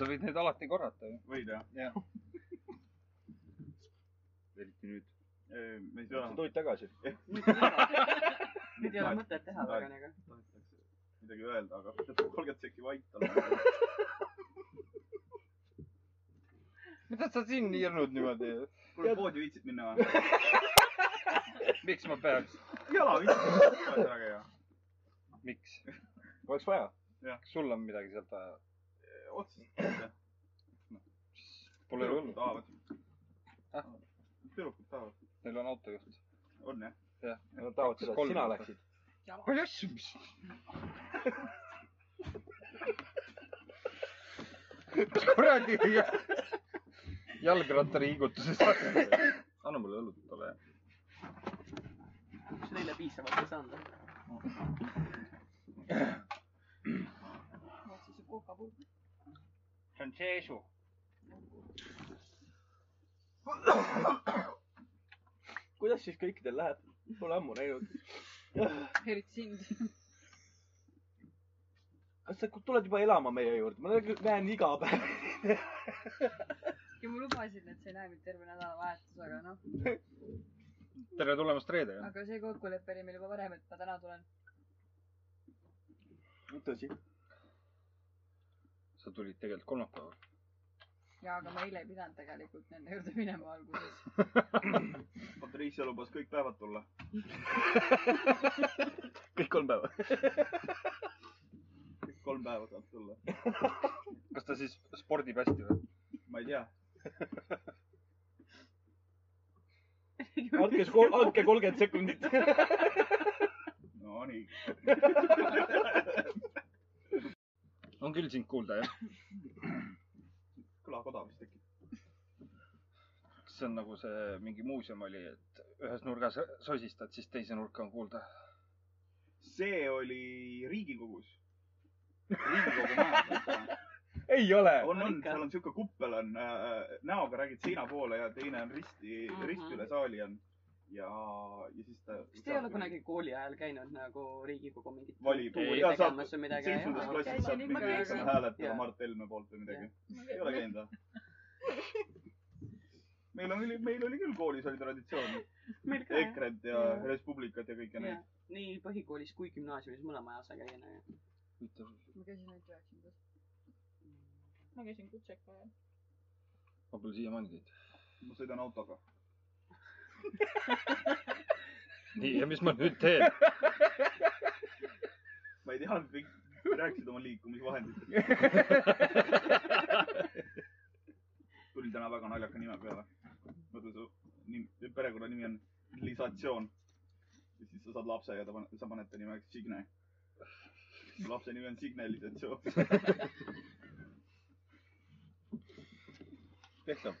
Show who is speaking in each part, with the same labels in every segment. Speaker 1: võid neid alati korrata ju .
Speaker 2: võid jah ?
Speaker 1: jah ,
Speaker 2: eriti nüüd . me ei
Speaker 3: sa
Speaker 2: saa
Speaker 3: tulid tagasi .
Speaker 4: nüüd ei ole mõtet teha
Speaker 2: Aeg.
Speaker 4: väga nagu .
Speaker 2: midagi öelda , aga peab kolmkümmend sekki vait olema .
Speaker 1: mida sa siin hirnud niimoodi ?
Speaker 2: kuule , poodi viitsid minna ?
Speaker 1: miks ma peaks ,
Speaker 2: jala viitsid , väga hea .
Speaker 1: miks ?
Speaker 3: oleks vaja .
Speaker 1: kas sul on midagi sealt vaja ?
Speaker 2: otseselt .
Speaker 1: Pole ju hullu , Ah?
Speaker 2: tahavad . tüdrukud tahavad .
Speaker 1: neil on autojuht .
Speaker 2: on jah ?
Speaker 3: Nad tahavad seda , et
Speaker 1: Kolm
Speaker 3: sina
Speaker 1: minutit.
Speaker 3: läksid .
Speaker 1: palju asju , mis . kuradi jalgrattariigutuses .
Speaker 2: anna mulle õlut , ole hea .
Speaker 4: kas neile piisavalt ei saanud ?
Speaker 1: see on seesu .
Speaker 3: kuidas siis kõikidel läheb ? Pole ammu näinud .
Speaker 5: eriti sind .
Speaker 3: kas sa tuled juba elama meie juurde ? ma näen- näen iga päev .
Speaker 5: ja ma lubasin , et sa ei näe mind terve nädalavahetus , aga noh ,
Speaker 1: tere tulemast reedega .
Speaker 5: aga see kokkulepe oli meil juba varem , et ma täna tulen .
Speaker 3: tõsi .
Speaker 1: sa tulid tegelikult kolmapäeval .
Speaker 5: ja , aga ma eile ei pidanud tegelikult nende juurde minema alguses .
Speaker 2: Patricia lubas kõik päevad tulla .
Speaker 3: kõik kolm päeva .
Speaker 2: kõik kolm päeva saab tulla .
Speaker 1: kas ta siis spordib hästi või ?
Speaker 2: ma ei tea .
Speaker 3: andke , andke kolmkümmend sekundit .
Speaker 2: Nonii .
Speaker 1: on küll sind kuulda jah .
Speaker 2: kõlab odavasti äkki .
Speaker 1: see on nagu see mingi muuseum oli , et ühes nurgas sosistad , siis teise nurka on kuulda .
Speaker 2: see oli Riigikogus . riigikogu majas .
Speaker 1: ei ole .
Speaker 2: on , on ,
Speaker 4: Ikka.
Speaker 2: seal on sihuke kuppel on äh, , näoga räägid seina poole ja teine on risti mm ,
Speaker 4: Mhm.
Speaker 2: -hmm. rist üle saali on . ja , ja siis ta .
Speaker 4: kas te ei ole kunagi kooli ajal käinud nagu Riigikogu mingit
Speaker 2: Valib.
Speaker 4: tuuri
Speaker 2: Jaa, saab-
Speaker 4: tegemas või midagi ?
Speaker 2: seitsmendas
Speaker 5: Jah,
Speaker 2: klassis
Speaker 5: käisin
Speaker 2: saab
Speaker 5: ikka,
Speaker 2: mingi
Speaker 5: käisin.
Speaker 2: hääletada
Speaker 4: Jaa.
Speaker 2: Mart Helme poolt või midagi . ei ole käinud või ? meil on , meil oli küll koolis oli traditsioon .
Speaker 4: meil ka jah .
Speaker 2: EKRE-t ja
Speaker 4: Jaa.
Speaker 2: Res Publicat ja kõike neid .
Speaker 4: nii põhikoolis kui gümnaasiumis mõlema ajas ei käinud .
Speaker 5: ma käisin ainult üheksandas .
Speaker 6: ma käisin kutseka ajal .
Speaker 1: ma pole siiamaani teinud .
Speaker 2: ma sõidan autoga .
Speaker 1: nii , ja mis ma nüüd teen ?
Speaker 2: ma ei teadnud , kõik rääkisid oma liikumisvahenditest . tuli täna väga naljaka nime peale . mõtle , su nimi , perekonnanimi on Lisatsioon . ja siis sa saad lapse ja ta paneb , sa paned ta nimeks Signe . lapse nimi on Signe Lisatsioon .
Speaker 3: tehtav .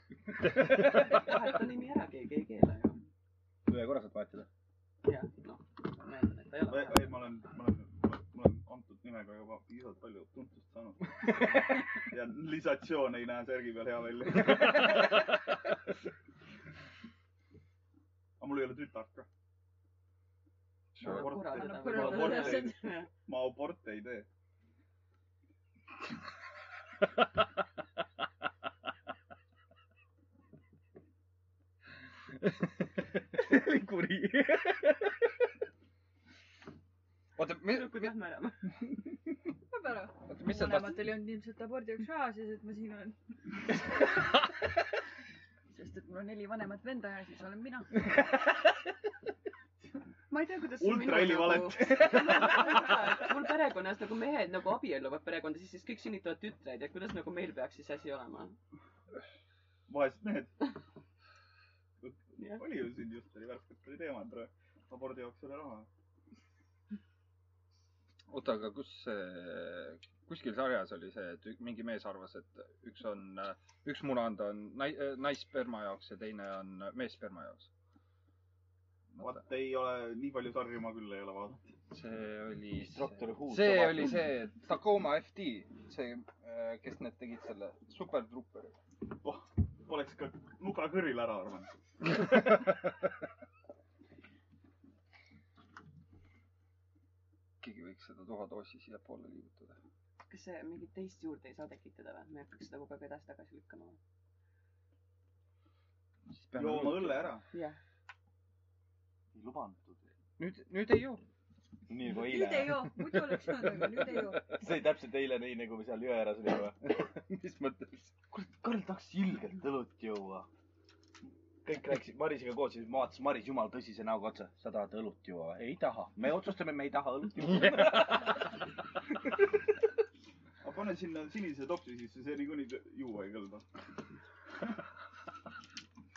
Speaker 4: vaheta nimi ära , keegi ei keela ju .
Speaker 3: ühe korra saad vahetada .
Speaker 4: jah , noh , ma eeldan , et ta ei ole
Speaker 2: ei , ma olen , ma olen , ma olen antud nimega juba piisavalt palju tuntust saanud . ja Lisatsioon ei näe särgi peal hea välja . aga mul ei ole tütart ka .
Speaker 4: vaheta .
Speaker 5: korraldada
Speaker 2: täpselt.
Speaker 4: jah .
Speaker 2: ma aborte ei tee .
Speaker 3: kuri .
Speaker 1: oota , mis ,
Speaker 4: tüdrukud lähme ära .
Speaker 5: saab aru .
Speaker 1: oota , mis sa tahtsid ?
Speaker 5: vanematel ei olnud ilmselt abordi jaoks raha , siis et ma siin olen . sest et mul on neli vanemat venda ja siis olen mina .
Speaker 4: ma ei tea , kuidas .
Speaker 2: Ultraheli valet. .
Speaker 4: mul perekonnas nagu mehed nagu abielluvad perekonda , siis , siis kõik sünnitavad tütreid ja kuidas nagu meil peaks siis asi olema ?
Speaker 2: vaesed mehed .
Speaker 4: Jah.
Speaker 2: oli ju siin just oli värskelt oli teema , et abordi jaoks ei ole raha .
Speaker 1: oota , aga kus see , kuskil sarjas oli see , et ük- mingi mees arvas , et üks on , üks munaand on nai- , naissperma jaoks ja teine on meessperma jaoks . vaata ,
Speaker 2: vaat ei ole , nii palju sarju ma küll ei ole vaadanud .
Speaker 1: see oli ,
Speaker 3: Instructor Who
Speaker 1: see
Speaker 3: sama
Speaker 1: oli
Speaker 3: film.
Speaker 1: see Tacoma FD , see , kes need tegid selle , Super Trooper .
Speaker 2: Poleks ka nuga kõril ära arvanud .
Speaker 1: keegi võiks seda tuhadoosi siiapoole liigutada .
Speaker 4: kas kas see mingit teist juurde ei saa tekitada või ? me ei hakkaks nagu seda kogu aeg edasi-tagasi lükkama või ?
Speaker 2: joo oma õlle ära .
Speaker 4: jah .
Speaker 3: ei lubatud .
Speaker 1: nüüd , nüüd ei joo .
Speaker 3: nii nagu
Speaker 5: nüüd ei
Speaker 3: eile .
Speaker 5: joo , muidu oleks joonud , aga nüüd ei joo .
Speaker 3: see oli täpselt eile nii , nagu me seal jõe ääres olime .
Speaker 1: mis mõttes ?
Speaker 3: kurat , Karl tahaks ilgelt õlut juua . kõik rääkisid Marisiga koos ja siis ma vaatasin Maris jumal tõsise näoga otsa . sa tahad õlut juua ? ei taha . me otsustame , me ei taha õlut juua .
Speaker 2: aga pane sinna sinise topsi sisse , see niikuinii kõ- juua ei kõlba .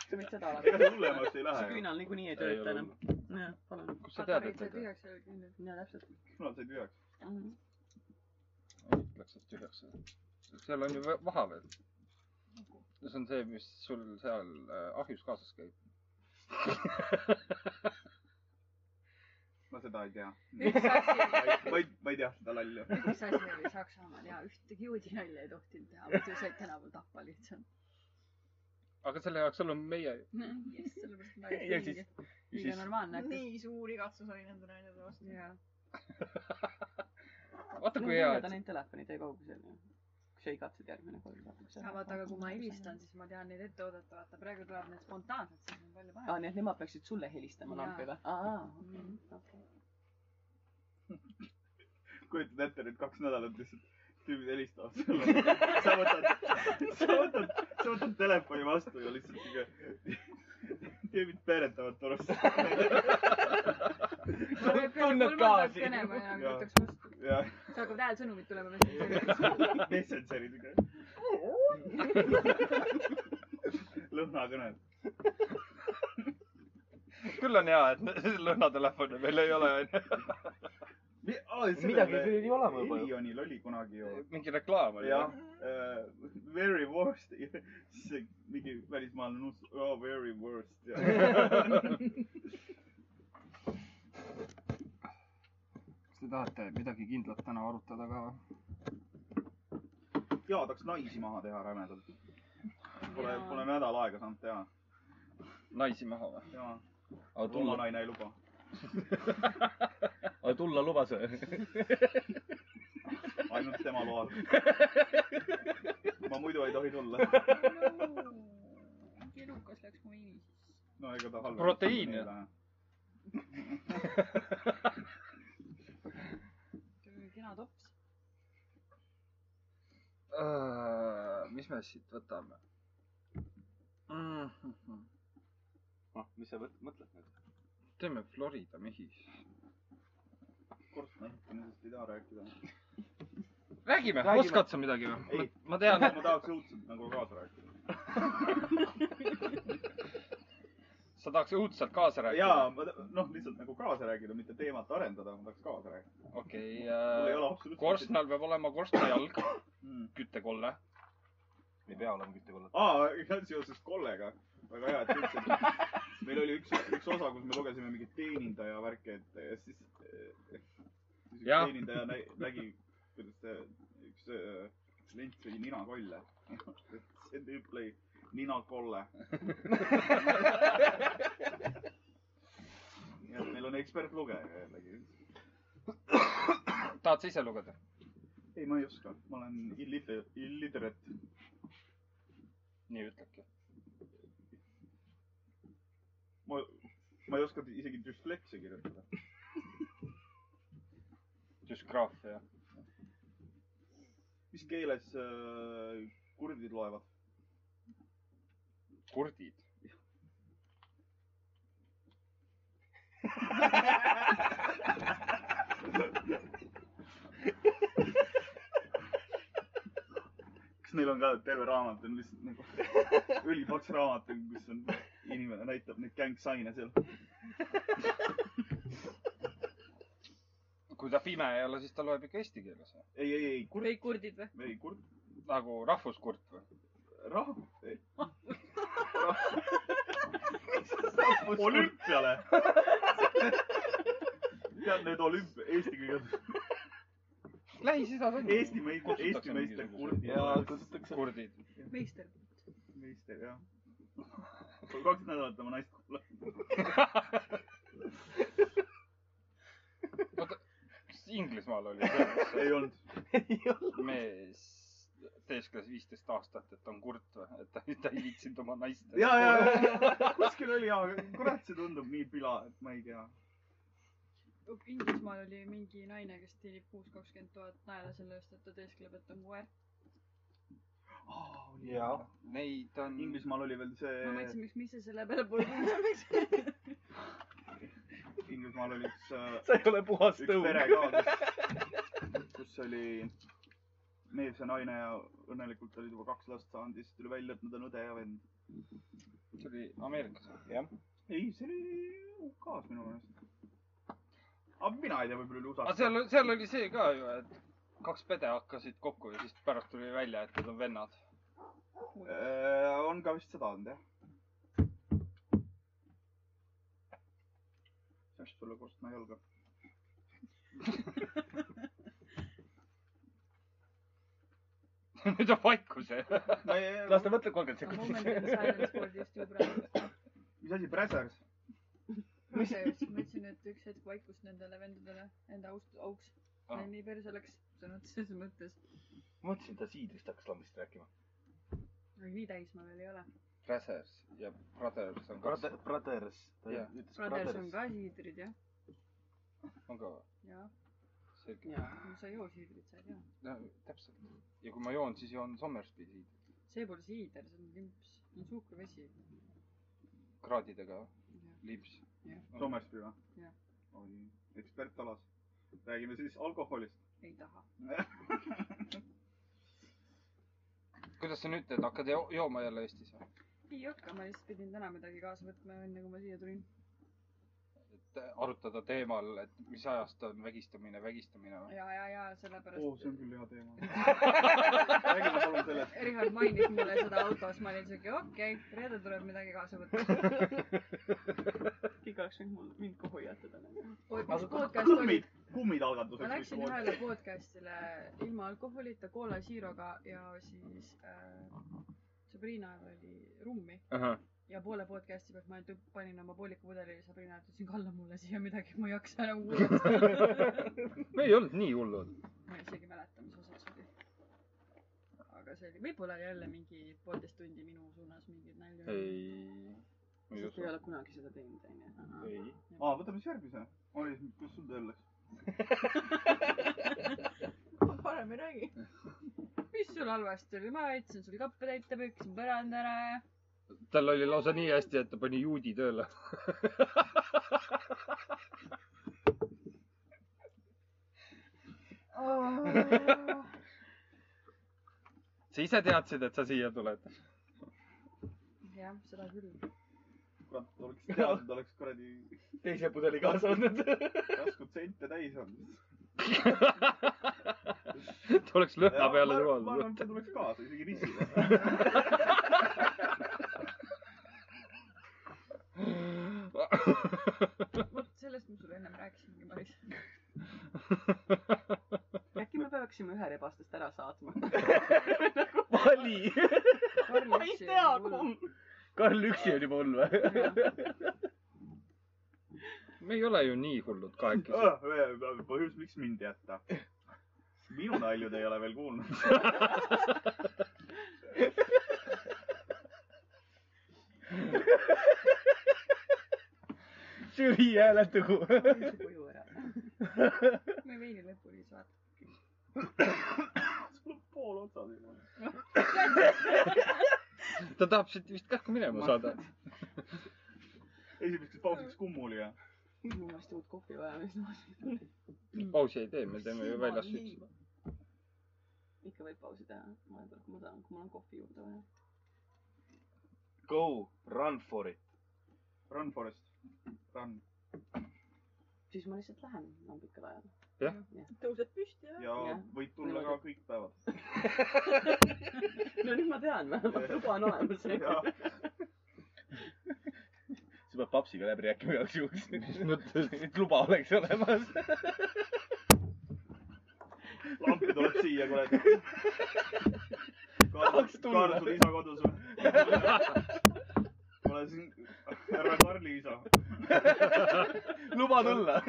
Speaker 4: sa võid seda
Speaker 2: ega
Speaker 4: alati .
Speaker 2: see hullemaks ei
Speaker 4: see
Speaker 2: lähe ju .
Speaker 4: küünal niikuinii ei
Speaker 1: Ei ole
Speaker 4: tööta enam
Speaker 1: hullu. .
Speaker 4: jah , palun .
Speaker 1: kust sa tead , et
Speaker 5: sai
Speaker 1: ta teeb ?
Speaker 5: tühjaks jälle kindlalt .
Speaker 4: ja täpselt
Speaker 2: küünal sai tühjaks .
Speaker 4: mm . -hmm.
Speaker 1: Läks sealt tühjaks . seal on ju vä- vaha veel . see on see , mis sul seal äh, ahjus kaasas käib .
Speaker 2: ma seda ei tea .
Speaker 5: üks asi ,
Speaker 2: ma ei , ma ei tea seda lalja .
Speaker 5: üks asi oli Saksamaal ja ühtegi juudi nalja ei tohtinud teha , muidu said tänaval tappa lihtsalt .
Speaker 1: aga selle jaoks sul on meie .
Speaker 5: jess , sellepärast ma
Speaker 1: Ja
Speaker 5: ei
Speaker 1: siis-
Speaker 5: tea . liiga normaalne hakkas .
Speaker 6: nii suur igatsus oli nende naljade vastu .
Speaker 5: jaa .
Speaker 1: vaata kui hea ,
Speaker 4: ta
Speaker 1: et
Speaker 4: neid telefoni tõi kaugusel ju . kui sa igatsed järgmine kord , vaataks
Speaker 5: aga vaata , aga kui ma helistan , siis ma tean neid ette oodata , vaata praegu tuleb need spontaanselt , siis on palju
Speaker 4: aa ,
Speaker 5: parem .
Speaker 4: Ah, nii et nemad peaksid sulle helistama
Speaker 5: Jaa.
Speaker 4: lambiga ? aa , okei , okei .
Speaker 2: kujutad ette nüüd kaks nädalat lihtsalt tüübid helistavad sulle . sa võtad , sa võtad , sa võtad telefoni vastu ja lihtsalt ikka tüübid peeretavad torust .
Speaker 3: tunned
Speaker 5: kolmandat
Speaker 3: gaasi.
Speaker 5: kõne ma enam ei
Speaker 2: Jaa.
Speaker 5: võtaks vastu .
Speaker 2: ja
Speaker 5: sa hakkad häälsõnumid tulema messengeris .
Speaker 2: messengerid ikka . lõhnakõned .
Speaker 1: küll on hea , et lõhnatelefoni meil ei ole .
Speaker 3: midagi pidi olema juba ju .
Speaker 2: Elionil oli kunagi ju .
Speaker 1: mingi reklaam oli .
Speaker 2: jah , very worst , siis see mingi välismaalane nuts- , oh very worst ja
Speaker 1: kas te tahate midagi kindlat täna arutada ka ?
Speaker 2: jaa , tahaks naisi maha teha rämedalt . Pole ,
Speaker 4: Jaa.
Speaker 2: pole nädal aega saanud teha .
Speaker 1: naisi maha või ?
Speaker 2: jaa ,
Speaker 3: aga
Speaker 2: tulla
Speaker 3: tulla ,
Speaker 2: naine ei luba .
Speaker 3: aga tulla lubas või ?
Speaker 2: ainult tema loal . ma muidu ei tohi tulla .
Speaker 6: keerukas läks mu nimi sisse .
Speaker 2: no ega ta halb .
Speaker 1: Proteiin, jah. .
Speaker 5: kena tops .
Speaker 1: Äh, mis me siit võtame ? Mm-hmm.
Speaker 3: noh , mis sa mõt- mõtled nüüd ?
Speaker 1: teeme Florida mehi .
Speaker 2: korstnahitamisest ei taha rääkida .
Speaker 1: räägime,
Speaker 3: Räägime.
Speaker 1: räägime. , oskad sa midagi või
Speaker 2: Ei. ?
Speaker 1: ma tean ,
Speaker 2: ma tahaks õudselt nagu kaasa rääkida .
Speaker 1: sa tahaks õudselt kaasa rääkida .
Speaker 2: jaa , noh , lihtsalt nagu kaasa rääkida , mitte teemat arendada , ma tahaks kaasa rääkida .
Speaker 1: okei
Speaker 2: mul ei
Speaker 1: äh,
Speaker 2: ole . absoluutselt .
Speaker 1: korstnal peab olema korstnajalg ,
Speaker 2: mm. .
Speaker 1: küttekolle .
Speaker 3: ei pea olema küttekollad .
Speaker 2: aa , seoses kollega . väga hea , et sa ütlesid . meil oli üks , üks osa , kus me lugesime mingit teenindaja värki , et ja siis , siis üks
Speaker 1: Jah.
Speaker 2: teenindaja näi- nägi , kuidas see üks äh, klient sõi ninakolle . see tüüp lõi ninakolle . nii et meil on ekspertlugeja jällegi .
Speaker 1: tahad sa ise lugeda ?
Speaker 2: ei , ma ei oska , ma olen illiter- , illiterate .
Speaker 1: nii ütlebki .
Speaker 2: ma , ma ei oska isegi düsleksia kirjutada .
Speaker 1: düsgraafia .
Speaker 2: mis keeles äh, kurdid loevad ?
Speaker 1: kurdid .
Speaker 2: kas neil on ka terve raamat on lihtsalt nagu ülipaks raamat , kus on inimene näitab neid gängsaine seal .
Speaker 1: kui ta pime ei ole , siis ta loeb ikka eesti keeles .
Speaker 2: ei , ei , ei ,
Speaker 5: kõik kurdid või ?
Speaker 2: ei kurd ,
Speaker 1: nagu rahvuskurt või ?
Speaker 2: rahv , olümpiale . tead need olümpia , Eesti kõige ,
Speaker 1: Lähis-Idas on .
Speaker 2: Eesti meister , Eesti meister kurdi
Speaker 3: jaa ,
Speaker 2: ja
Speaker 3: kutsutakse .
Speaker 1: kurdid .
Speaker 5: meister .
Speaker 2: meister jah . kaks nädalat oma naist kuulan .
Speaker 1: oota , kas Inglismaal oli see ?
Speaker 2: ei olnud ,
Speaker 1: mees teeskles viisteist aastat , et on kurt või , et ta, ta ei viitsinud oma naist .
Speaker 2: ja , ja , ja kuskil oli ja , kurat , see tundub nii pila , et ma ei tea .
Speaker 5: Inglismaal oli mingi naine , kes teenib kuus kakskümmend tuhat naela selle eest , et ta teeskleb , et on koer .
Speaker 3: jaa .
Speaker 1: Neid on ,
Speaker 2: Inglismaal oli veel see
Speaker 5: ma , mõtlesin , miks , mis see selle peale pole tulnud .
Speaker 2: Inglismaal oli üks äh,
Speaker 3: sa ei ole puhas
Speaker 2: üks
Speaker 3: tõug .
Speaker 2: pere ka , kus , kus oli mees ja naine ja õnnelikult olid juba kaks last saanud ja siis tuli välja , et nad on õde ja vend .
Speaker 1: see oli Ameerikas .
Speaker 2: ei , see oli UK-s minu meelest . aga mina ei tea , võib-olla oli
Speaker 1: aga
Speaker 2: USA-s .
Speaker 1: seal , seal oli see ka ju , et kaks pede hakkasid kokku ja siis pärast tuli välja , et nad on vennad .
Speaker 2: Äh, on ka vist seda olnud jah . peaks sulle kostma jalga .
Speaker 1: nüüd on vaikus jah .
Speaker 2: ma ei ,
Speaker 3: las ta mõtleb kolmkümmend
Speaker 5: A moment in
Speaker 3: sekundit .
Speaker 5: silence for this two brothers .
Speaker 2: mis asi , Brazzers ?
Speaker 5: ma just mõtlesin , et üks hetk vaikust nendele vendadele , enda aust , auks .
Speaker 1: Ah.
Speaker 5: nii perse läks , sõna otseses mõttes .
Speaker 3: mõtlesin , ta siidrist hakkas lambist rääkima .
Speaker 5: aga nii täis ma veel ei ole .
Speaker 1: Brothers ja Brothers on kaks ,
Speaker 3: Brother , brothers .
Speaker 1: Jah.
Speaker 3: ütles
Speaker 5: Brothers on ka siidrid jah .
Speaker 1: on ka või ?
Speaker 5: jaa ,
Speaker 1: selge .
Speaker 5: sa ei joo siidrit , sa ei tea .
Speaker 1: täpselt . ja kui ma joon , siis joon Sommersby siit
Speaker 5: see pole siider , see on limps , see on suhkruvesi .
Speaker 1: kraadidega , lips .
Speaker 2: Somersby või ?
Speaker 5: Jah.
Speaker 2: oi , ekspert alas . räägime siis alkoholist .
Speaker 5: ei taha .
Speaker 1: kuidas sa nüüd teed , hakkad jo- jooma jälle Eestis või ?
Speaker 5: ei hakka , ma lihtsalt pidin täna midagi kaasa võtma , enne kui ma siia tulin .
Speaker 1: et arutada teemal , et mis ajast on vägistamine , vägistamine või ?
Speaker 5: ja , ja , ja sellepärast
Speaker 2: oo , Oh, see on küll hea teema . räägime palun sellest .
Speaker 5: Richard mainis mulle seda autos , ma olin siuke , okei okay, , reedel tuleb midagi kaasa võtta .
Speaker 4: keegi oleks võinud mul , mind ka hoiatada . noh.
Speaker 5: podcast oli ,
Speaker 2: kummid , kummid algatuseks .
Speaker 5: ma läksin ühele podcast'ile ilma alkoholita , Cola Zeroga ja siis äh, Sabrinal oli rummi ja poole podcast'i pealt ma ainult panin oma pooliku pudeli ja Sabrina ütles , siin kalla mulle siia midagi , ma ei jaksa enam kuulata .
Speaker 1: me ei olnud nii hullud .
Speaker 5: ma isegi ei mäleta , mis osas oli . aga see oli , võib-olla oli jälle mingi poolteist tundi minu suunas mingeid nalju .
Speaker 1: ei , ma ei
Speaker 4: sest ei
Speaker 1: usu .
Speaker 4: ole kunagi seda teinud , onju .
Speaker 3: ei .
Speaker 2: aa , võtame siis järgmise . oli , kuidas sul tööl läks ?
Speaker 6: parem ei räägi .
Speaker 5: mis sul halvasti oli , ma aitasin sul kappe täita , püksin põranda ära ja
Speaker 1: tal oli lausa nii hästi , et ta pani juudi tööle . sa ise teadsid , et sa siia tuled ?
Speaker 5: jah , seda küll .
Speaker 2: kurat , oleks teadnud , oleks kuradi
Speaker 3: teise pudeli kaasa võtnud .
Speaker 2: taskud sente täis olnud .
Speaker 1: ta oleks lõhna peale
Speaker 2: ma arvan ,
Speaker 1: tulnud
Speaker 2: et . see tuleks kaasa , isegi risile .
Speaker 5: vot sellest ma sulle ennem rääkisingi , Maris .
Speaker 4: äkki me peaksime ühe rebastest ära saatma ?
Speaker 3: vali .
Speaker 5: ma
Speaker 4: ei tea , kumb .
Speaker 3: Karl üksi on juba hull või ?
Speaker 1: me ei ole ju nii hullud kahekesi .
Speaker 2: Ah. põhjus , miks mind jätta ? minu nalju te ei ole veel kuulnud .
Speaker 3: žürii hääletagu .
Speaker 4: koju ära .
Speaker 5: me veini lõpuni ei saa .
Speaker 2: sul on pool otsas juba .
Speaker 1: ta tahab siit vist kähku minema saada .
Speaker 2: esimeseks pausiks kummuli ja .
Speaker 4: mul on vist uut kohvi vaja , mis ma siin .
Speaker 1: pausi ei tee , me teeme ju väljas süüdi ..
Speaker 4: ikka võib pausi teha , vahepeal , kui ma tahan , kui mul on kohvi juurde vaja .
Speaker 3: Go , run for it .
Speaker 2: Run forest , run
Speaker 4: siis ma lihtsalt lähen lambikal ajal .
Speaker 6: tõused püsti ja .
Speaker 2: ja
Speaker 4: Jah.
Speaker 2: võid tulla ka kõik päevad .
Speaker 4: no nüüd ma tean , vähemalt luba on olemas .
Speaker 3: sa pead papsiga läbi rääkima igaks
Speaker 1: mis
Speaker 3: juhuks .
Speaker 1: mõttes ?
Speaker 3: et luba oleks olemas .
Speaker 2: lampi tuleb siia , kuradi .
Speaker 3: Tahaks tulla.
Speaker 2: Karl , sul isa kodus või ? ma olen siin härra Karli isa .
Speaker 3: luba tulla .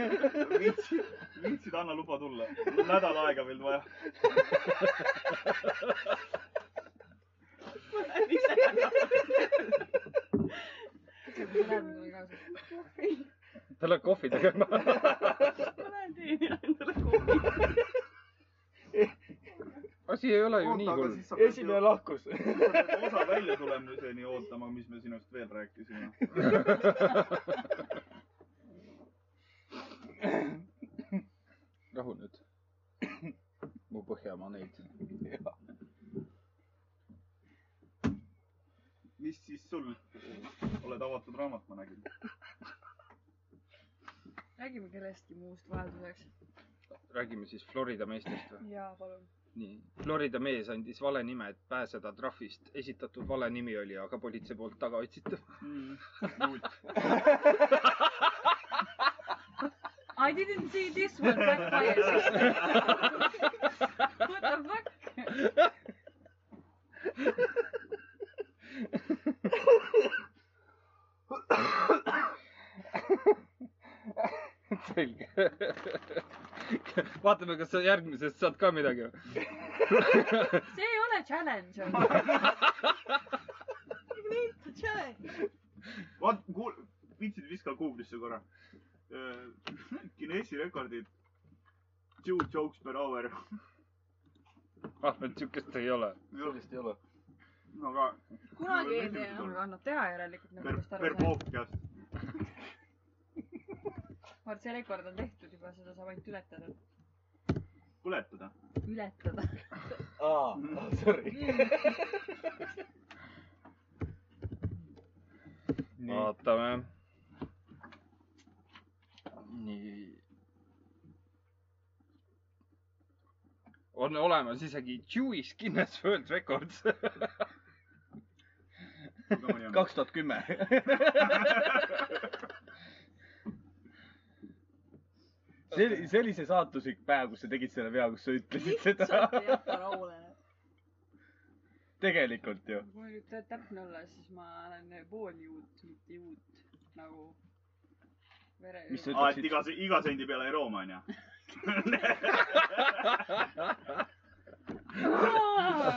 Speaker 2: viitsid , viitsid , anna luba tulla . nädal aega veel vaja .
Speaker 5: ma lähen talle kaasa .
Speaker 1: ta läheb kohvi tegema .
Speaker 4: ma lähen teen endale kohvi .
Speaker 1: asi ei ole ju nii hull .
Speaker 3: esimene lahkus .
Speaker 2: osa väljatulemiseni ootama , mis me sinust veel rääkisime .
Speaker 1: rahu nüüd . mu põhjamaa neid .
Speaker 2: mis siis sul ? oled avatud raamat , ma nägin .
Speaker 5: räägime kellestki muust vahelduseks .
Speaker 1: räägime siis Florida meestest või ?
Speaker 5: jaa , palun .
Speaker 1: nii , Florida mees andis vale nime , et pääseda trahvist . esitatud vale nimi oli aga politsei poolt taga otsitav .
Speaker 5: I didn't see this one backfire . What the fuck ?
Speaker 1: selge . vaatame , kas sa järgmisest saad ka midagi .
Speaker 5: see ei ole challenge .
Speaker 2: vaat , kuul- , viitsid viska Google'isse korra . Guinessi rekordid . Two jokes per hour .
Speaker 1: ahmed , Ah, siukest ei ole .
Speaker 3: sellist ei ole .
Speaker 2: no aga .
Speaker 6: kunagi ei tea .
Speaker 5: aga annab teha järelikult nagu
Speaker 2: per ,
Speaker 5: sellest aru
Speaker 2: per
Speaker 5: saab .
Speaker 2: podcast .
Speaker 5: ma arvan , et see rekord on tehtud juba , seda saab ainult ületada .
Speaker 2: põletada .
Speaker 5: ületada .
Speaker 3: aa , sorry .
Speaker 1: vaatame . nii . on olemas isegi Jewish Guinness World Records .
Speaker 3: kaks tuhat kümme . see oli , see oli see saatuslik päev , kus sa tegid selle vea , kus sa ütlesid seda
Speaker 6: lihtsalt . ei jäta rahule .
Speaker 3: tegelikult ju .
Speaker 5: kui nüüd tä- täpne olla , siis ma olen pooljuut , mitte juut nagu vere .
Speaker 3: Mis sa
Speaker 2: aa , et iga , iga sendi peale ei rooma , onju .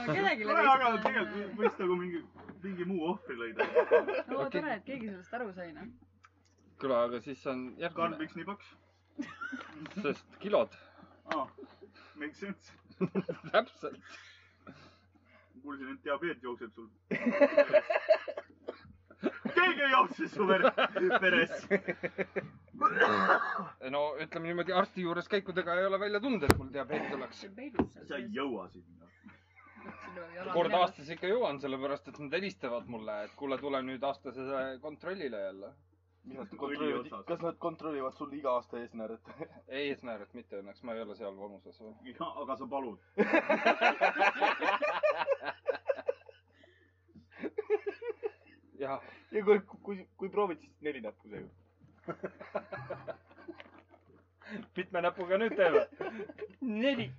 Speaker 5: kellelegi .
Speaker 2: nojah , aga tegelikult võiks nagu mingi , mingi muu ohvri leida .
Speaker 5: no
Speaker 1: Okei.
Speaker 5: tore , et keegi sellest aru sai , noh .
Speaker 1: kuule , aga siis on
Speaker 2: Karl ,
Speaker 1: järgmine ,
Speaker 2: miks nii paks ?
Speaker 1: sest kilod .
Speaker 2: aa , make sense .
Speaker 1: täpselt .
Speaker 2: kuulsin , et diabeet jookseb sul . keegi ei jookse su ver- , veres .
Speaker 1: no ütleme niimoodi , arsti juures käikudega ei ole välja tulnud , et mul diabeet oleks .
Speaker 5: see on peidus seal
Speaker 2: sa ei jõua sinna .
Speaker 1: kord . aastas ikka jõuan , sellepärast et nad helistavad mulle , et kuule , tule nüüd aastasele kontrollile jälle .
Speaker 2: kontrollivad- Õli otsas. kas
Speaker 3: nad kontrollivad sul iga aasta eesmääret ?
Speaker 1: ei , eesmäärat mitte õnneks , ma ei ole seal vanuses .
Speaker 2: aga sa palud .
Speaker 1: jah ,
Speaker 3: ja kui , kui , kui proovid , siis neli näppu seega .
Speaker 1: mitme näpuga nüüd teeme ? neli .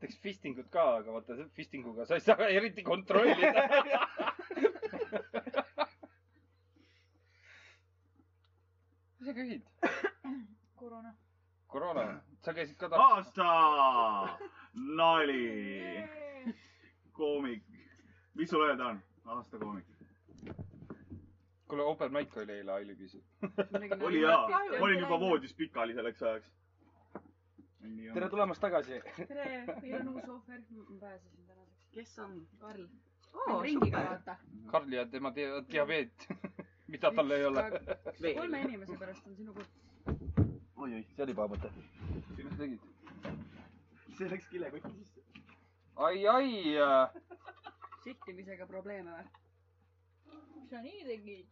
Speaker 1: teeks fistingut ka , aga vaata see fistinguga sa ei saa eriti kontrollida . mis sa küsid ?
Speaker 6: koroona .
Speaker 1: koroona , sa käisid ka ta- .
Speaker 2: aasta nali , koomik . mis sul öelda on ? aasta koomik .
Speaker 1: kuule , Open Mic oli eile Ailiküsi .
Speaker 2: oli jaa , olin juba voodis pikali selleks ajaks .
Speaker 3: tere tulemast tagasi .
Speaker 5: nagu- tere , meil on uus ohver . ma pääsesin tänaseks .
Speaker 4: kes on ?
Speaker 5: Karl .
Speaker 4: ringiga
Speaker 5: ringiga
Speaker 4: või ?
Speaker 5: vaata .
Speaker 1: Karli ja tema dia- diabeet , mida tal ei ole .
Speaker 5: kolme inimese pärast on sinu kord .
Speaker 3: oi-oi , see oli paha mõte .
Speaker 1: mis sa tegid ?
Speaker 2: see läks kilekotti sisse .
Speaker 1: ai , ai , äh.
Speaker 5: sihtimisega probleeme või ?
Speaker 6: mis sa nii tegid ?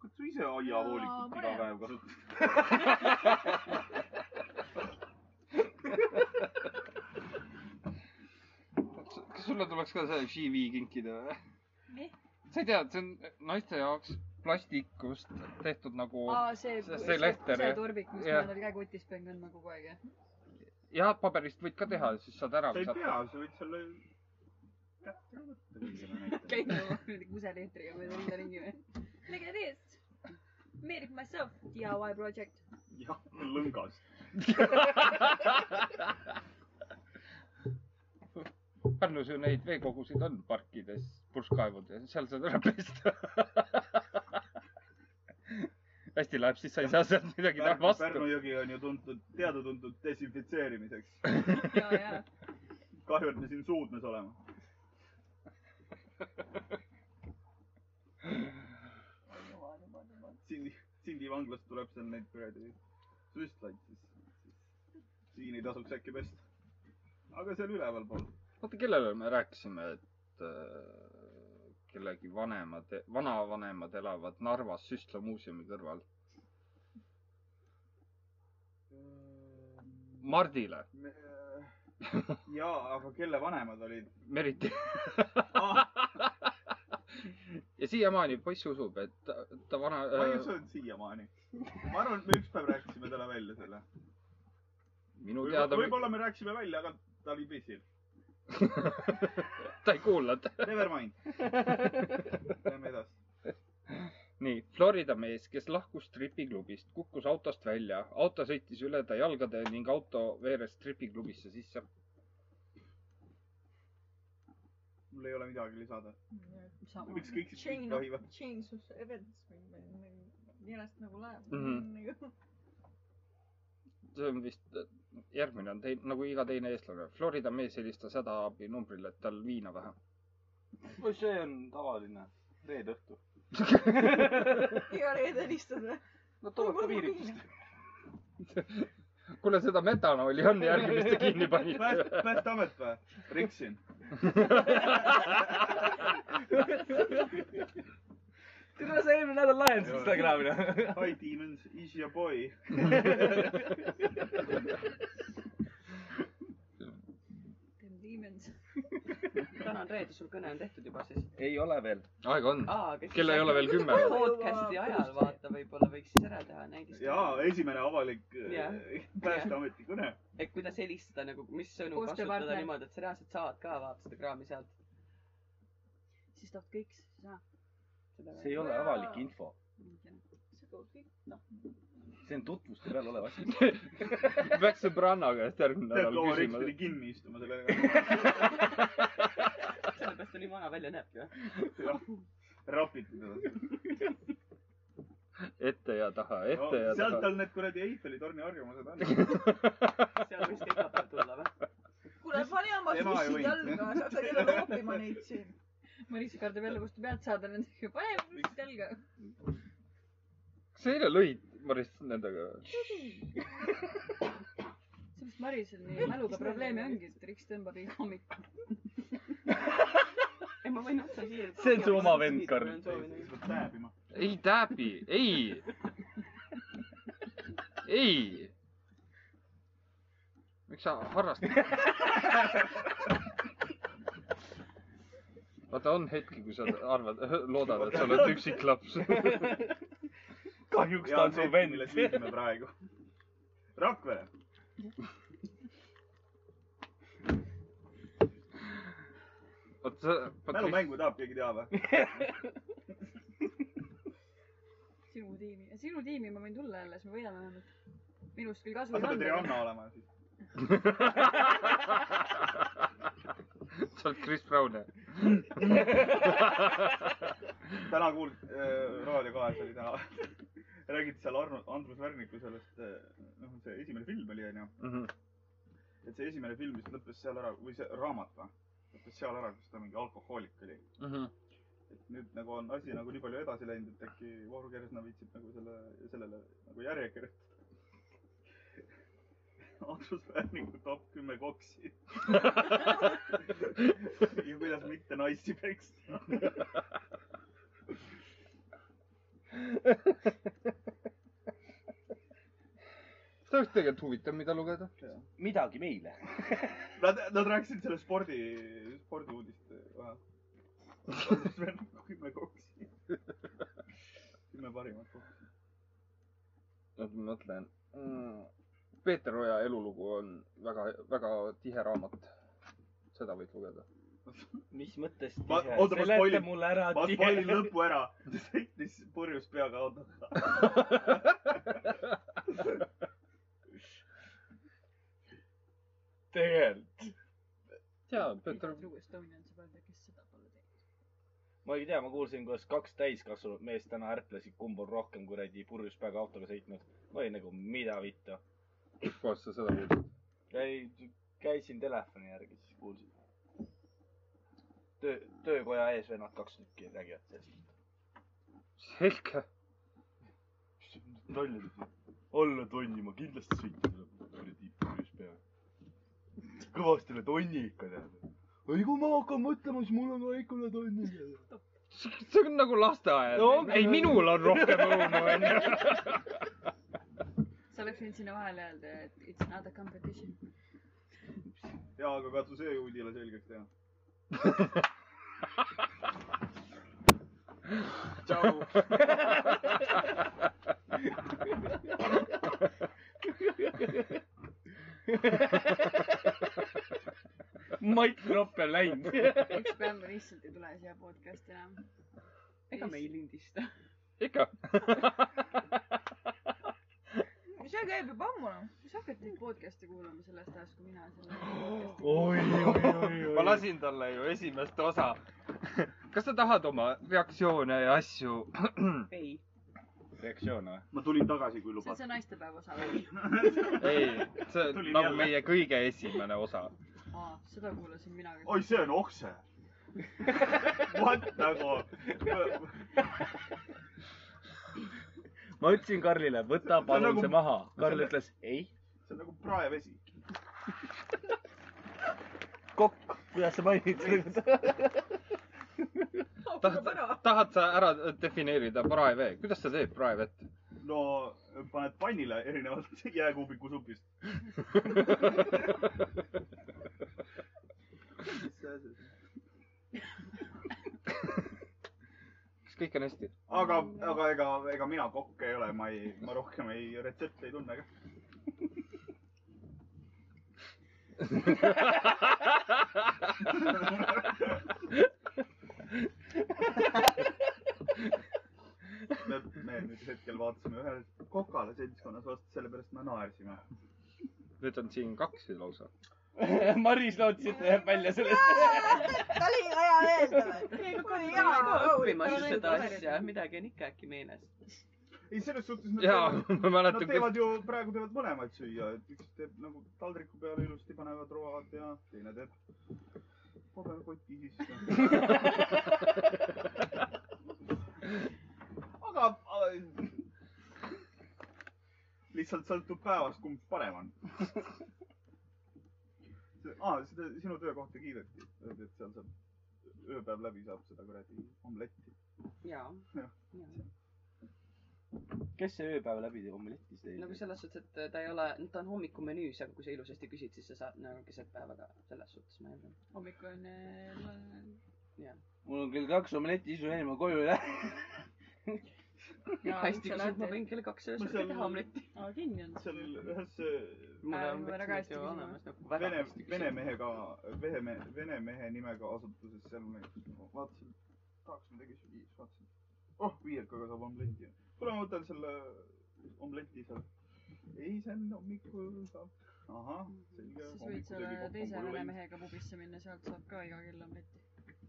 Speaker 2: kas sa ise aiavoolikut
Speaker 6: Jaa,
Speaker 2: iga
Speaker 6: pane.
Speaker 2: päev kasutad ?
Speaker 1: kas sulle tuleks ka see Shivi kinkida või ?
Speaker 6: mis ?
Speaker 1: sa ei tea , see on naiste jaoks plastikust tehtud nagu
Speaker 5: aa , see .
Speaker 1: See- see lehter,
Speaker 5: see
Speaker 1: jah.
Speaker 5: turbik , mis
Speaker 1: Jah.
Speaker 5: mul oli käekotis , pean kandma kogu aeg , jah .
Speaker 1: jah , paberist võid ka teha , siis saad ära
Speaker 2: sa ei
Speaker 1: visata .
Speaker 2: pea , sa võid selle
Speaker 5: käime oma kuradi kuseleetriga mööda rinda ringi või ?
Speaker 6: Look at this. Made it myself. DIY project.
Speaker 2: jah , lõngas .
Speaker 1: Pärnus ju neid veekogusid on parkides , purskkaevudes , seal saad ära pesta . hästi läheb , siis sa ei saa sealt midagi teha
Speaker 2: Pärnu Pärnu
Speaker 1: vastu .
Speaker 2: jõgi on ju tuntud , teada-tuntud desinfitseerimiseks .
Speaker 6: ja , ja .
Speaker 2: kahju , et me siin suudmes oleme . Sindi , Sindi vanglast tuleb seal neid kuradi süstlaid , siis , siis siin ei tasuks äkki pesta . aga seal ülevalpool .
Speaker 1: oota , kellele me rääkisime , et äh, kellegi vanemad , vanavanemad elavad Narvas Süstla muuseumi kõrval ? Mardile ,
Speaker 2: jaa , aga kelle vanemad olid ? Ah,
Speaker 1: Meriti . ja siiamaani poiss usub , et ta, ta vana äh,
Speaker 2: ma ei usu , et siiamaani . ma arvan , et me ükspäev rääkisime talle välja selle .
Speaker 1: minu teada
Speaker 2: võib-olla me rääkisime välja , aga ta oli pissil .
Speaker 1: ta ei kuulanud .
Speaker 2: Never mind . Lähme edasi .
Speaker 1: nii , Florida mees , kes lahkus stripiklubist , kukkus autost välja , auto sõitis üle ta jalgade ning auto veeres stripiklubisse sisse .
Speaker 2: mul ei ole midagi lisada .
Speaker 5: sama .
Speaker 2: miks kõik kõik
Speaker 6: Chain of ,
Speaker 2: tohivad ?
Speaker 6: chains of events või , või , või millest nagu läheb
Speaker 1: Mhm.
Speaker 6: nagu
Speaker 1: see on vist , järgmine on teine , nagu iga teine eestlane . Florida mees helistas hädaabi numbrile , et tal viina vähe .
Speaker 3: no see on tavaline reede õhtu .
Speaker 6: iga reede helistada .
Speaker 3: no tuleb ka viirikust .
Speaker 1: kuule , seda metanooli on järgi , mis te kinni panite .
Speaker 2: Pääst- , Päästeamet või ? riksin .
Speaker 3: tule sa eelmine nädal lahendasid Instagrami .
Speaker 2: Hi demons , is your boy .
Speaker 6: Demons .
Speaker 4: täna on reede , sul kõne on tehtud juba siis .
Speaker 3: ei ole veel .
Speaker 1: aega on .
Speaker 4: aa , kes .
Speaker 1: Kella ei ole veel kümme või?
Speaker 4: podcast'i ajal vaata , võib-olla võiks siis ära teha näidis .
Speaker 2: jaa , esimene avalik äh,
Speaker 4: Jah.
Speaker 2: Päästeameti kõne .
Speaker 4: et kuidas helistada nagu , mis sõnu
Speaker 5: Koostööpartner.
Speaker 4: kasutada niimoodi , et sa reaalselt saad ka vaata seda kraami sealt .
Speaker 5: siis tahad kõik , siis aa .
Speaker 3: see ei ole avalik info .
Speaker 6: noh ,
Speaker 3: see on tutvuste peal olev asi .
Speaker 1: peaks sõbranna käest järgmine
Speaker 2: tead ,
Speaker 1: nädal
Speaker 2: kaua riks
Speaker 1: küsima
Speaker 2: pidi . kinni istuma sellega .
Speaker 4: sellepärast ta nii vana välja näebki või ?
Speaker 2: rapiti teda .
Speaker 1: ette ja taha , ette ja
Speaker 2: sealt
Speaker 1: taha .
Speaker 2: tal need kuradi Eiffeli torni harjumused on .
Speaker 4: seal võis ka iga päev tulla või ?
Speaker 6: kuule , pane
Speaker 2: Ema
Speaker 6: oma
Speaker 2: ei
Speaker 6: sussid
Speaker 2: võinud.
Speaker 6: jalga , sa sa ei ole loopima neid siin .
Speaker 5: Maris kardab jälle vastu pead saada nendega . pane püksid jalga .
Speaker 1: kas sa eile lõid , Maris , nendega ?
Speaker 5: sellepärast Marisel nii mäluga probleeme ongi , et Riks tõmbab iga hommik .
Speaker 4: ei , ma võin otse siia .
Speaker 3: See on su oma vend, Karl.
Speaker 2: siis peab tääbima .
Speaker 1: ei täpi , ei . ei . miks sa harrastad ? vaata , on hetki , kui sa arvad , loodad , et sa oled üksik laps .
Speaker 3: kahjuks ta on su vend .
Speaker 2: milles viibime praegu . Rakvere .
Speaker 1: vot sa ,
Speaker 2: mälumängu tahab keegi teha või ?
Speaker 5: sinu tiimi , sinu tiimi ma võin tulla jälle , siis me võidame vähemalt . minust küll kasu
Speaker 2: sa
Speaker 5: ei
Speaker 2: pead
Speaker 5: olnud .
Speaker 2: Rihanna olema siis .
Speaker 1: sa oled Chris Brown , jah ?
Speaker 2: täna kuul- äh, , Raadio kahes oli täna , räägiti seal Arno , Andrus Värniku sellest , noh , see esimene film oli , onju .
Speaker 1: Mhm.
Speaker 2: et see esimene film vist lõppes seal ära , või see raamat või , lõppes seal ära , kus ta mingi alkohoolik oli .
Speaker 1: Mhm.
Speaker 2: et nüüd nagu on asi nagu nii palju edasi läinud , et äkki Vahur Kersna viitsib nagu selle , sellele nagu järje kirjutada . Andrus Värniku top kümme koksi . ja kuidas mitte naisi peksta .
Speaker 1: see oleks tegelikult huvitav , mida lugeda .
Speaker 3: midagi meile .
Speaker 2: Nad , nad rääkisid selle spordi , spordiuudist vaja . kümme koksi . kümme parimat koksi .
Speaker 1: oota , ma mõtlen mm. . Peeter Oja elulugu on väga , väga tihe raamat . seda võid lugeda .
Speaker 3: mis mõttes
Speaker 2: Ma- oota, ma spoilin-
Speaker 3: mulle ära
Speaker 2: ma
Speaker 3: tihe-
Speaker 2: spoilin lõpu ära . ta sõitis purjus peaga autoga .
Speaker 3: tegelikult .
Speaker 1: jaa , Peeter ,
Speaker 5: True Estonian sõbrad , kes seda pole teinud .
Speaker 3: ma ei tea , ma kuulsin , kuidas kaks täiskasvanud meest täna ärplesid , kumb on rohkem kuradi purjus peaga autoga sõitnud . ma olin nagu , mida vittu .
Speaker 1: kustkohast sa seda kuulsid ?
Speaker 3: käi- , käisin telefoni järgi , siis kuulsin . töö , töökoja ees vennad kaks tükki räägivad sellest .
Speaker 1: selge .
Speaker 3: nalja tegi . alla tonni ma kindlasti sõitan selle kuradi purjus peaga . kõvasti üle tonni ikka tead . ei , kui ma hakkan mõtlema , siis mul on kõik üle tonni .
Speaker 1: see on nagu lasteaed
Speaker 3: No
Speaker 1: no, .
Speaker 3: ongi.
Speaker 1: ei , minul on rohkem õunu , onju .
Speaker 5: sa oleks võinud sinna vahele öelda , et it's not a competition .
Speaker 2: jaa , aga katsu see juudile selgeks teha . tšau .
Speaker 3: Mait Kropp on läinud .
Speaker 5: üks päev ma lihtsalt ei tule siia podcast'i enam .
Speaker 4: ega me ei lindista .
Speaker 1: ikka .
Speaker 6: see käib juba ammu noh .
Speaker 5: kas sa hakkad neid podcast'e kuulama sellest ajast , kui mina selle podcast'i
Speaker 3: oi , oi , oi ,
Speaker 1: ma lasin talle ju esimest osa . kas sa tahad oma reaktsioone ja asju ?
Speaker 4: ei ,
Speaker 3: reaktsioon või ?
Speaker 2: ma tulin tagasi , kui
Speaker 5: see on
Speaker 2: lubad .
Speaker 5: see naistepäeva osa .
Speaker 1: ei , see on
Speaker 2: Tulin
Speaker 1: nagu
Speaker 2: jälle.
Speaker 1: meie kõige esimene osa .
Speaker 5: aa , seda kuulasin mina ka .
Speaker 2: oi , see on okse . What nagu ?
Speaker 3: ma ütlesin Karlile , võta
Speaker 2: palun
Speaker 3: palun
Speaker 2: nagu-
Speaker 3: see maha . Karl
Speaker 2: Karl
Speaker 3: ütles ei .
Speaker 2: see on nagu praevesi .
Speaker 3: kokk , kuidas sa mainid seda ?
Speaker 1: tahad , tahad sa ära defineerida praevee , kuidas sa teed praevett ?
Speaker 2: no paned pannile erinevalt jääkuubiku supist .
Speaker 1: kas kõik on hästi ?
Speaker 2: aga , aga ega , ega mina kokk ei ole , ma ei , ma rohkem ei , retsepte ei tunne ka . me , me nüüd hetkel vaatasime ühele kokale seltskonnas vastu , sellepärast me naersime .
Speaker 1: nüüd on siin kaks lausa .
Speaker 3: Maris lootis , et ta jääb välja sellest .
Speaker 6: ta oli hea öelda või ?
Speaker 4: ma
Speaker 6: kui
Speaker 4: ei pea õppima siis seda asja , midagi on ikka äkki meeles .
Speaker 2: ei , selles suhtes nagu- nad
Speaker 1: jaa
Speaker 2: teevad- ,
Speaker 1: ma
Speaker 2: Nad
Speaker 1: mäletan ,
Speaker 2: teevad
Speaker 1: kus ,
Speaker 2: ju , praegu teevad mõlemaid süüa , et üks teeb nagu taldriku peale ilusti panevad road ja teine teeb paberkoti sisse . aga äh, lihtsalt sõltub päevast , kumb parem on . aa , seda sinu töökohta kiideti , öeldi , et seal saab , ööpäev läbi saab seda kuradi omletti .
Speaker 4: jaa ,
Speaker 2: Jah.
Speaker 4: jaa .
Speaker 3: kes see ööpäev läbi teeb omeletti
Speaker 4: nagu
Speaker 3: siis ?
Speaker 4: selles suhtes , et ta ei ole , ta on hommikumenüüs , aga kui sa ilusasti küsid , siis sa saad nagu keset päeva ka selles suhtes , ma eeldan .
Speaker 5: hommikune
Speaker 3: mul on kell kaks omeletti , siis ma jäin oma koju ja
Speaker 4: hästi küsinud , ma võin kell kaks öösel
Speaker 2: seal-
Speaker 4: teha omletti .
Speaker 5: aa , kinni on
Speaker 2: seal . ühes äh,
Speaker 4: mul
Speaker 5: Äh,
Speaker 4: on
Speaker 5: väga
Speaker 4: veits
Speaker 5: hästi
Speaker 4: ju
Speaker 5: küsinud.
Speaker 4: olemas nagu väga
Speaker 2: Vene
Speaker 4: hästi ,
Speaker 2: vene
Speaker 4: küsinud .
Speaker 2: mehega , vehe , vene mehe nimega asutuses seal me vaatasin , tahaks midagi süüa , siis vaatasin , oh viiekaga saab omletti . kuule , ma võtan selle omletti seal . ei , see on hommikul saab . ahah , selge .
Speaker 5: siis võid selle teise vene . mehega pubisse minna , sealt saab ka iga kell omletti .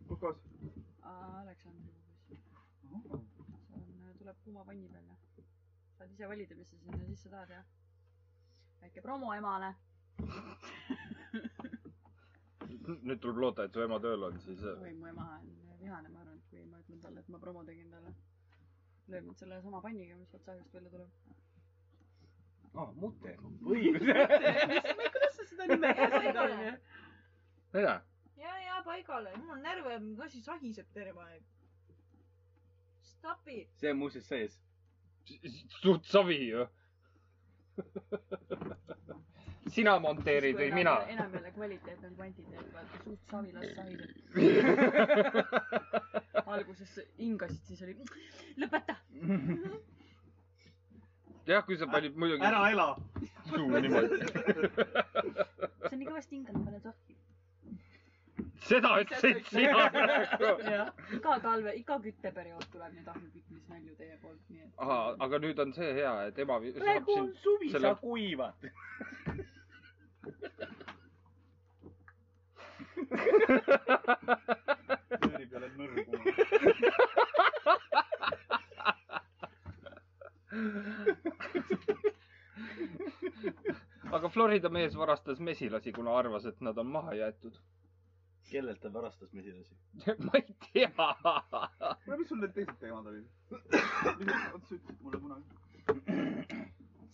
Speaker 2: kus kohas ?
Speaker 5: Aleksandri pubis . see on , tuleb kuuma panni peal ja saad ise valida , mis sa sinna sisse tahad ja väike promo emale .
Speaker 1: nüüd tuleb loota , et su ema tööl on , siis
Speaker 5: oi , mu ema on äh, vihane , ma arvan , et kui ma ütlen talle , et ma promo tegin talle , lööb mind selle sama panniga , mis sealt sahjust välja tuleb .
Speaker 3: aa , mute . õigus .
Speaker 4: kuidas sa seda nimetasid , onju ?
Speaker 1: jaa ,
Speaker 6: ja , ja paigale , mul on närv , mingi asi sahiseb terve aeg . Stop it .
Speaker 3: see on muuseas sees .
Speaker 1: suht savi ju . sina monteerid või mina ?
Speaker 5: enam jälle kvaliteet on kvantiteet , vaata suht savilas sahiseb . alguses hingasid , siis oli lõpeta .
Speaker 1: jah , kui sa panid muidugi
Speaker 2: ära ela .
Speaker 1: suu niimoodi .
Speaker 5: sa nii kõvasti hingad , ma panen sohki .
Speaker 1: seda ütlesid sina praegu .
Speaker 5: jah , iga talve , iga kütteperiood tuleb nüüd ahjukütmisnalju teie poolt , nii et .
Speaker 1: ahah , aga nüüd on see hea , et ema vi- saab
Speaker 3: praegu on
Speaker 1: sind ,
Speaker 3: suvi ,
Speaker 1: selle-
Speaker 3: sa kuivad .
Speaker 2: pööri peale nõrguma .
Speaker 1: aga Florida mees varastas mesilasi , kuna arvas , et nad on maha jäetud .
Speaker 3: kellelt ta varastas mesilasi ?
Speaker 1: ma ei tea .
Speaker 2: kuule , mis sul need teised teemad olid ? oota , sa ütlesid mulle kunagi .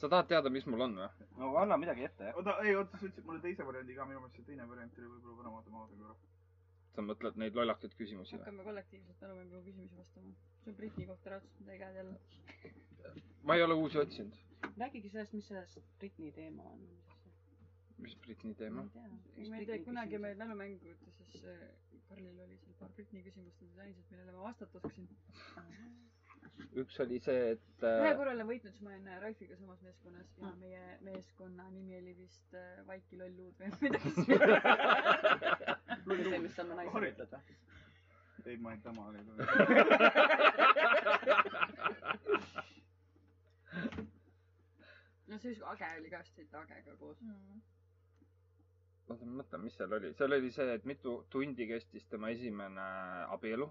Speaker 1: sa tahad teada , mis mul on või ?
Speaker 3: no anna midagi ette .
Speaker 2: oota , ei , oota , sa ütlesid mulle teise variandi ka , minu meelest see teine variant oli võib-olla parem , oota , ma vaatan korra .
Speaker 1: sa mõtled neid lollakaid küsimusi või ?
Speaker 5: hakkame kollektiivselt Nõmme küsimusi vastama . see on Briti kohta raudselt midagi head jälle .
Speaker 1: ma ei ole uusi otsinud .
Speaker 4: räägige sellest , mis sellest Britney teema on .
Speaker 1: mis Britni
Speaker 4: ma
Speaker 1: teema ?
Speaker 4: ei tea .
Speaker 5: ma ei tea , kunagi meil mälumängudesse Karlil oli seal paar Briti küsimust , need olid ainsad , millele ma vastata oskasin .
Speaker 1: üks oli see , et
Speaker 5: ühe
Speaker 1: äh,
Speaker 5: korra olen võitnud , siis ma olin Ralfiga samas meeskonnas ja meie meeskonna nimi oli vist äh, Vaiki Lollud või midagi sellist .
Speaker 4: see , mis sa oma naisele ütled või ?
Speaker 2: ei , ma ei tema oli .
Speaker 5: no siis Age oli ka , siis olite Agega koos .
Speaker 1: oota , ma mõtlen , mis seal oli . seal oli see , et mitu tundi kestis tema esimene abielu .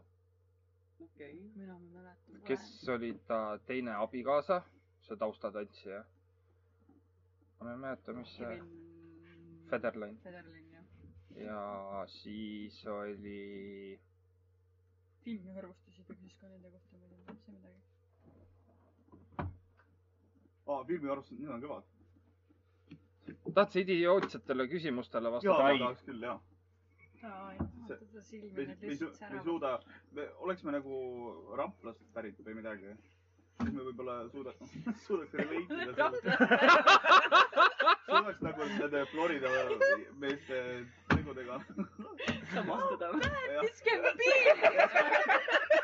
Speaker 4: okei .
Speaker 5: mina ma ei mäleta .
Speaker 1: kes oli ta teine abikaasa , see taustatantsija . ma ei mäleta , mis see , äh,
Speaker 5: Federer .
Speaker 1: Federline
Speaker 5: Federerlin jah .
Speaker 1: ja siis oli ,
Speaker 5: filmi arvustusid ja siis ka nende kohta ma ei tea üldse midagi .
Speaker 2: aa , filmiarvustused , need on kõvad .
Speaker 1: tahtsid idiootsetele küsimustele
Speaker 2: jaa ,
Speaker 1: vastata
Speaker 2: ma ?
Speaker 1: ei ,
Speaker 2: tahaks küll , jaa .
Speaker 5: aa ,
Speaker 2: See-
Speaker 5: vaata ta
Speaker 2: me
Speaker 5: silmi
Speaker 2: ei ,
Speaker 5: need
Speaker 2: me ei su-
Speaker 5: lihtsalt
Speaker 2: me ei
Speaker 5: säravad .
Speaker 2: suuda , me oleksime nagu Raplast pärit või midagi . siis me võib-olla suuda- , suudaks relate ida selle . suudaks nagu nende Florida meeste tegudega .
Speaker 4: sa vastad või ?
Speaker 5: This can be .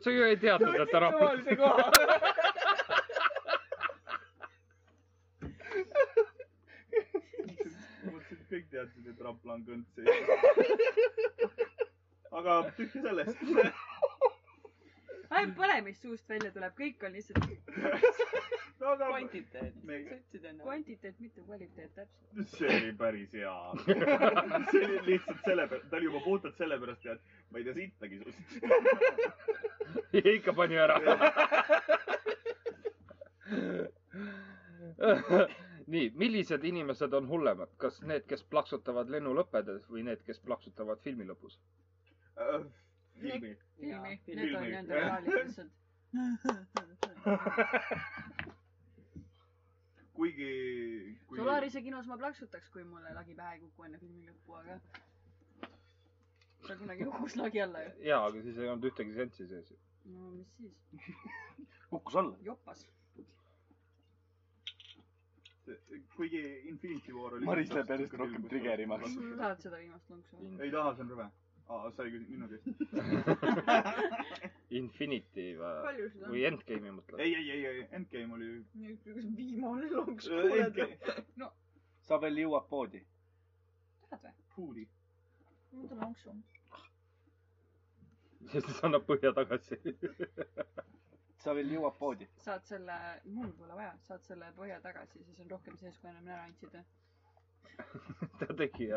Speaker 1: sa ju ei teadnud , et ta rahvas .
Speaker 3: tavalise koha .
Speaker 2: mõtlesin , et kõik teadsid , et Rapla on kõnd sees . aga tükki sellest .
Speaker 5: ainult põle , mis suust välja tuleb , kõik on lihtsalt
Speaker 2: no aga
Speaker 4: kvantiteet .
Speaker 2: Me-
Speaker 4: sa ütlesid enne .
Speaker 5: kvantiteet , mitte kvaliteet täpselt .
Speaker 2: see oli päris hea . see oli lihtsalt sellepärast , ta oli juba puhtalt sellepärast , et ma ei tea sittagi sinust .
Speaker 1: ikka pani ära . nii , millised inimesed on hullemad , kas need , kes plaksutavad lennu lõppedes või need , kes plaksutavad filmi lõpus ?
Speaker 2: Äh, filmi .
Speaker 5: filmi ,
Speaker 4: filmi .
Speaker 5: need on
Speaker 2: Filmi.
Speaker 5: nende reaalid lihtsalt .
Speaker 2: kuigi, kuigi... .
Speaker 5: Solarise kinos ma plaksutaks , kui mulle lagi pähe ei kuku enne filmi lõppu , aga seal kunagi kukkus lagi alla ju .
Speaker 1: ja , aga siis ei olnud ühtegi seanssi sees ju .
Speaker 5: no mis siis ,
Speaker 3: kukkus alla .
Speaker 5: jopas .
Speaker 2: kuigi Infinity War oli .
Speaker 3: Maris läheb järjest rohkem trigerimaks.
Speaker 5: sa tahad seda viimast lonksu ?
Speaker 2: ei taha , see on rõve . aa , sa ei küsinud minu käest .
Speaker 1: Infinity või ,
Speaker 6: palju seda
Speaker 1: või Endgame'i mõtled ?
Speaker 2: ei , ei , ei , ei , Endgame oli .
Speaker 6: on ? viimane lonks kuuled .
Speaker 2: Endgame ,
Speaker 3: sa veel jõuad poodi .
Speaker 5: tahad või ?
Speaker 2: Foodi .
Speaker 6: ma võtan lonksu .
Speaker 1: siis annab põhja tagasi .
Speaker 3: sa veel jõuad poodi .
Speaker 5: saad selle , mul pole vaja , saad selle põhja tagasi , siis on rohkem sees , kui enam ära andsid .
Speaker 1: ta tegi ja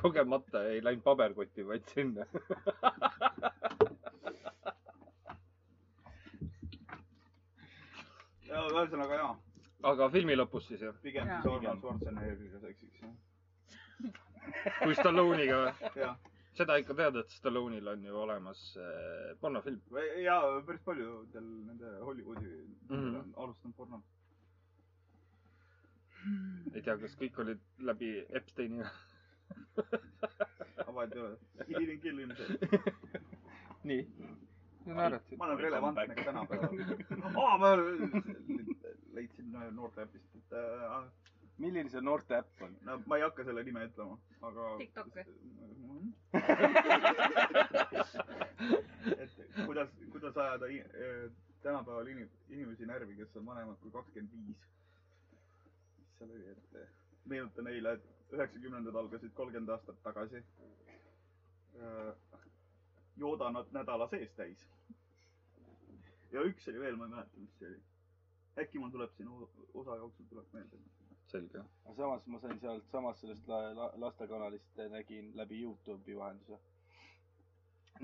Speaker 1: kogemata ei läinud paberkotti , vaid sinna .
Speaker 2: ühesõnaga jaa ,
Speaker 1: aga filmi lõpus siis jah ,
Speaker 2: pigem
Speaker 5: Jaa.
Speaker 2: siis Arnold Schwarzeneggeriga seksiks jah.
Speaker 1: kui Stalloniga või ?
Speaker 2: jah ,
Speaker 1: seda ikka tead , et Stallonil on ju olemas äh, pornofilm .
Speaker 2: ja päris paljudel nende Hollywoodi
Speaker 1: Mhm.
Speaker 2: mm. alustanud porno .
Speaker 1: ei tea , kas kõik olid läbi Epsteini
Speaker 2: aga vahet ei ole , Killing Kill ilmselt .
Speaker 1: nii . no naeratasid .
Speaker 2: ma olen relevantne ka tänapäeval . aa , ma leidsin ühe noorte äpist , et äh,
Speaker 3: milline see noorte äpp on ?
Speaker 2: no ma ei hakka selle nime ütlema , aga . Mhm.
Speaker 5: TikTok või?
Speaker 2: või ? et kuidas , kuidas ajada e, i- eh, tänapäeval inim- , inimesi närvi , kes on vanemad kui kakskümmend viis .
Speaker 1: seal oli , et
Speaker 2: meenutan eile , et üheksakümnendad algasid kolmkümmend aastat tagasi . jooda nad nädala sees täis . ja üks oli veel , ma ei mäleta , mis see oli . äkki mul tuleb siin o- osa jooksul tuleb meelde .
Speaker 1: selge .
Speaker 3: aga samas ma sain sealtsamast sellest la- la- lastekanalist , nägin läbi Youtube'i vahenduse .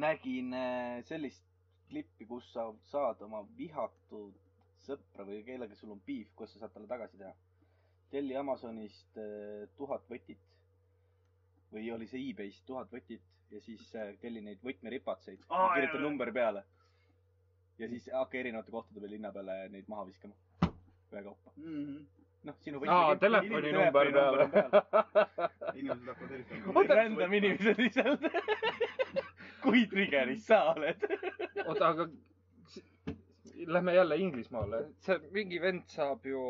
Speaker 3: nägin äh, sellist klippi , kus sa saad oma vihatud sõpra või kellega sul on piif , kus sa saad talle tagasi teha . telli Amazonist äh, tuhat võtit või oli see e-base , tuhat võtit ja siis äh, telli neid võtmeripatseid
Speaker 2: Aa,
Speaker 3: oh, ,
Speaker 2: jaa,
Speaker 3: kirjuta
Speaker 2: jaa.
Speaker 3: number peale . ja siis hakka erinevate kohtade peal linna peale neid maha viskama . ühekaupa . noh , sinu
Speaker 1: aa ,
Speaker 3: võti-
Speaker 1: telefoninumber peale .
Speaker 2: inimesed hakkavad helistama .
Speaker 3: rändam inimesed lihtsalt . kui trigger'is sa oled .
Speaker 1: oota , aga s- lähme jälle Inglismaale . see mingi vend saab ju ,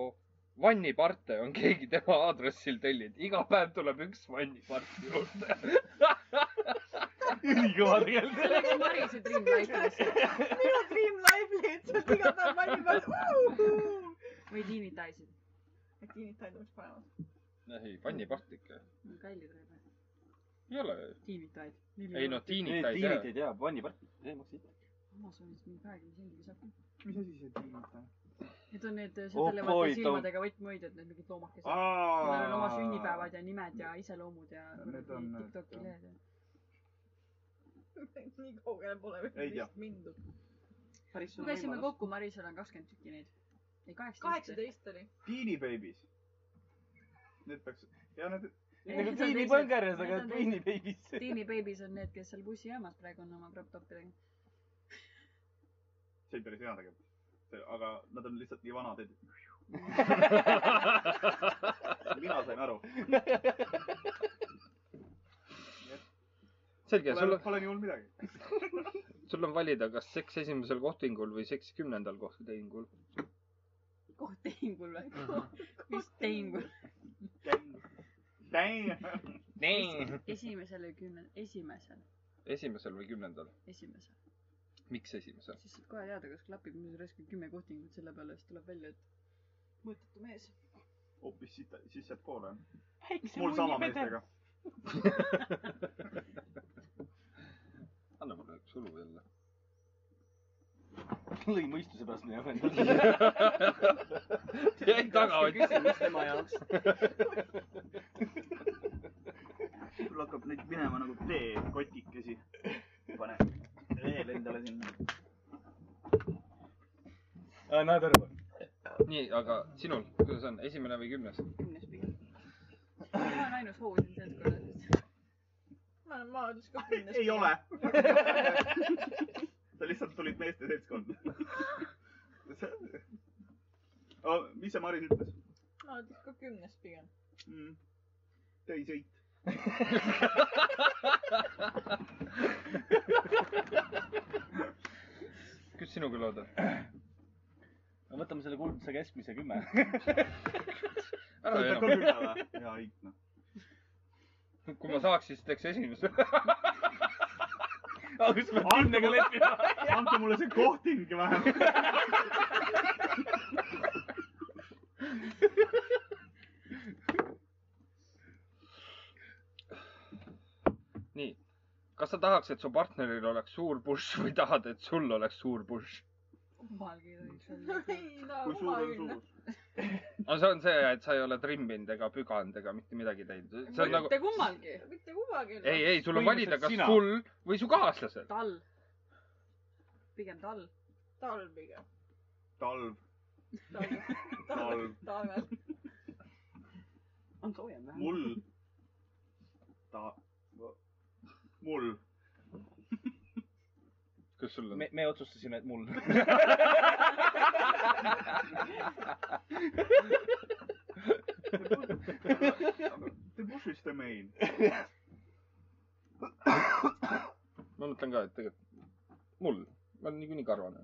Speaker 1: vanniparte on keegi tema aadressil tellinud , iga päev tuleb üks vannipart juurde .
Speaker 3: ülikõva tegelikult .
Speaker 5: sellega on Marise Dream Life'is
Speaker 6: minu Dream Life lihtsalt iga päev valib alles .
Speaker 5: või Teeny Dice'is .
Speaker 6: äkki nii tähendab , mis panevad .
Speaker 1: ei , vannipart ikka .
Speaker 5: kallid võib-olla .
Speaker 1: ei ole .
Speaker 5: Teeny Dice .
Speaker 1: ei no . tiinid
Speaker 3: ei ,
Speaker 1: ta ei tea
Speaker 3: tiinit . ei tea , vanniparti , ei maksa ette .
Speaker 5: Amazonis mingi kahekümne sendiga saab .
Speaker 2: mis asi see tiimid on ?
Speaker 5: Need on need
Speaker 3: Oh boy,
Speaker 5: sõdelevate
Speaker 3: Tom.
Speaker 5: silmadega võtmehoidjad , need mingid loomakesed . Neil on oma sünnipäevad ja nimed ja iseloomud ja
Speaker 2: Need on need,
Speaker 5: Tiktoki
Speaker 2: jah.
Speaker 5: lehed ja .
Speaker 6: nii kaugele pole
Speaker 2: Ei tea.
Speaker 6: vist mindud .
Speaker 4: päris suur
Speaker 5: lugesime
Speaker 4: võimalus .
Speaker 5: kokku , Marisel on kakskümmend tükki neid . ei , kaheksateist .
Speaker 6: kaheksateist oli .
Speaker 2: Teeny Babies . Need peaks , ja need ,
Speaker 3: nagu tiinipõngeres , aga tiinibeibis .
Speaker 5: Teeny Babies on need , kes seal bussijaamas praegu on oma crop topidega .
Speaker 2: see oli päris hea tegelikult . aga nad on lihtsalt nii vanad , et . mina sain aru .
Speaker 1: selge , sul
Speaker 2: Pole , pole nii hull midagi .
Speaker 1: sul on valida , kas seks esimesel kohtingul või seks kümnendal kohtehingul .
Speaker 5: koht tehingul või ? vist tehingul .
Speaker 2: Dang .
Speaker 5: esimesel või kümne , esimesel ,
Speaker 1: esimesel või kümnendal ?
Speaker 5: esimesel .
Speaker 1: miks esimesel ?
Speaker 5: siis saad kohe teada , kas klapib , mis raiskab kümme kohtingut selle peale , siis tuleb välja , et
Speaker 6: mõttetu mees .
Speaker 2: hoopis siit , siis sealt poole on .
Speaker 6: väikse
Speaker 2: mul sama . meestega .
Speaker 1: anna mulle üks õlu jälle .
Speaker 3: lõi mõistuse pärast minu endale .
Speaker 1: jäi tagaots .
Speaker 4: küsimus tema jaoks .
Speaker 2: sul hakkab nüüd minema nagu teekotikesi . pane veel endale sinna .
Speaker 3: Another one .
Speaker 1: nii , aga sinul , kuidas on , esimene või kümnes ?
Speaker 4: kümnes pigem .
Speaker 5: mina olen ainus hoo siin seltskonnas .
Speaker 6: ma olen maadlus ka kümnes .
Speaker 2: ei ole . sa lihtsalt tulid meeste seltskonda . mis see Maris ütles
Speaker 6: maadlus ka kümnes pigem .
Speaker 2: mm. ? täisõit .
Speaker 1: kus sinu küll oled ?
Speaker 3: no võtame selle kuldse keskmise kümme .
Speaker 1: ära enam ,
Speaker 2: sa ütled ka küll ära . hea õit noh .
Speaker 1: kui ma saaks , siis teeks esimese .
Speaker 3: aga kus me kümnega lepime ?
Speaker 2: andke mulle see kohting vähemalt .
Speaker 1: nii , kas sa tahaks , et su partneril oleks suur push või tahad , et sul oleks suur push ?
Speaker 5: kummalgi ei tohiks olla .
Speaker 6: ei , no
Speaker 4: Oh
Speaker 2: kui suur on
Speaker 6: kummaline .
Speaker 2: suurus ?
Speaker 1: no see on see , et sa ei ole trimminud ega püganud ega mitte midagi teinud . see on nagu ,
Speaker 5: mitte kummalgi .
Speaker 6: mitte kummaline .
Speaker 1: ei , ei , sul on valida , kas
Speaker 3: Sina.
Speaker 1: sul või su kaaslasel .
Speaker 5: tal . pigem tal .
Speaker 6: talv pigem .
Speaker 2: talv ,
Speaker 6: talv , talv , talvel .
Speaker 4: on soojem vähem ?
Speaker 2: mul , ta , mul ,
Speaker 1: kas sul on
Speaker 3: me ,? me otsustasime , et mul .
Speaker 2: the bush is the main .
Speaker 1: ma mõtlen ka , et tegelikult mul , ma olen niikuinii karvane .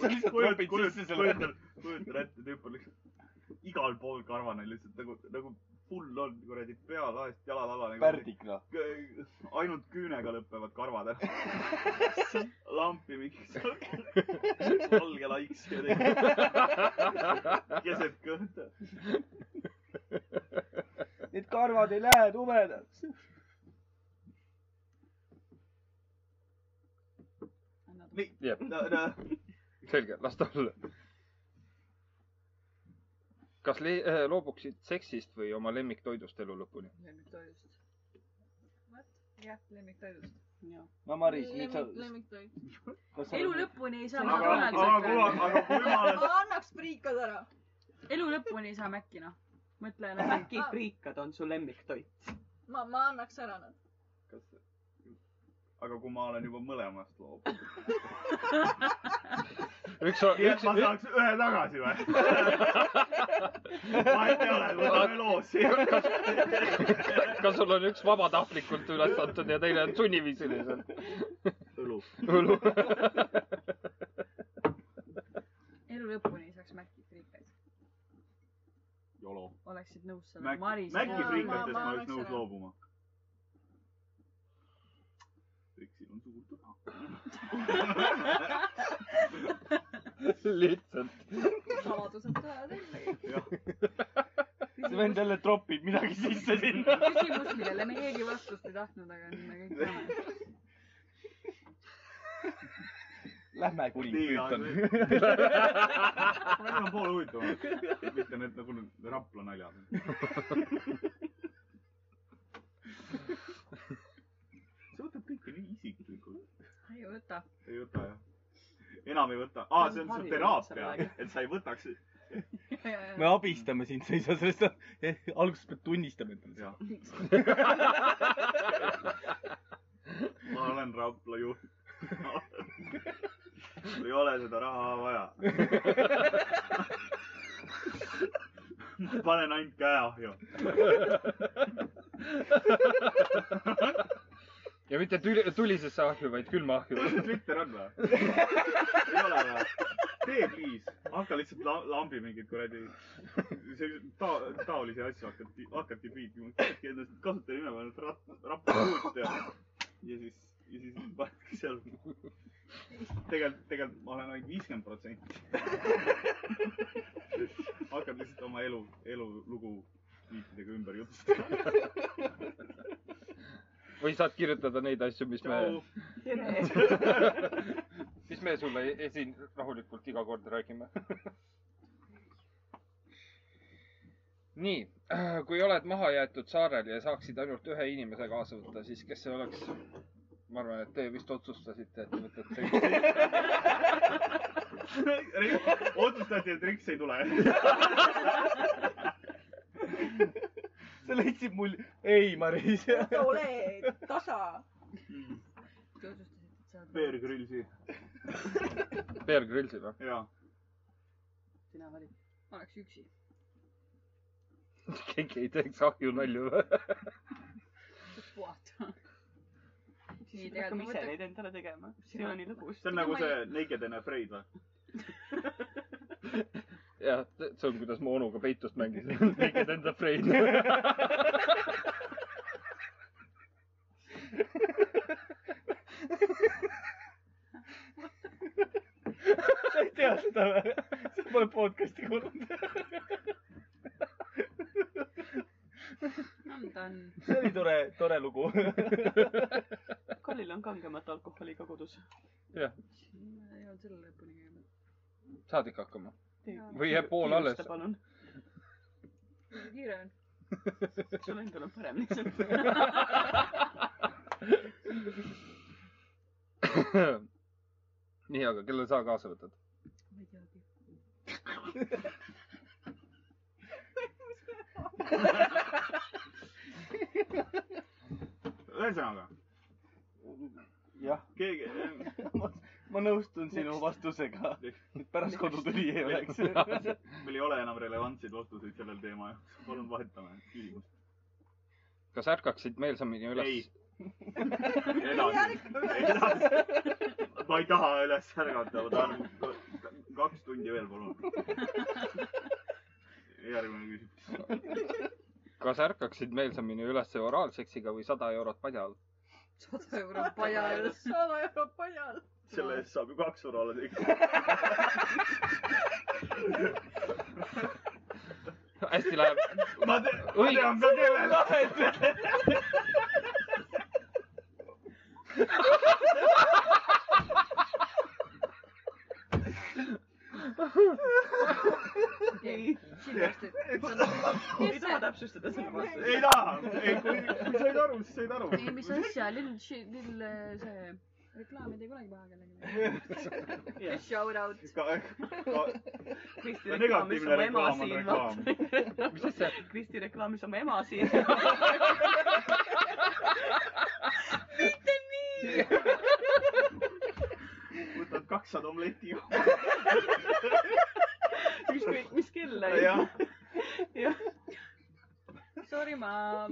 Speaker 3: sa lihtsalt klapid sisse selle .
Speaker 2: kujutan ette , tüüp on lihtsalt igal pool karvane lihtsalt nagu , nagu pull on kuradi pea lahest jalad alale .
Speaker 3: pärdikna .
Speaker 2: nagu ainult küünega lõpevad karvad ära . lampi miks . valge laiks keset kõhta .
Speaker 3: Need karvad ei lähe tumedaks .
Speaker 2: nii ,
Speaker 1: jah ,
Speaker 2: no , no
Speaker 1: selge , las ta olla . kas le- , loobuksid seksist või oma lemmiktoidust elu lõpuni ?
Speaker 4: lemmiktoidust .
Speaker 5: jah , lemmiktoidust .
Speaker 4: jah .
Speaker 3: no Maris , nüüd sa ,
Speaker 6: lemmiktoit .
Speaker 3: kas sa
Speaker 6: elu lõpuni ei saa .
Speaker 4: Aga-
Speaker 2: aga , aga kuule , aga kui ma olen
Speaker 6: ma annaks priikad ära .
Speaker 5: elu lõpuni ei saa mäkki noh . mõtle
Speaker 4: no
Speaker 5: enam .
Speaker 4: äkki priikad on su lemmiktoit .
Speaker 6: ma , ma annaks ära nad .
Speaker 2: kas , aga kui ma olen juba mõlemast loobunud ,
Speaker 1: üks on ,
Speaker 2: nii et
Speaker 1: üks
Speaker 2: ma , saaks ühe tagasi või ? vahet ei ole , võtame loos siin .
Speaker 1: kas sul on üks vabatahtlikult üles antud ja teine on sunniviisiliselt ?
Speaker 2: õlu .
Speaker 1: õlu .
Speaker 5: elu lõpuni ei saaks mäkki triikaid .
Speaker 2: jolo .
Speaker 5: oleksid nõus selle
Speaker 2: Mäkki ,
Speaker 5: Maris .
Speaker 2: Mäkki
Speaker 6: Jaa,
Speaker 2: friikatest ma
Speaker 6: ma- ma
Speaker 2: oleks
Speaker 6: annaks
Speaker 2: nõus
Speaker 6: ära.
Speaker 2: loobuma . Riksil on suur tuna .
Speaker 1: lihtsalt .
Speaker 6: saladused tulevad jälle .
Speaker 3: Sven jälle tropib midagi sisse sinna .
Speaker 5: küsimus , millele me keegi vastust ei tahtnud , aga nüüd me kõik teame .
Speaker 3: Lähme kuni
Speaker 2: nii ,
Speaker 3: Püütan .
Speaker 2: väga poole huvitavam . mitte need nagu need Rapla naljad . see võtab kõike nii isiklikult .
Speaker 5: ei võta .
Speaker 2: ei võta jah ? enam ei võta . aa , see on see
Speaker 4: See on harjumus
Speaker 2: teraapia
Speaker 4: sellega. ,
Speaker 2: et sa ei võtaks .
Speaker 3: me abistame sind , sa ei saa sellest eh, , alguses pead tunnistama endale .
Speaker 2: jah . ma olen Rapla juht . mul ei ole seda raha vaja . ma panen ainult käe ahju .
Speaker 1: ja mitte tüli , tulisesse ahju , vaid külma ahju .
Speaker 2: Twitter on või ? ei ole või ? tee please , hakka lihtsalt la- lambi mingeid kuradi , ta- , taolisi asju hakati , hakati piitima . endast kasutaja nime paned rap- , rappakuut ja , ja siis , ja siis paned seal . tegelikult , tegelikult ma olen ainult viiskümmend protsenti . hakkad lihtsalt oma elu , elulugu viitidega ümber jutustama .
Speaker 1: või saad kirjutada neid asju , mis me ,
Speaker 2: tšau ,
Speaker 4: tere .
Speaker 1: mis me sulle e- siin rahulikult iga kord räägime . nii , kui oled maha jäetud saarel ja saaksid ainult ühe inimese kaasa võtta , siis kes see oleks ? ma arvan , et te vist otsustasite , et võtate üksteist .
Speaker 2: otsustati , et Riks ei tule .
Speaker 3: sa leidsid mul , ei Maris .
Speaker 6: ole tasa .
Speaker 5: Te otsustasite , et sa oled .
Speaker 2: Bear Grillsi ,
Speaker 1: Bear Grillsi või ?
Speaker 2: jaa .
Speaker 4: sina valid .
Speaker 5: oleks üksi .
Speaker 1: keegi ei teeks ahju nalju või ?
Speaker 5: puhata .
Speaker 4: siis
Speaker 5: Nii,
Speaker 4: me hakkame
Speaker 5: tegelikult
Speaker 4: ise
Speaker 5: ma
Speaker 4: neid endale tegema . see on nii lõbus
Speaker 2: see . on nagu see Naked and Afraid või ?
Speaker 1: jah , see on , kuidas ma onuga peitust mängisin . Naked and afraid .
Speaker 3: sa ei tea seda või ? sa pole podcast'i kuulnud .
Speaker 5: no ta on .
Speaker 3: see oli tore , tore lugu .
Speaker 4: Kallil on kangemat alkoholi ka kodus .
Speaker 5: ei olnud selle lõpuni käinud .
Speaker 1: saad ikka hakkama ? Või jääb pool alles.
Speaker 4: palun ,
Speaker 5: kuigi kiire on .
Speaker 4: sul endal on parem lihtsalt .
Speaker 1: nii , aga kelle sa kaasa võtad ?
Speaker 5: ma ei teagi .
Speaker 2: ühesõnaga ,
Speaker 3: jah ,
Speaker 2: keegi ,
Speaker 3: ma nõustun sinu vastusega . pärast kodutüli ei oleks .
Speaker 2: meil ei ole enam relevantseid vastuseid sellel teema jaoks . palun vahetame küsimust .
Speaker 1: kas ärkaksid meelsamini
Speaker 2: Ei.
Speaker 1: üles ?
Speaker 2: edasi , edasi . ma ei taha üles ärgata , ma tahan k- kaks tundi veel , palun . järgmine küsimus .
Speaker 1: kas ärkaksid meelsamini üles oraalseksiga või sada eurot padja all ?
Speaker 5: sada eurot paja eest .
Speaker 6: sada eurot pajal .
Speaker 2: selle eest saab ju kaks orale teha .
Speaker 1: hästi läheb .
Speaker 2: ma tean , ma
Speaker 1: Õige.
Speaker 2: tean ka kellele .
Speaker 4: ei ,
Speaker 5: kindlasti .
Speaker 4: ei taha täpsustada selle vastust .
Speaker 2: ei taha , ei kui , kui said aru , siis said aru .
Speaker 5: ei , mis asja , lill , lill , see reklaam ei tee kunagi paha kellelegi .
Speaker 6: Shout out .
Speaker 4: Kristi
Speaker 2: No
Speaker 4: reklaamis
Speaker 2: negatiivne
Speaker 4: oma ema
Speaker 2: reklaam on
Speaker 4: siin ,
Speaker 2: reklaam.
Speaker 1: mis asja ?
Speaker 4: Kristi reklaamis oma ema siin .
Speaker 2: võtad kakssada omletti .
Speaker 4: ükskõik mis kell läinud .
Speaker 2: jah ,
Speaker 5: Sorry , ma .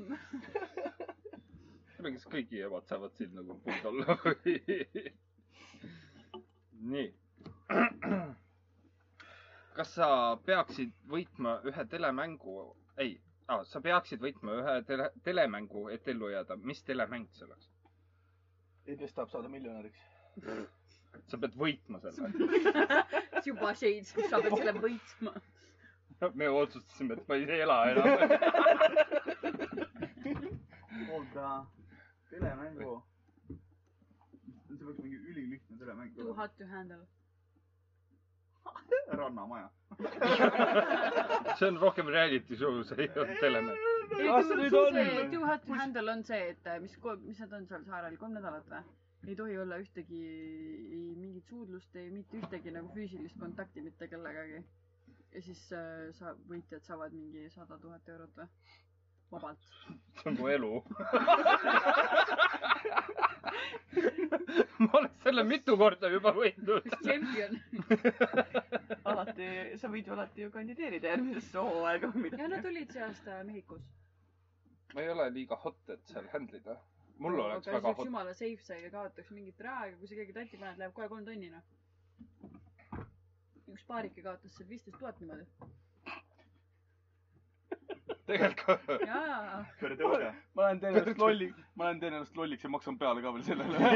Speaker 1: kuule , kas kõigi emad saavad siin nagu puud olla või ? nii . kas sa peaksid võitma ühe telemängu , ei ah, , sa peaksid võitma ühe tele , telemängu , et ellu jääda . mis telemäng see oleks ?
Speaker 3: kes tahab saada miljonäriks ?
Speaker 1: sa pead võitma selle .
Speaker 5: juba seid , sa pead selle võitma .
Speaker 1: me otsustasime , et ma ei ela enam .
Speaker 2: oota , Oh, telemängu . see peaks mingi ülilihtne telemäng
Speaker 5: Too
Speaker 2: olema .
Speaker 5: hot to handle .
Speaker 2: rannamaja .
Speaker 1: see on rohkem reality show , see ei ole telemäng .
Speaker 2: Ah,
Speaker 3: Kas nüüd on?
Speaker 5: Too hot to handle on see , et eh, mis , mis nad on seal saarel , kolm nädalat või ? ei tohi olla ühtegi , ei mingit suudlust , ei mitte ühtegi nagu füüsilist kontakti mitte kellegagi . ja siis äh, sa , võitjad saavad mingi sada tuhat eurot või ? vabalt .
Speaker 1: see on mu elu . ma olen selle mitu korda juba võitnud .
Speaker 5: tšempion .
Speaker 4: alati , sa võid ju alati ju kandideerida järgmisesse hooaega või
Speaker 5: ja nad
Speaker 4: midagi .
Speaker 5: olid see aasta Mehhikos .
Speaker 1: ma ei ole liiga hot , et seal handle ida . mul oleks väga hot .
Speaker 5: jumala safe sai ja kaotaks mingit raha , aga kui sa keegi tatti paned , läheb kohe kolm tonni noh . üks paarike kaotas seal viisteist tuhat niimoodi .
Speaker 1: tegelikult
Speaker 5: jaa .
Speaker 2: kõrgtõuge .
Speaker 3: ma lähen teen ennast lolli , ma lähen teen ennast lolliks ja maksan peale ka veel sellele .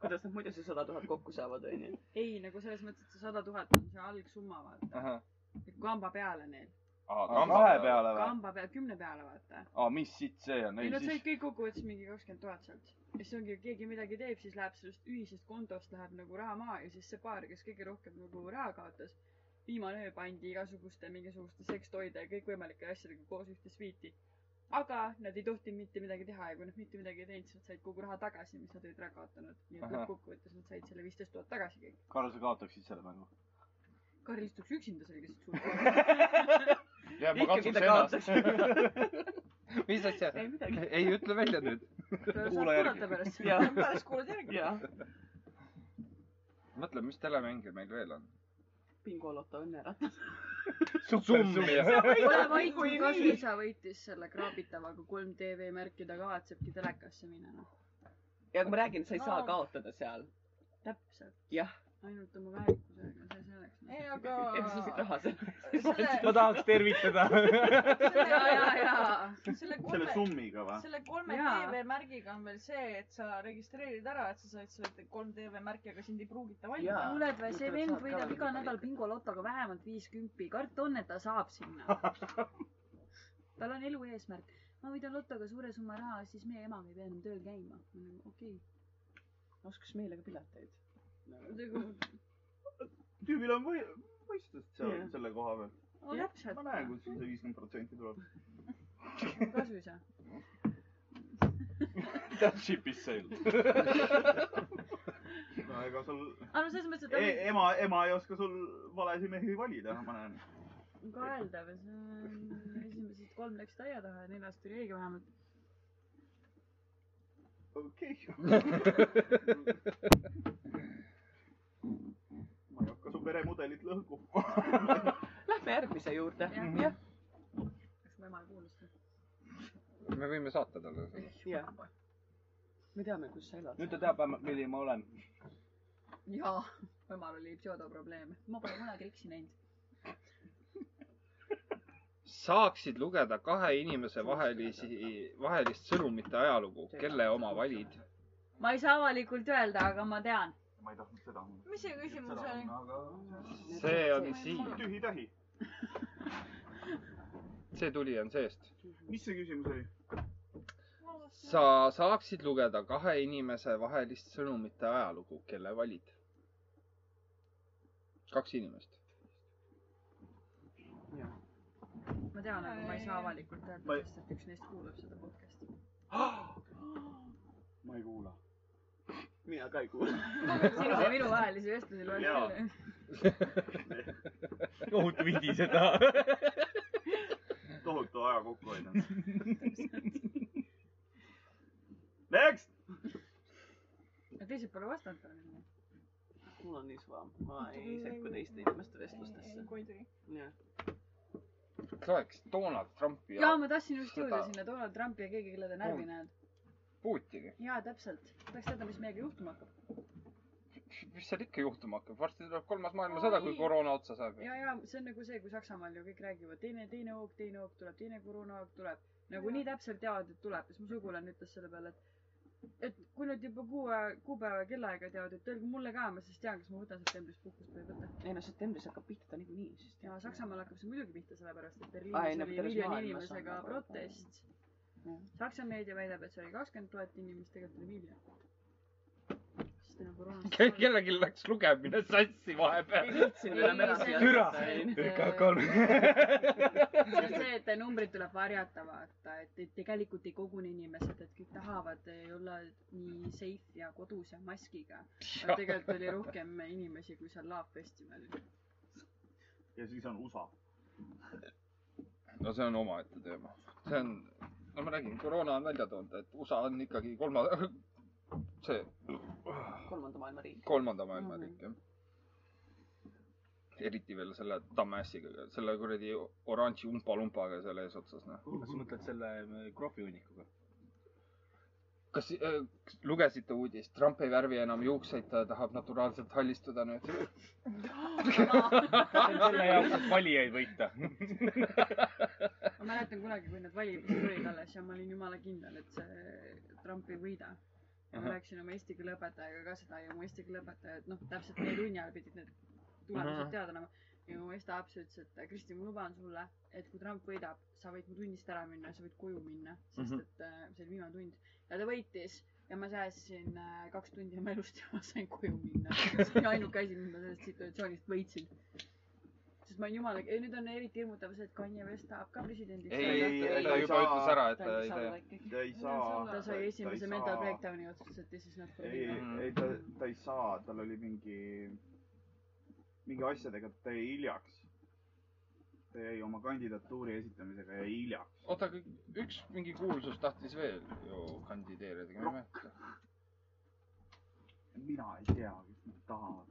Speaker 4: kuidas nad muidu see sada tuhat kokku saavad , onju .
Speaker 5: ei , nagu selles mõttes , et see sada tuhat on see algsumma , vaata .
Speaker 1: Ah.
Speaker 5: kamba peale neil .
Speaker 3: kahe . peale või ?
Speaker 5: kamba peale , kümne peale , vaata .
Speaker 3: aa , mis sitt see on ?
Speaker 5: ei ,
Speaker 3: ei
Speaker 5: nad said
Speaker 3: siis ,
Speaker 5: kõik kokkuvõttes mingi kakskümmend tuhat sealt . ja siis ongi , keegi midagi teeb , siis läheb sellest ühisest kontost läheb nagu raha maha ja siis see paar , kes kõige rohkem nagu raha kaotas , viimane öö pandi igasuguste mingisuguste sekstoide ja kõikvõimalike asjadega koos ühte sviiti . aga nad ei tohtinud mitte midagi teha ja kui nad mitte midagi ei teinud , siis nad said kogu raha tagasi , mis nad olid ära kaotanud . nii et
Speaker 3: Ahah.
Speaker 5: lõppkokkuvõttes nad said selle viisteist tuhat tagasi kõik .
Speaker 3: Karl , sa kaotaksid selle mängu .
Speaker 5: Karl istuks üksinda seal keset suurt .
Speaker 1: ja ma
Speaker 4: ikkagi
Speaker 1: katsuks
Speaker 4: ta
Speaker 1: ennast .
Speaker 4: kaotas .
Speaker 1: mis asja ?
Speaker 4: ei midagi .
Speaker 1: ei ütle välja nüüd .
Speaker 5: saab kuulata pärast .
Speaker 4: ja ,
Speaker 6: pärast kuulad järgi .
Speaker 4: ja .
Speaker 1: mõtle , mis telemänge meil veel on .
Speaker 4: bingo loto õnne ära .
Speaker 5: ole vait , kui kasuisa võitis selle kraabitavaga kolm TV-märki , ta kavatsebki telekasse minna , noh .
Speaker 4: ja kui ma räägin , sa ei saa kaotada seal .
Speaker 5: täpselt .
Speaker 4: Jah. .
Speaker 5: ainult oma väärikusega , see selleks no. .
Speaker 6: ei ,
Speaker 4: et sa saad
Speaker 6: aga .
Speaker 4: raha selle .
Speaker 3: ma
Speaker 6: selle ,
Speaker 3: tahaks tervitada .
Speaker 5: ja , ja ,
Speaker 6: selle ,
Speaker 5: ja .
Speaker 6: selle
Speaker 2: selle
Speaker 6: kolme ,
Speaker 2: summiga või ?
Speaker 6: selle kolme
Speaker 5: Jaa.
Speaker 6: TV-märgiga on veel see , et sa registreerid ära , et sa said selle kolm TV-märki , aga sind ei pruugita valida
Speaker 4: Jaa. .
Speaker 5: kuuled või , see vend
Speaker 4: Saad ka
Speaker 5: võidab iga
Speaker 4: midagi.
Speaker 5: nädal bingolotoga vähemalt viiskümmend , kart on , et ta saab sinna . tal on elu eesmärk . ma võidan lotoga suure summa raha , siis meie emaga ei pea enam tööl käima . okei .
Speaker 4: oskas meile ka pileteid .
Speaker 5: Nagu-
Speaker 2: tüübil on või- , mõistust seal
Speaker 4: Jah.
Speaker 2: selle koha peal .
Speaker 5: no täpselt
Speaker 2: ma . näen , kust see viiskümmend protsenti tuleb .
Speaker 5: kasuisa .
Speaker 3: That ship is sailed .
Speaker 2: no ega sul
Speaker 5: aga no selles mõttes , et ta
Speaker 2: e
Speaker 5: võib
Speaker 2: ema , ema ei oska sul valesid mehi valida , ma näen .
Speaker 5: kaeldav , see on esimesed kolm läksid aia taha ja neljas tuli õige vähemalt .
Speaker 2: okei okay. . ma ei hakka su peremudelit lõhku .
Speaker 4: Lähme järgmise juurde .
Speaker 5: Jah.
Speaker 4: jah ,
Speaker 5: kas mu ema ei kuulnud seda ?
Speaker 1: me võime saata talle selle .
Speaker 4: jah . me teame , kus sa elad .
Speaker 3: nüüd ta teab vähemalt , milline ma olen .
Speaker 5: jaa , mu emal oli pseudoprobleem . ma pole kunagi riksi näinud .
Speaker 1: saaksid lugeda kahe inimese vahelisi , vahelist sõnumite ajalugu , kelle oma valid .
Speaker 7: ma ei saa avalikult öelda , aga ma tean .
Speaker 2: ma ei tahtnud seda .
Speaker 6: mis see küsimus oli ??
Speaker 1: see on siin ,
Speaker 2: tühi tähi .
Speaker 1: see tuli on seest .
Speaker 2: mis see küsimus oli ?
Speaker 1: sa saaksid lugeda kahe inimese vahelist sõnumite ajalugu , kelle valid ? kaks inimest .
Speaker 5: ma tean , aga ma ei saa avalikult
Speaker 2: Ma
Speaker 5: öelda
Speaker 2: ei- ,
Speaker 5: sest et üks neist kuulab seda podcast'i .
Speaker 2: ma ei kuula . mina ka ei kuula .
Speaker 5: sinu ja minu vahelisi vestlusi loen
Speaker 2: Jaa.
Speaker 5: küll .
Speaker 8: tohutu vidi seda .
Speaker 2: tohutu aja kokkuhoid on . Next .
Speaker 5: aga teised pole vastanud talle .
Speaker 4: mul on nii suva , ma ei sekku teiste inimeste vestlustesse . jah ,
Speaker 1: kas oleks Donald Trumpi
Speaker 5: jaa
Speaker 1: ja ,
Speaker 5: ma tahtsin just jõuda
Speaker 1: Seda-
Speaker 5: sinna Donald Trumpi ja keegi , kelle te närvi näed .
Speaker 1: Putini ?
Speaker 5: jaa , täpselt . tahaks teada , mis meiega juhtuma hakkab .
Speaker 1: mis seal ikka juhtuma hakkab , varsti tuleb kolmas maailmasõda , kui koroona otsa saab .
Speaker 5: ja , ja see on nagu see , kui Saksamaal ju kõik räägivad , teine , teine hoog , teine hoog tuleb , teine koroonahoog tuleb . nagu nii täpselt teavad , et tuleb . siis mu sugulane ütles selle peale , et , et kui nad juba kuu , kuupäeva ja kellaaega teavad , et öelge mulle ka , ma siis tean , kas ma võtan septembris puhkust või ei võta .
Speaker 4: ei no septembris hakkab pihta ta niikuinii , siis
Speaker 5: ja . Saksamaal hakkab see muidugi pihta , sellepärast et
Speaker 4: Aa, ei,
Speaker 5: Berliinis
Speaker 4: no
Speaker 5: oli
Speaker 4: terves
Speaker 5: miljoni
Speaker 4: maailmas on
Speaker 5: inimesega
Speaker 4: nagu-
Speaker 5: protest
Speaker 4: Jah. .
Speaker 5: Saksa meedia väidab , et see oli kakskümmend tuhat inimest , tegelikult oli miljon . sest nagu enam koroonast
Speaker 1: Ke- . kellelgi läks lugemine sassi vahepeal .
Speaker 4: viitsin enam edasi
Speaker 8: Türa.
Speaker 4: jätkata , ei .
Speaker 8: ÜKK-l .
Speaker 5: see on see , et numbrid tuleb varjata , vaata , et , et tegelikult ei kogune inimesed , et kõik tahavad eh, olla nii safe ja kodus ja maskiga . aga tegelikult oli rohkem inimesi kui seal Love festivalil .
Speaker 2: ja siis on USA .
Speaker 1: no see on omaette teema . see on , no ma räägin , koroona on välja toonud , et USA on ikkagi kolma , see
Speaker 4: kolmanda maailma riik .
Speaker 1: kolmanda maailmariik jah . eriti veel selle dumbassiga , selle kuradi oranži umpa-lumpaga seal eesotsas noh .
Speaker 8: kas sa mõtled selle äh, krohvihunnikuga ?
Speaker 1: kas äh, kas lugesite uudist , Trump ei värvi enam juukseid , ta tahab naturaalselt hallistuda noh. nüüd .
Speaker 8: selle jaoks , et valijaid võita .
Speaker 5: ma mäletan kunagi , kui need valimised olid alles ja ma olin jumala kindel , et see Trump ei võida . ja ma
Speaker 1: Ahah.
Speaker 5: rääkisin oma eesti keele õpetajaga ka seda ja mu eesti keele õpetaja , et noh , täpselt meie tunni ajal pidid need tulemused
Speaker 1: Ahah.
Speaker 5: teada olema . ja mu eesti laps ütles , et "Äh, Kristi , ma luban sulle , et kui Trump võidab , sa võid mu tunnist ära minna , sa võid koju minna , sest
Speaker 1: Mhm.
Speaker 5: et äh, see oli viimane tund ja ta võitis ja ma säästsin äh, kaks tundi oma elust ja ma sain koju minna . see oli ainuke asi , mis ma sellest situatsioonist võitsin . sest ma olin jumala , ei nüüd on eriti hirmutav see , et Kanye West tahab ka presidendiks
Speaker 1: ei ,
Speaker 5: saada.
Speaker 1: ei , ei , ta
Speaker 2: ei
Speaker 1: juba
Speaker 2: saa-
Speaker 1: ütles ära , et ta
Speaker 4: ta ei
Speaker 1: ei
Speaker 4: saa
Speaker 1: tee .
Speaker 4: olla ikkagi .
Speaker 2: ta ei saa .
Speaker 5: ta sai esimese mental . breakdown'i otsus , et this is not for
Speaker 2: ei
Speaker 5: me .
Speaker 1: Mhm. ,
Speaker 2: ei ta , ta ei saa , tal oli mingi , mingi asjadega , ta jäi hiljaks . ta jäi oma kandidatuuri esitamisega jäi hiljaks .
Speaker 1: oota , aga üks mingi kuulsus tahtis veel ju kandideerida , ma ei mäleta .
Speaker 2: mina ei tea , kes nad tahavad .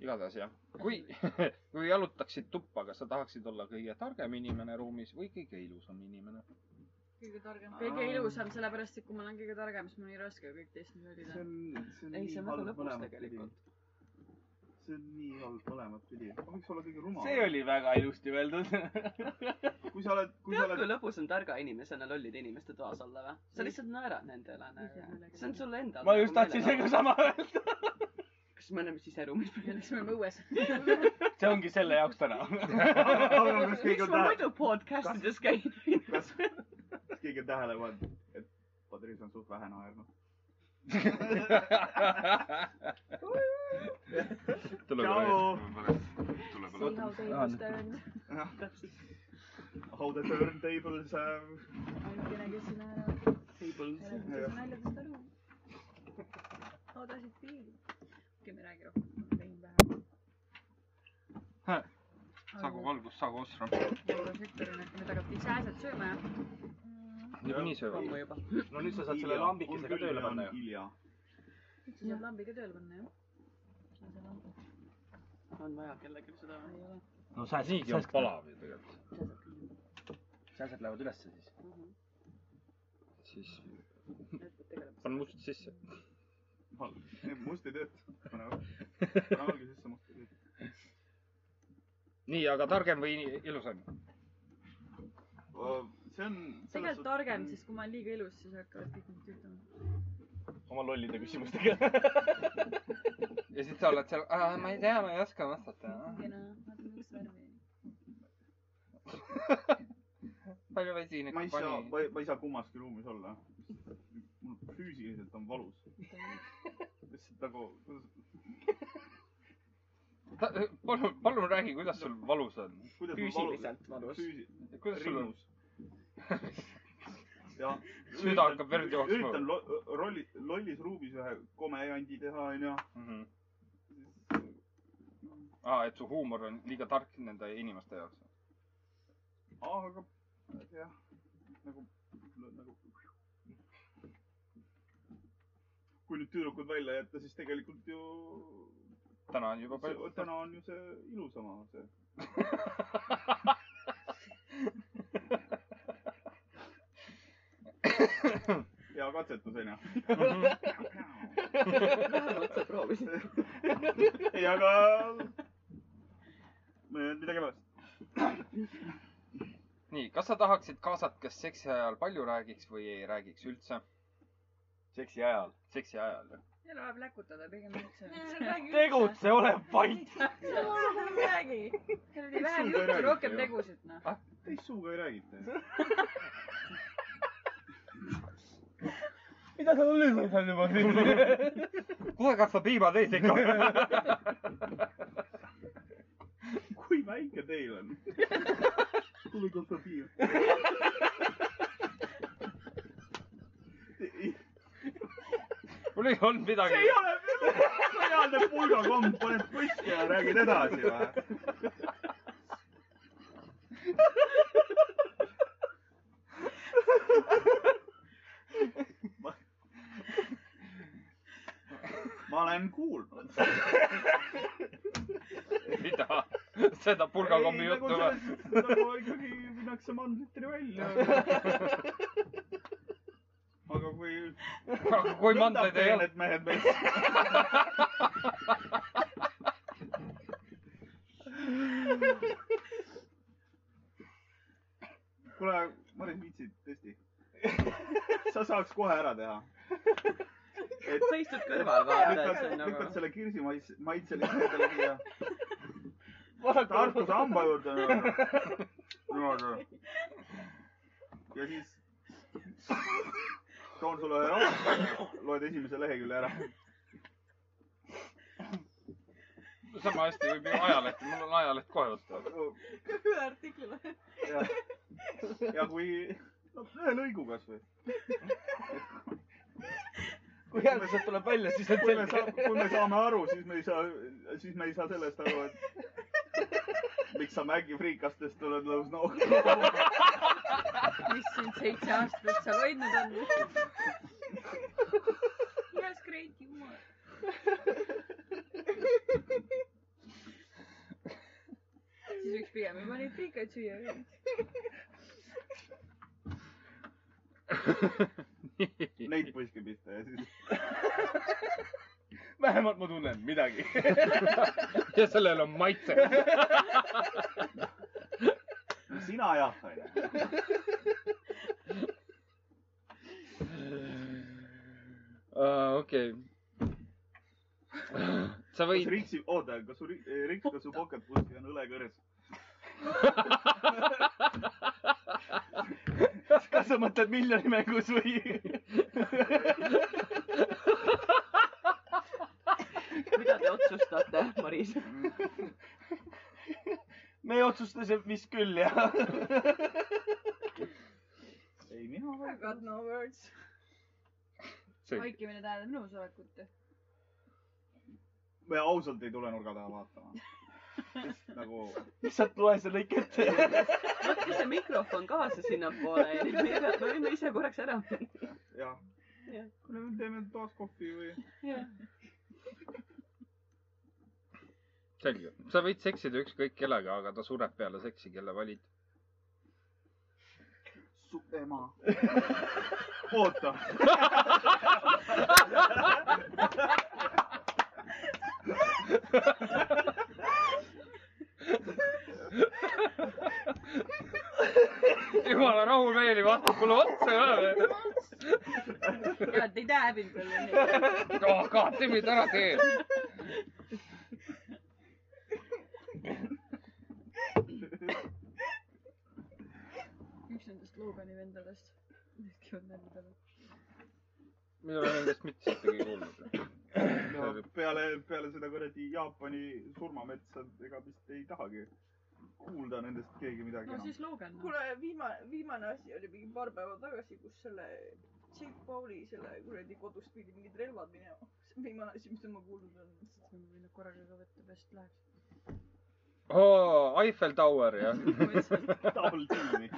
Speaker 1: igatahes jah , kui , kui jalutaksid tuppa , kas sa tahaksid olla kõige targem inimene ruumis või kõige ilusam inimene ?
Speaker 6: kõige targem .
Speaker 5: kõige ilusam , sellepärast et kui ma olen kõige targem , siis mul on nii raske kõik teist nörida
Speaker 2: see . on , see on
Speaker 4: ei ,
Speaker 2: nii
Speaker 4: see on väga
Speaker 2: halb
Speaker 4: lõbus
Speaker 2: mõlemat pidi .
Speaker 4: tegelikult .
Speaker 2: see on nii halb mõlemat pidi . ma võiks olla kõige rumal .
Speaker 8: see oli väga ilusti öeldud .
Speaker 2: kui sa oled , kui sa
Speaker 4: tead , kui
Speaker 2: oled ,
Speaker 4: lõbus on targa inimesena lollide inimeste toas olla või ? sa lihtsalt naerad nende üle
Speaker 5: Ise
Speaker 4: nagu
Speaker 5: naljaga .
Speaker 4: see on sulle endale .
Speaker 8: ma just tahtsin seda . sama öelda .
Speaker 4: kas me oleme siseruumis või ?
Speaker 5: selleks me oleme õues .
Speaker 8: see ongi selle jaoks täna .
Speaker 2: kas keegi
Speaker 4: miks
Speaker 2: on
Speaker 4: ma
Speaker 2: tähele ,
Speaker 4: muidu podcast ides käin ?
Speaker 2: kas , kas keegi on tähele pannud , et Padris on suht vähe naernud ? Tšau.
Speaker 9: tuleb
Speaker 5: See
Speaker 9: alles .
Speaker 5: how they was turned .
Speaker 2: How the äh, turntables have
Speaker 5: ainukene , kes äh, sinna , kes
Speaker 4: Tables .
Speaker 5: on naljadest aru .
Speaker 6: ootasid piiri .
Speaker 5: okei , me ei räägi rohkem , ma tegin vähe .
Speaker 1: saagu valgust , saagu osra .
Speaker 5: sektor on , et nüüd hakkab kõik sääsed sööma ja
Speaker 1: niikuinii söövad .
Speaker 4: ammu juba .
Speaker 8: no nüüd sa saad selle lambikese ka tööle panna ju .
Speaker 2: hilja .
Speaker 5: nüüd sa saad lambi ka tööle panna jah .
Speaker 4: on vaja kellelgi seda või ?
Speaker 8: no sa
Speaker 1: niigi on palav ju tegelikult .
Speaker 8: sääsed lähevad ülesse siis .
Speaker 1: siis panen must sisse .
Speaker 2: must ei tööta . pane valge sisse , must ei tööta .
Speaker 1: nii , aga targem või ilusam ?
Speaker 2: Äh, see on .
Speaker 5: tegelikult targem , sest kui ma olen liiga ilus , siis hakkavad kõik mind tüütama .
Speaker 3: oma lollide küsimustega .
Speaker 1: ja siis sa oled seal , ma ei tea , ma ei oska vastata .
Speaker 7: kena ,
Speaker 5: noh,
Speaker 7: vaatame üks värvi .
Speaker 1: palju vesinikku
Speaker 2: ma ei saa , ma ei , ma ei saa kummaski ruumis olla . mul füüsiliselt on valus . lihtsalt nagu ,
Speaker 1: äh, palun , palun räägi , kuidas sul valus on ?
Speaker 2: kuidas mul valus
Speaker 4: füüsiliselt valus .
Speaker 2: füüsi- ,
Speaker 1: kuidas sul on ?
Speaker 2: rinnus . jah .
Speaker 1: Süda hakkab verd jooksma.
Speaker 2: üritan lo- rolli , lollis ruumis ühe kome jandi teha , onju .
Speaker 1: Mhm. aa , et su huumor on liiga tark nende inimeste jaoks .
Speaker 2: aga jah , nagu , nagu . kui nüüd tüdrukud välja jätta , siis tegelikult ju
Speaker 1: täna on juba
Speaker 2: see,
Speaker 1: palju .
Speaker 2: täna on ju see ilusama see . hea katsetus onju .
Speaker 4: vähemalt sa proovisid .
Speaker 2: ei , aga Eh, midagi ei ole .
Speaker 1: nii , kas sa tahaksid kaasat , kes seksi ajal palju räägiks või ei räägiks üldse ?
Speaker 3: seksi ajal .
Speaker 1: seksi ajal , jah ?
Speaker 5: ei ole vaja pläkutada , pigem üldse .
Speaker 3: tegutse , ole vait .
Speaker 6: nagu
Speaker 7: midagi .
Speaker 5: vähem juttu , rohkem tegusid , noh .
Speaker 2: teist suuga ei räägita .
Speaker 3: mida sa lülitad seal juba siin ?
Speaker 1: kuule , kas sa piima teed ikka ?
Speaker 2: kui väike teil on ? kuule , kas sa piir ?
Speaker 1: mul ei olnud midagi .
Speaker 2: ei ole , reaalne pulgakomm , paned püsti ja räägid edasi või ? ma olen kuulnud .
Speaker 1: mida ? seda pulgakommi juttu või ?
Speaker 2: nagu ikkagi minnakse mandriteni välja . aga kui .
Speaker 1: aga kui mandleid ei ole ,
Speaker 2: need mehed meist . kuule , Maris , viitsid tõesti ? sa saaks kohe ära teha . et
Speaker 4: sa istud kõrval , vaata , et see
Speaker 2: lükkad ,
Speaker 4: on nagu
Speaker 2: lükkad . selle kirsi mais- , maitselise endale siia
Speaker 3: vaadake
Speaker 2: Tartu , samba juurde . niimoodi . ja siis toon sulle ühe raamatu , loed esimese lehekülje ära .
Speaker 1: sama hästi võib ju ajalehti , mul on ajaleht kohe võtta .
Speaker 6: ühe artikli vahel .
Speaker 2: ja, ja kui , no ühe lõigu kasvõi .
Speaker 3: kui järgmine sealt tuleb välja , siis on
Speaker 2: kui me
Speaker 3: selge .
Speaker 2: saa- , kui me saame aru , siis me ei saa , siis me ei saa sellest aru , et miks sa mägifriikastest oled nõus noogutama .
Speaker 5: mis sind seitse aastat seal hoidnud on ? kuidas Kreeti jumal . siis võiks pigem juba neid piikaid süüa .
Speaker 2: Neid põske pista ja siis
Speaker 3: vähemalt ma tunnen midagi .
Speaker 1: ja sellel on maitse .
Speaker 2: sina jah , onju .
Speaker 1: Äh, okei . sa
Speaker 2: kas
Speaker 1: võid ,
Speaker 2: Riksi , oota , kas su , Riks , kas su pocket pussy on õlekõrs ?
Speaker 3: kas sa mõtled miljoni mängus või ?
Speaker 4: mida te otsustate , Maris ?
Speaker 3: me otsustasime vist küll jah .
Speaker 2: ei , mina
Speaker 6: I got no words .
Speaker 7: vaikimine tähendab nõusolekut .
Speaker 2: me ausalt ei tule nurga taha vaatama . nagu ,
Speaker 3: lihtsalt loe see lõik ette .
Speaker 4: võtke see mikrofon kaasa sinnapoole ja nüüd me jääme- me võime ise korraks ära minna .
Speaker 2: jah .
Speaker 4: Jah.
Speaker 2: kuule , teeme taas kohvi või ?
Speaker 1: selge , sa võid seksida ükskõik kellega , aga ta sureb peale seksi , kelle valid .
Speaker 2: su ema . oota .
Speaker 1: jumala rahumeeli vaatab mulle otsa ka veel .
Speaker 4: ja te ei tea häbi peale .
Speaker 1: oh , kahte mind ära tee .
Speaker 5: üks nendest Logani vendadest . Need käivad nalja peal .
Speaker 1: me ei ole nendest mitte sittagi kuulnud .
Speaker 2: no, . peale , peale seda kuradi Jaapani surmametsa , ega vist ei tahagi kuulda nendest keegi midagi
Speaker 5: no
Speaker 2: enam .
Speaker 5: siis Logan .
Speaker 6: kuule , viimane , viimane asi oli mingi paar päeva tagasi , kus selle Jake Pauli , selle kuradi kodust pidi mingid relvad minema . see on viimane asi , mis ma kuulnud olen .
Speaker 5: ma võin nad korraga ka võtta , best läheks .
Speaker 1: oo , Eiffel Tower , jah .
Speaker 2: Double team'i .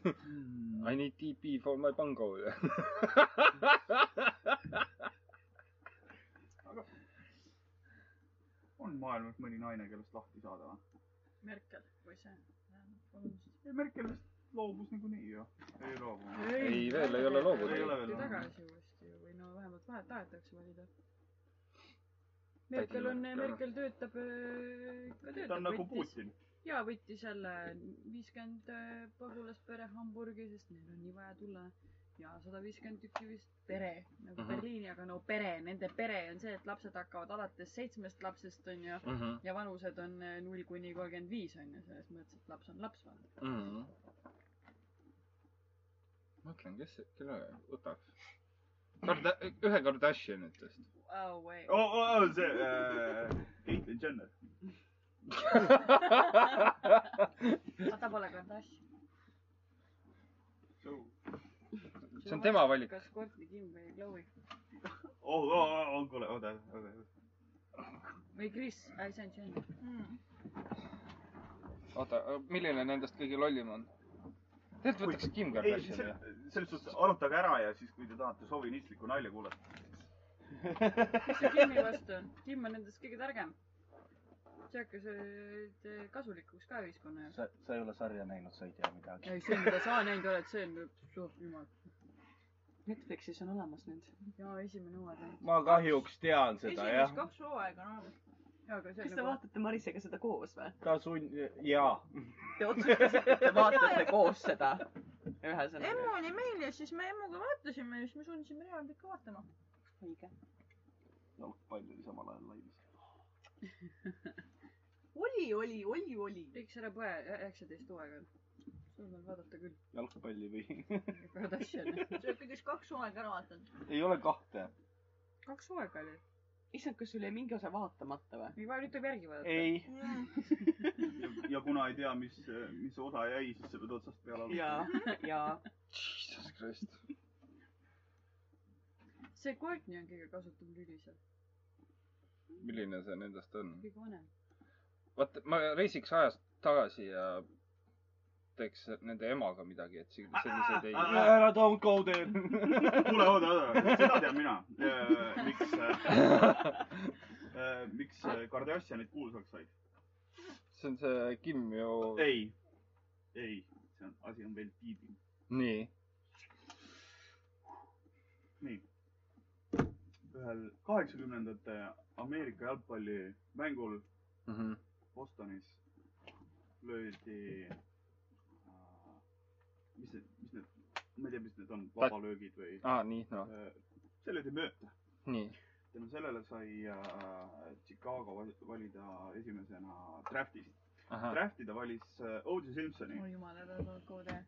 Speaker 2: Hmm.
Speaker 1: I need TP for my pango .
Speaker 2: on maailmas mõni naine , kellest lahti saada või ?
Speaker 5: Merkel või see .
Speaker 2: ei , Merkel vist loobus niikuinii ju . ei loobu .
Speaker 1: ei , veel ei ole
Speaker 2: ei ole
Speaker 1: loobunud .
Speaker 5: ja
Speaker 2: veel .
Speaker 5: tagasi uuesti ju või no vähemalt vahet tahetakse valida . Merkel on ,
Speaker 1: Merkel.
Speaker 5: Merkel töötab , ka töötab .
Speaker 2: ta on nagu . Putin .
Speaker 5: ja võttis jälle viiskümmend pagulast pere Hamburgi , sest neil on nii vaja tulla ja sada viiskümmend tükki vist pere nagu uh
Speaker 1: Mhm.
Speaker 5: -huh. Berliini , aga no pere , nende pere on see , et lapsed hakkavad alates seitsmest lapsest onju
Speaker 1: Mhm,
Speaker 5: ja vanused on eh, null kuni kolmkümmend viis onju , selles mõttes , et laps on laps vaata .
Speaker 1: mhm. mõtlen , kes , kelle võtaks . Karda- , ühe Kardashianitest .
Speaker 5: Oh way
Speaker 2: oo , oo , see äh, , Caitlyn Jenner .
Speaker 5: oh. , ta pole Kardashian .
Speaker 2: oo ,
Speaker 1: see on tema valik .
Speaker 5: kas Courtney Kim või Chloe
Speaker 2: oo , oo , oh, kuule , oh, oota , oota .
Speaker 5: või Chris , ei see on Jenner .
Speaker 1: oota , milline nendest kõige lollim on ? tegelikult võtaks Kim
Speaker 2: ei ,
Speaker 1: Kardashiani .
Speaker 2: selles suhtes arutage ära ja siis , kui te tahate sovinistlikku nalja kuulata .
Speaker 5: mis see Kimi vastu on ? Kim on nendest kõige targem . see hakkas eh, kasulikuks ka ühiskonna jaoks .
Speaker 3: sa , sa ei ole sarja näinud , sa ei tea midagi .
Speaker 5: ei , see , mida sa näinud oled , see on , suh jumal .
Speaker 4: Netflixis on olemas nüüd .
Speaker 5: jaa , esimene hooaeg on .
Speaker 8: ma kahjuks tean seda
Speaker 6: esimest
Speaker 8: jah .
Speaker 6: kaks hooaega on olemas .
Speaker 5: jaa , aga see nagu
Speaker 4: kas te vaatate Marisega seda koos või ?
Speaker 8: ta sund- , jaa .
Speaker 4: Te otsustasite , et te vaatate koos seda .
Speaker 6: emu
Speaker 4: ühesõnaga .
Speaker 6: oli meil ja siis me emuga vaatasime ja siis me suundisime Reavit ka vaatama .
Speaker 4: õige .
Speaker 2: jalgpall oli samal ajal laivis .
Speaker 6: oli , oli , oli , oli .
Speaker 5: kõik selle poe üheksateist hooaega on . sul on vaadata küll .
Speaker 3: jalgpalli või ?
Speaker 5: Kardashian .
Speaker 6: sa oled kõigest kaks hooaega ära vaadanud .
Speaker 3: ei ole kahte .
Speaker 5: kaks hooaega oli .
Speaker 4: issand , kas sul jäi mingi osa vaatamata või ?
Speaker 5: ei , nüüd tuleb järgi vaadata .
Speaker 8: ei ,
Speaker 2: ja kuna ei tea , mis , mis osa jäi , siis sa pead otsast peale
Speaker 4: ja
Speaker 2: alustama .,
Speaker 4: ja
Speaker 1: Jesus Christ .
Speaker 5: see Courtney on kõige kasutum lüli seal .
Speaker 1: milline see nendest on ?
Speaker 5: kõige vanem .
Speaker 1: vaata , ma reisiks ajas tagasi ja teeks nende emaga midagi , et siin selliseid
Speaker 3: ah,
Speaker 1: ei .
Speaker 8: ära don't go there .
Speaker 2: kuule , oota , oota , seda tean mina , miks , miks äh, Kardashianid kuulsaks said .
Speaker 1: see on see Kim ju .
Speaker 2: ei , ei , see on , asi on veel tiibim .
Speaker 1: nii .
Speaker 2: nii . ühel kaheksakümnendate Ameerika jalgpallimängul Bostonis löödi , mis need , mis need , ma ei tea , mis need on , vabalöögid või ,
Speaker 1: aa , nii , noh ,
Speaker 2: see löödi mööda .
Speaker 1: nii .
Speaker 2: tänu sellele sai äh, Chicago val- valida esimesena draftist .
Speaker 1: ahah ,
Speaker 2: Drafti ta valis äh, O.J. Simpsoni ,
Speaker 5: oh jumal , ära too koode .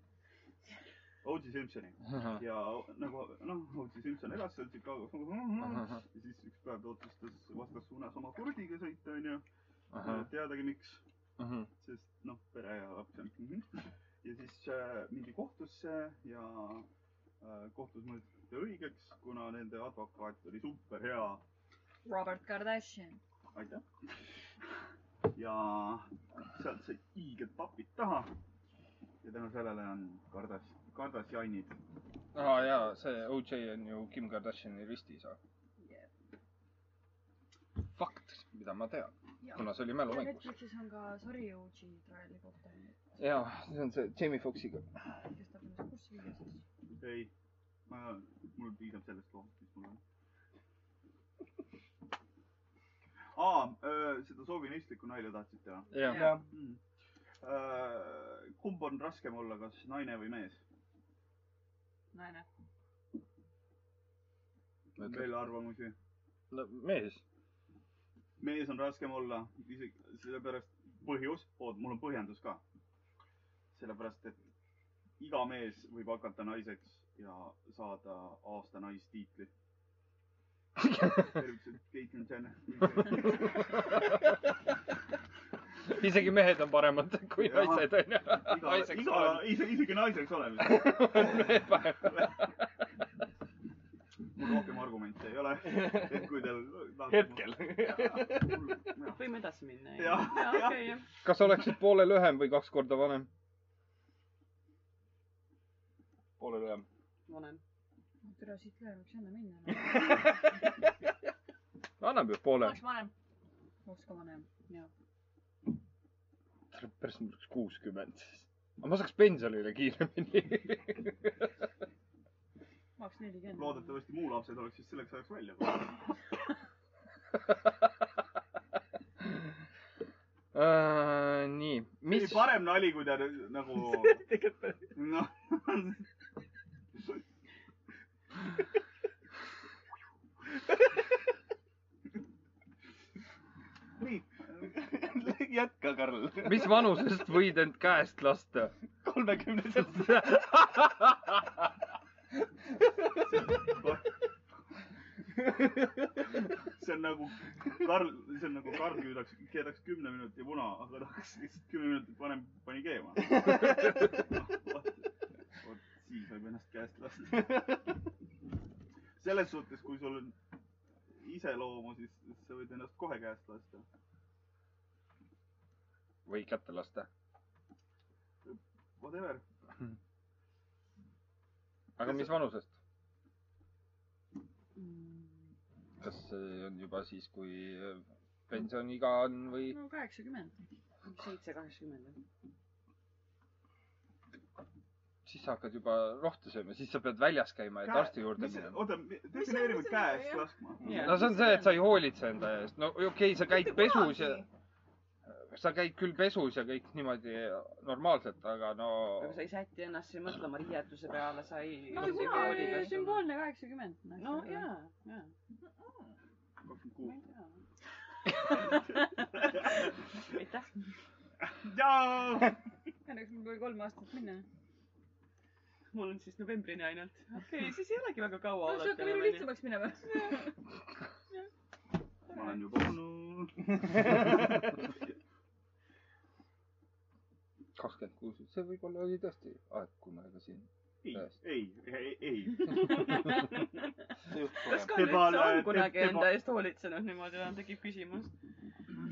Speaker 2: O.J. Simpsoni
Speaker 1: ahah ,
Speaker 2: ja o- nagu noh , O.J. Simpson elas seal Chicagos . ja
Speaker 1: ahah ,
Speaker 2: siis üks päev ta otsustas vastassuunas oma kurdiga sõita , onju .
Speaker 1: ahah ,
Speaker 2: teadagi miks ,
Speaker 1: ahah ,
Speaker 2: sest noh , pere ja laps ja mhm. ja siis äh, mindi kohtusse ja äh, kohtus mõisteti õigeks , kuna nende advokaat oli super hea
Speaker 5: Robert Kardashian .
Speaker 2: aitäh . ja sealt said hiiged papid taha . ja tänu sellele on kardas , kardasjanid .
Speaker 1: aa Ah, jaa , see OJ on ju Kim Kardashini ristiisa . fakt , mida ma tean , kuna see oli mälumängus .
Speaker 5: Netflixis on ka Sorry OG traili kohta ,
Speaker 1: jaa , see on see Jamie Foxxiga .
Speaker 5: kes tahab ennast kurssi viia siis .
Speaker 2: ei , ma , mul piisab sellest loost , mis mul on . aa , seda soovinistlikku nalja tahtsid teha
Speaker 1: jah ,
Speaker 5: Jah.
Speaker 2: mm. ? kumb on raskem olla , kas naine või mees ?
Speaker 5: naine .
Speaker 1: Ma ütlen-
Speaker 2: veel arvamusi ?
Speaker 1: no mees ,
Speaker 2: mees on raskem olla , isegi sellepärast põhjus , oot , mul on põhjendus ka . sellepärast , et iga mees võib hakata naiseks ja saada aasta naistiitli . tervitused , Caitlin Jenner .
Speaker 1: isegi mehed on paremad kui
Speaker 2: Jah.
Speaker 1: naised onju .
Speaker 2: iga ,
Speaker 1: naiseks
Speaker 2: iga ,
Speaker 1: olen
Speaker 2: isegi naiseks olemas .
Speaker 1: veel parem .
Speaker 2: mul rohkem argumente ei ole . et kui teil .
Speaker 3: hetkel .
Speaker 4: Noh, võime edasi minna .
Speaker 2: Jah, jah.
Speaker 4: okei , jah .
Speaker 1: kas oleksid poole lühem või kaks korda vanem ?
Speaker 3: poole lühem .
Speaker 4: vanem .
Speaker 5: türa , siit läheb , võiks enne minna . noh.
Speaker 1: annab ju poole .
Speaker 7: oleks vanem .
Speaker 5: oleks ka vanem .
Speaker 1: päris mul oleks kuuskümmend siis . aga ma saaks pensionile kiiremini .
Speaker 5: ma oleks nelikümmend .
Speaker 2: loodetavasti muu lapsed oleks siis selleks ajaks välja tulnud .
Speaker 1: Äh, nii ,
Speaker 2: mis
Speaker 1: mis ,
Speaker 2: parem nali , kui ta nüüd nagu noh , nii ,
Speaker 3: jätka , Karl .
Speaker 1: mis vanusest võid end käest lasta ?
Speaker 3: kolmekümneselt .
Speaker 2: see on nagu Karl , see on nagu Karl küüdaks , keedaks kümne minuti muna , aga ta hakkas lihtsalt kümme minutit varem pani keema . vot siis võib ennast käest lasta . selles suhtes , kui sul on iseloomu , siis siis sa võid ennast kohe käest lasta .
Speaker 1: või kätte lasta .
Speaker 2: Whatever ,
Speaker 1: aga mis vanusest ?
Speaker 5: Mm,
Speaker 1: kas see on juba siis , kui äh, pensioniiga on või ?
Speaker 5: no kaheksakümmend .
Speaker 4: seitse , kaheksakümmend .
Speaker 1: siis sa hakkad juba rohtu sööma , siis sa pead väljas käima , et
Speaker 2: Käe-
Speaker 1: arsti juurde
Speaker 2: mis ,
Speaker 1: minema .
Speaker 2: oota , defineerime
Speaker 7: mis see
Speaker 2: käest
Speaker 7: jah?
Speaker 2: laskma .
Speaker 1: no see on see , et sa ei hoolitse enda eest . no okei okay, , sa käid pesus ja sa käid küll pesus ja kõik niimoodi normaalselt , aga no
Speaker 4: aga sa ei säti ennast siin mõtlema riietuse peale , sa ei .
Speaker 5: no sina oli . sümboolne kaheksakümmend . noh.
Speaker 4: no jaa , jaa .
Speaker 2: kakskümmend
Speaker 4: ma
Speaker 2: kuus
Speaker 4: ei . tea . aitäh .
Speaker 2: jaa .
Speaker 5: õnneks mul tuli kolm aastat minna .
Speaker 4: mul on siis novembrini ainult . okei okay, , siis ei olegi väga kaua
Speaker 7: no see hakkab elu . lihtsamaks minema .
Speaker 2: ma olen juba olnud .
Speaker 1: kakskümmend kuus , see võib-olla oli tõesti aeg , kui ma ega siin .
Speaker 2: ei
Speaker 1: Tõesti. ,
Speaker 2: ei , ei , ei .
Speaker 4: kas Karl
Speaker 2: Tema
Speaker 4: üldse on
Speaker 2: on-
Speaker 4: kunagi
Speaker 2: tema-
Speaker 4: enda eest hoolitsenud niimoodi või ? tekib küsimus .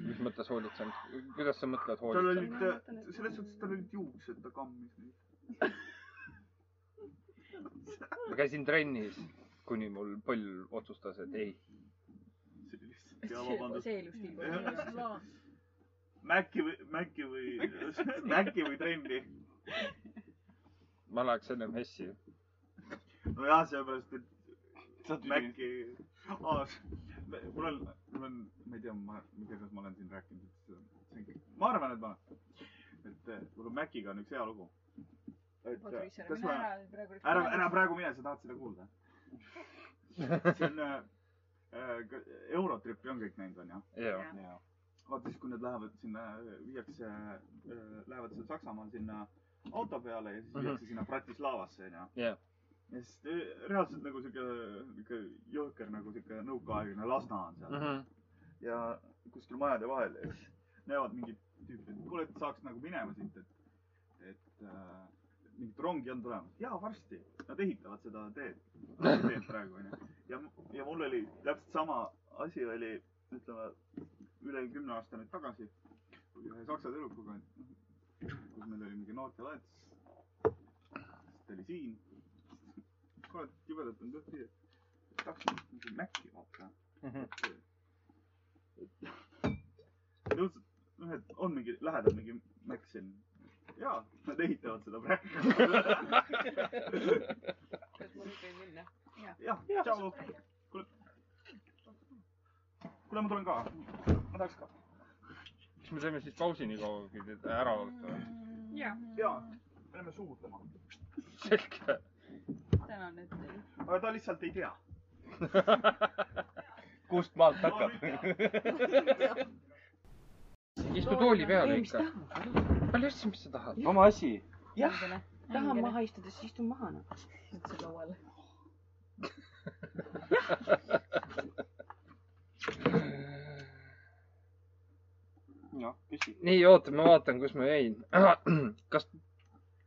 Speaker 1: mis mõttes hoolitsen ? kuidas sa mõtled
Speaker 2: tal
Speaker 1: hoolitsen ?
Speaker 2: olid , selles suhtes tal olid juuksed , ta kammis neid .
Speaker 1: ma käisin trennis , kuni mul põll otsustas , et ei .
Speaker 2: see oli lihtsalt ja vabandust .
Speaker 5: see elustiil .
Speaker 2: Maci või , Maci või , Maci või trenni .
Speaker 1: ma läheks ennem Hessi .
Speaker 2: nojah , sellepärast , et Maci , mul on , mul on , ma ei tea , ma , ma ei tea , kas ma olen siin rääkinud , et see on- see on kõik , ma arvan , et ma olen . et eh, mul on Maciga on üks hea lugu . et
Speaker 7: oota ,
Speaker 2: eh,
Speaker 7: mis ära ,
Speaker 2: kas
Speaker 7: mine
Speaker 2: ma ,
Speaker 7: ära praegu .
Speaker 2: ära , ära . praegu mine , sa tahad seda kuulda . see on äh, äh, , Eurotripi on kõik näinud , onju .
Speaker 1: jah ,
Speaker 2: vaata siis , kui nad lähevad sinna , viiakse , lähevad seal Saksamaal sinna auto peale ja siis
Speaker 1: Mhm.
Speaker 2: viiakse sinna Bratislavasse onju .
Speaker 1: Jah.
Speaker 2: ja siis öö, reaalselt nagu siuke , siuke jõhker nagu siuke nõukaaegne Lasna on seal mm
Speaker 1: jah .
Speaker 2: -hmm. ja kuskil majade vahel ja siis näevad mingit tüüpi , et kuule , et saaks nagu minema siit , et , et äh, mingit rongi on tulemas . jaa , varsti . Nad ehitavad seda teed , teed praegu onju . ja , ja mul oli täpselt sama asi oli , ütleme üle kümne aasta nüüd tagasi kui ühe saksa tüdrukuga , kus meil oli mingi noortelaat . siis ta oli siin . kurat , jubedalt on kõht siia . tahtsin mingi Maci vaata . nõudsid , noh , et on mingi lähedal mingi Mac siin . jaa , nad ehitavad seda praegu .
Speaker 4: kas ma nüüd võin minna ?
Speaker 2: jah , tšau . kuule , ma tulen ka . ma tahaks ka .
Speaker 1: kas me teeme siis pausi nii kaua , kui te ära olete või ?
Speaker 5: jaa .
Speaker 2: jaa , me läheme suudlema .
Speaker 1: selge .
Speaker 7: tänan , et teil .
Speaker 2: aga ta lihtsalt ei tea .
Speaker 8: kust maalt hakkab ?
Speaker 1: istu tooli peale ikka . palju asju , mis sa tahad ?
Speaker 3: oma asi .
Speaker 4: jah , tahan maha istuda , siis istun maha noh .
Speaker 7: istuda lauale .
Speaker 3: noh , küsi .
Speaker 1: nii , oota , ma vaatan , kus ma jäin . kas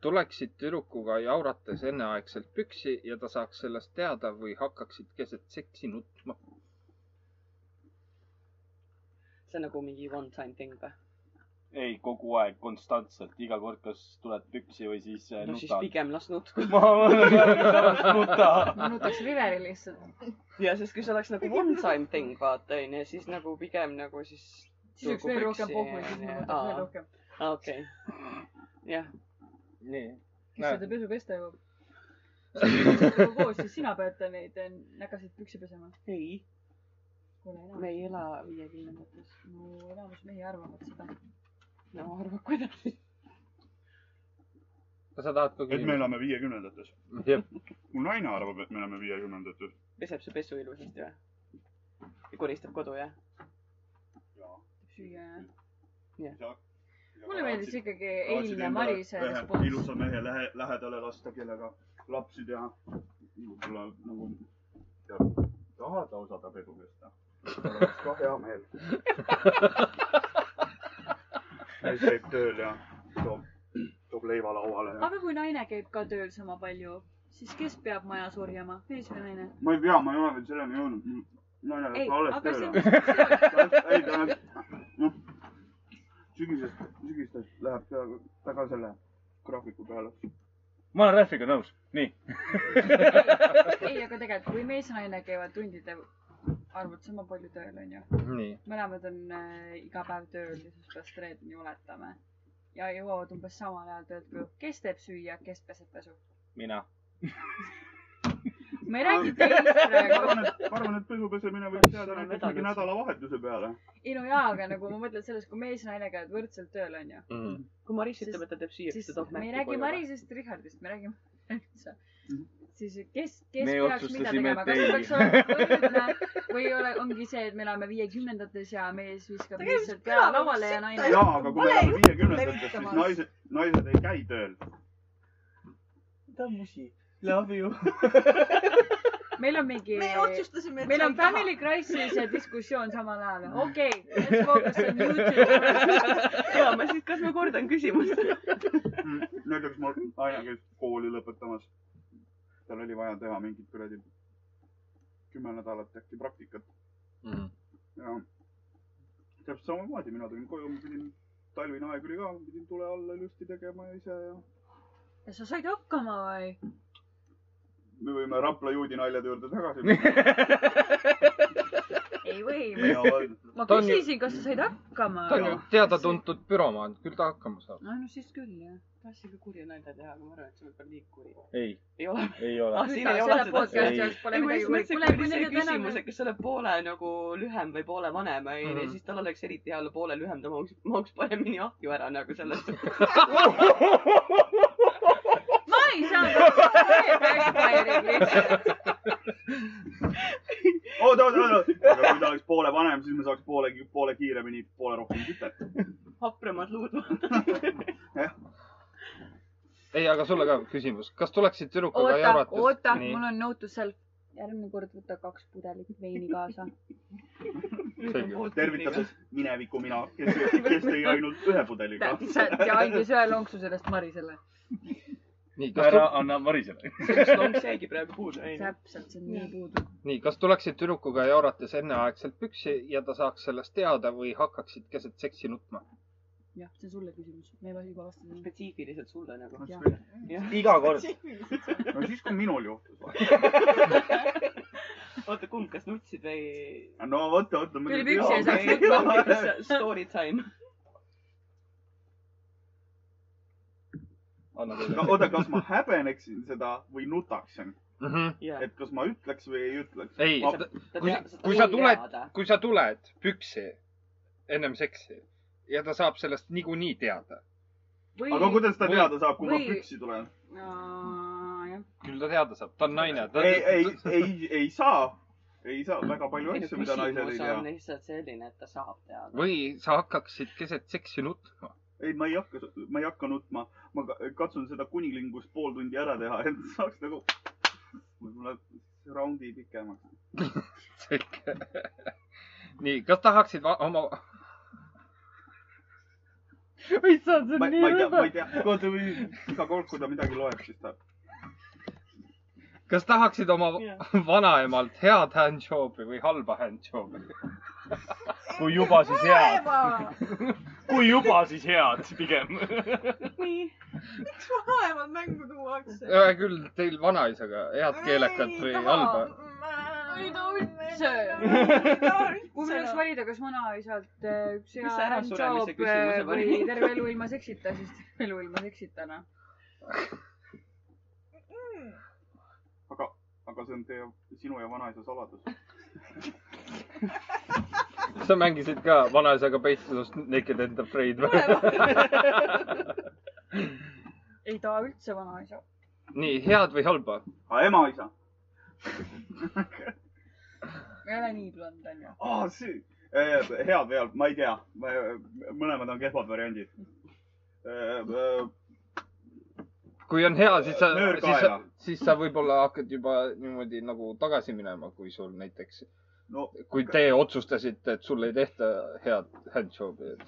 Speaker 1: tuleksid tüdrukuga jaurates enneaegselt püksi ja ta saaks sellest teada või hakkaksid keset seksi nutma ?
Speaker 4: see on nagu mingi one time thing või ?
Speaker 3: ei , kogu aeg , konstantselt , iga kord , kas tuled püksi või siis äh,
Speaker 4: no siis
Speaker 3: nutad .
Speaker 4: pigem las nutku .
Speaker 3: ma , ma , nuta .
Speaker 7: ma nutaks Riveri lihtsalt .
Speaker 4: ja siis , kui see oleks nagu one time thing , vaata onju , siis nagu pigem nagu siis .
Speaker 7: siis oleks veel rohkem pohhu , siis ma nutaks veel rohkem .
Speaker 4: okei , jah ,
Speaker 1: nii .
Speaker 7: kes seda pesu pesta jõuab ? koos , siis sina pead neid eh, näkasid püksi pesema .
Speaker 4: ei ,
Speaker 7: kuule , enamus ,
Speaker 4: me ei ela viiekümnendates .
Speaker 7: no enamus mehi arvavad seda .
Speaker 4: no arva kuidas .
Speaker 1: kas sa tahad ka
Speaker 2: et me elame viiekümnendates .
Speaker 1: Jah.
Speaker 2: mu naine arvab , et me elame viiekümnendates .
Speaker 4: peseb su pesu ilusasti või ? ja koristab kodu jah ?
Speaker 7: süüa ja .
Speaker 5: mulle meeldis ikkagi
Speaker 2: Tahtsid
Speaker 5: eilne
Speaker 2: endale
Speaker 5: Marise
Speaker 2: ühe
Speaker 5: respons .
Speaker 2: ilusa mehe lähe , lähedale lasta , kellega lapsi teha . võib-olla nagu ja, tahad osada pedu pesta . oleks ka hea meel . mees käib tööl ja toob , toob leiva lauale ja .
Speaker 5: aga kui naine käib ka tööl sama palju , siis kes peab majas orjama , mees või naine ?
Speaker 2: ma ei tea , ma ei ole veel selleni jõudnud . naine
Speaker 5: ei
Speaker 2: läks alles ,
Speaker 5: aga see
Speaker 2: tööle
Speaker 5: on . see
Speaker 2: ei , ta on , noh , sügisest , sügisest läheb ta , ta ka selle graafiku peale .
Speaker 8: ma olen Rähviga nõus . nii .
Speaker 5: on- ei , aga tegelikult , kui mees ja naine käivad tundide arvult sama palju tööl , onju .
Speaker 1: nii ,
Speaker 5: mõlemad on äh, iga päev tööl ja siis pärast reedeni oletame . ja jõuavad umbes samal ajal töölt koju . kes teeb süüa , kes peseb pesu ?
Speaker 8: mina . Ah.
Speaker 5: ma ei räägi teist
Speaker 2: ma
Speaker 5: praegu .
Speaker 2: arvan , et , ma arvan , et pesu pesemine võiks jääda näiteks mingi nädalavahetuse peale .
Speaker 5: ei no jaa , aga nagu ma mõtlen sellest , kui mees ja naine käivad võrdselt tööl , onju .
Speaker 8: Mhm.
Speaker 4: kui Maris
Speaker 5: Siis-
Speaker 4: ütleb , et ta teeb süüa , siis
Speaker 5: siis
Speaker 4: ta toob
Speaker 5: me ei
Speaker 4: märki
Speaker 5: räägi Marisest , Richardist , me räägime üldse . siis kes ,
Speaker 8: Mhm.
Speaker 5: kes
Speaker 8: Me
Speaker 5: peaks mida
Speaker 8: otsustasime,
Speaker 5: tegema ,
Speaker 8: et
Speaker 5: kas
Speaker 8: ei.
Speaker 5: peaks olema võrdne või ole , ongi see , et me elame viiekümnendates ja mees viskab
Speaker 6: Tegelikult
Speaker 5: lihtsalt
Speaker 6: peab
Speaker 5: pea
Speaker 6: olema
Speaker 5: lauale ja
Speaker 6: sitta
Speaker 5: naine .
Speaker 2: jaa , aga kui me
Speaker 6: Pole
Speaker 2: oleme
Speaker 6: juttu
Speaker 2: viiekümnendates , siis
Speaker 6: levitamas.
Speaker 2: naised , naised ei käi tööl .
Speaker 3: ta on musi . Love you .
Speaker 5: meil on mingi ,
Speaker 6: me otsustasime , et
Speaker 5: meil on family crisis ja diskussioon samal ajal . okei okay, , let's focus on YouTube .
Speaker 4: ja ma siis , kas ma kordan küsimust ?
Speaker 2: näiteks mul naine käis kooli lõpetamas . tal oli vaja teha mingit kuradi kümme nädalat äkki praktikat ja täpselt samamoodi mina tulin koju , ma pidin , talvine aeg oli ka , ma pidin tule alla ilusti tegema ise ja
Speaker 5: ja sa said hakkama või ?
Speaker 2: me võime Rapla juudi naljade juurde tagasi minna .
Speaker 5: ei või ?
Speaker 2: ja
Speaker 5: ma
Speaker 1: Ta on ju-
Speaker 5: küsisin , kas sa said hakkama
Speaker 1: ta on
Speaker 5: või ?
Speaker 1: ju teada-tuntud büromaan , küll ta hakkama saab .
Speaker 4: no no siis küll jah . tahtsin ka kurja nalja teha , aga ma arvan , et see võib olla liiga kuri .
Speaker 8: ei ,
Speaker 4: ei ole .
Speaker 8: ei ole
Speaker 4: Ah, . siin ei ole
Speaker 5: selle
Speaker 4: seda-
Speaker 5: podcast'i
Speaker 8: ei.
Speaker 5: jaoks pole
Speaker 4: ei , ma
Speaker 5: midagi
Speaker 4: just
Speaker 5: või ?
Speaker 4: mõtlesin ,
Speaker 5: kuule
Speaker 4: et , kui oli
Speaker 5: kui
Speaker 4: see
Speaker 5: nendel täna
Speaker 4: küsimus , et kas sa oled poole nagu lühem või poole vanem , onju
Speaker 1: Mhm. ,
Speaker 4: siis tal oleks eriti hea olla poole lühem , ta mahuks , mahuks paremini ahju ära nagu sellest .
Speaker 5: ma ei saa . backfire'ib lihtsalt .
Speaker 2: oota , oota , oota . aga kui ta oleks poole vanem , siis me saaks poole , poole kiiremini , poole rohkem kütet .
Speaker 4: hapramad luud .
Speaker 1: ei , aga sulle ka küsimus , kas tuleksid tüdrukuga
Speaker 5: oota ,
Speaker 1: jaurates ?
Speaker 5: oota , mul on nõutus seal . järgmine kord võta kaks pudelit veini kaasa .
Speaker 2: tervitades mineviku mina , kes , kes tõi ainult ühe pudeliga .
Speaker 5: ja andis ühe lonksu sellest Marisele .
Speaker 1: nii , kas
Speaker 8: ära
Speaker 1: tu- ,
Speaker 8: anna Marisele .
Speaker 4: see üks lonks jäigi praegu puudu , onju .
Speaker 5: täpselt , see on nii puudu .
Speaker 1: nii , kas tuleksid tüdrukuga jaurates enneaegselt püksi ja ta saaks sellest teada või hakkaksid keset seksi nutma ?
Speaker 5: jah , see on sulle küsimus , me juba juba vastasime .
Speaker 4: spetsiifiliselt sulle nagu .
Speaker 5: Mhm.
Speaker 8: iga kord .
Speaker 2: no siis , kui minul juhtus .
Speaker 4: oota , kumb , kas nutsid või ?
Speaker 2: no oota , oota .
Speaker 5: Tuli püksi ja saaks nutma.
Speaker 4: Story time .
Speaker 8: anna
Speaker 2: oota , kas ma häbeneksin seda või nutaksin ?
Speaker 4: jaa .
Speaker 2: et kas ma ütleks või ei ütleks .
Speaker 1: Mhm. ei
Speaker 2: Ma- ,
Speaker 1: kui sa- kui sa tuled- kui sa tuled püksi ennem seksi ja ta saab sellest niikuinii teada .
Speaker 2: aga kuidas ta
Speaker 1: või-
Speaker 2: teada saab , kui ma
Speaker 7: või-
Speaker 2: püksi tulen ?
Speaker 7: jah ,
Speaker 1: küll ta teada saab , ta on naine .
Speaker 2: ei , ei , ei , ei saa . ei saa , väga palju asju , mida naised ei
Speaker 4: küsimus
Speaker 2: tea
Speaker 4: on . lihtsalt selline , et ta saab teada .
Speaker 1: või sa hakkaksid keset seksi nutma .
Speaker 2: ei , ma ei hakka , ma ei hakka nutma . ma ka- katsun seda kuninglingust pool tundi ära teha , et saaks nagu võib-olla raundi pikemaks .
Speaker 1: selge . nii , kas tahaksid va- oma ? issand , see on
Speaker 2: ma ma
Speaker 1: nii
Speaker 2: ei tea , ma
Speaker 1: rõve
Speaker 2: ei . tea . oota , või iga kord , kui ta midagi loeb , siis ta .
Speaker 1: kas tahaksid oma
Speaker 4: Jah.
Speaker 1: vanaemalt head handjob'i või halba handjob'i ?
Speaker 8: kui juba , siis head .
Speaker 6: vanemad
Speaker 8: kui juba , siis head pigem .
Speaker 6: mängu tuuakse .
Speaker 1: hea küll , teil vanaisaga head keelekat või halba ??
Speaker 6: ei
Speaker 7: ta üldse. kui mul oleks . valida , kas vanaisalt äh, üks hea
Speaker 4: Mis see ärasuremise
Speaker 7: handjob,
Speaker 4: küsimuse
Speaker 7: äh, või
Speaker 4: variant?
Speaker 7: terve elu ilma seksita , siis terve elu ilma seksita , noh .
Speaker 2: aga , aga see on teie , sinu ja vanaisa saladus .
Speaker 1: sa mängisid ka vanaisaga peitsusest Naked and Afraid või ?
Speaker 7: ei taha üldse vanaisa .
Speaker 1: nii , head või halba ?
Speaker 2: aga ema-isa ?
Speaker 7: ma ei ole nii blond , onju .
Speaker 2: aa , see , head või halb , ma ei tea . mõlemad on kehvad variandid . Eh,
Speaker 1: kui on hea , siis sa ,
Speaker 2: Möör ka
Speaker 1: siis sa
Speaker 2: hea. ,
Speaker 1: siis sa võib-olla hakkad juba niimoodi nagu tagasi minema , kui sul näiteks ,
Speaker 2: no
Speaker 1: kui te otsustasite , et sulle ei tehta head handjob'i , et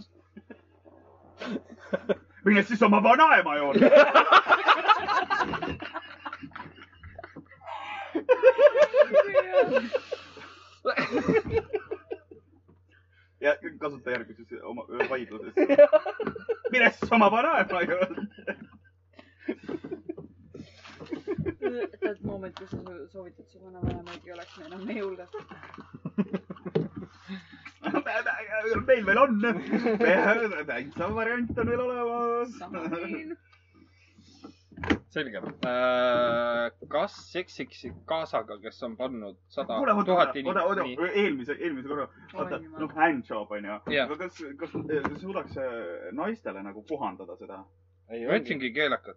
Speaker 2: mine siis oma vanaema juurde . ja kasuta järgmises oma öö vaidluses . mine siis oma vanaema juurde .
Speaker 7: tead moment , kus sa so- soovitad su vanavanemaid ei oleks me enam meie hulgas .
Speaker 2: meil veel on . täitsa variant on veel olemas .
Speaker 1: selge äh, . kas seksiks kaasaga , kes on pannud sada
Speaker 2: kuule , oota ,
Speaker 1: tuhat
Speaker 2: oota , oota
Speaker 1: inimest ,?
Speaker 2: eelmise , eelmise korra , oota
Speaker 7: Oi jumal. ,
Speaker 2: noh , handjob on ju .
Speaker 1: Jah.
Speaker 2: aga kas , kas kas suudaks äh, naistele nagu kohandada seda ?
Speaker 1: ma ütlesingi keelakat .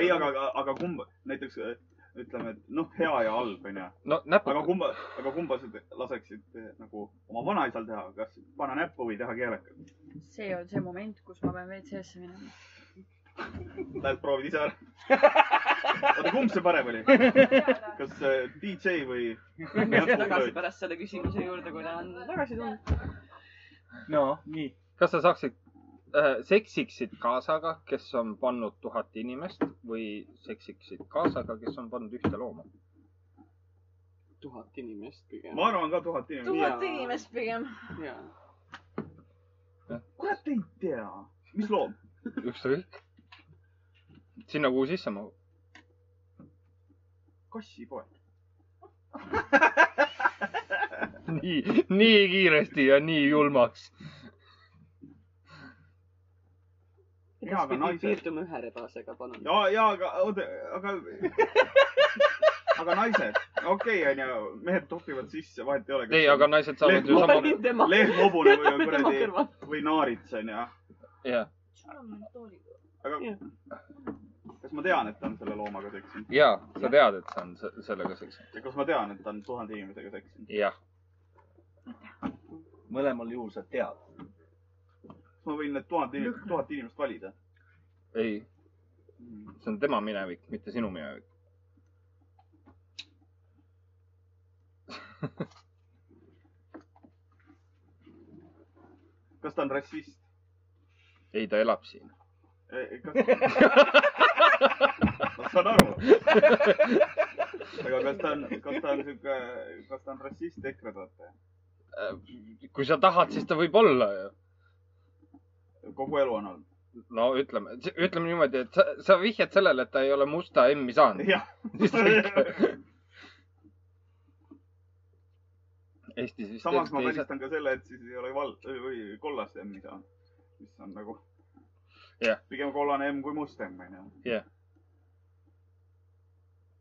Speaker 2: ei , aga , aga , aga kumb , näiteks äh, ütleme , et noh , hea ja halb on ju .
Speaker 1: no
Speaker 2: aga
Speaker 1: näpuga ,
Speaker 2: kumba , aga kumba sa te- laseksid eh, nagu oma vanaisal teha , kas panna näppu või teha keelekalt ?
Speaker 7: see on see moment , kus ma pean WC-sse minema .
Speaker 2: Lähed proovid ise ära . oota , kumb see parem oli ? kas eh, DJ või
Speaker 4: tagasi
Speaker 2: näpupööd ?
Speaker 4: pärast selle küsimuse juurde , kui ta on tagasi tulnud .
Speaker 8: no , nii .
Speaker 1: Noh, kas sa saaksid äh, , seksiksid kaasaga , kes on pannud tuhat inimest või seksiksid kaasaga , kes on pannud ühte looma ?
Speaker 4: tuhat inimest pigem .
Speaker 2: ma arvan ka tuhat inimest .
Speaker 4: Tuhat
Speaker 6: tuhat inimest pigem .
Speaker 4: jaa .
Speaker 2: kurat ei tea . mis loom ?
Speaker 1: ükskõik . sinna , kuhu sisse mahub .
Speaker 2: kassipoeg .
Speaker 1: nii , nii kiiresti ja nii julmaks .
Speaker 2: Jaa, aga
Speaker 4: edaspidi
Speaker 2: naised-
Speaker 4: piirdume ühe rebasega , palun .
Speaker 2: ja , ja , aga oota , aga , aga naised , okei okay, onju , mehed topivad sisse , vahet ei ole .
Speaker 1: ei , aga naised saavad ju
Speaker 4: ma
Speaker 1: sama ,
Speaker 4: panin tema ,
Speaker 2: lehlhobune või
Speaker 4: panin tema
Speaker 2: kuradi
Speaker 4: kõrval .
Speaker 2: või naarits onju .
Speaker 1: jah ,
Speaker 2: aga
Speaker 4: Jah.
Speaker 2: kas ma tean , et ta on selle loomaga seksinud
Speaker 1: ja sa tead , et see on se- sellega seks .
Speaker 2: ja kas ma tean , et ta on tuhande inimesega seksinud ?
Speaker 1: jah ,
Speaker 3: mõlemal juhul sa tead .
Speaker 2: kas ma võin need tuhat inimest , tuhat inimest valida ?
Speaker 1: ei , see on tema minevik , mitte sinu minevik .
Speaker 2: kas ta on rassist ?
Speaker 1: ei , ta elab siin .
Speaker 2: kas , ma saan aru . aga kas ta on , kas ta on siuke , kas ta on rassist EKRE toetaja ?
Speaker 1: Äh, kui sa tahad , siis ta võib olla ju .
Speaker 2: kogu elu on olnud .
Speaker 1: no ütleme , ütleme niimoodi , et sa, sa vihjad sellele , et ta ei ole musta M-i saanud .
Speaker 2: jah ,
Speaker 1: Eestis vist
Speaker 2: samas ma
Speaker 1: eriti ei saa-
Speaker 2: välistan ka selle , et siis ei ole val- või kollast M-i saanud , mis on nagu
Speaker 1: Jah.
Speaker 2: pigem kollane M kui must M onju .
Speaker 1: Jah.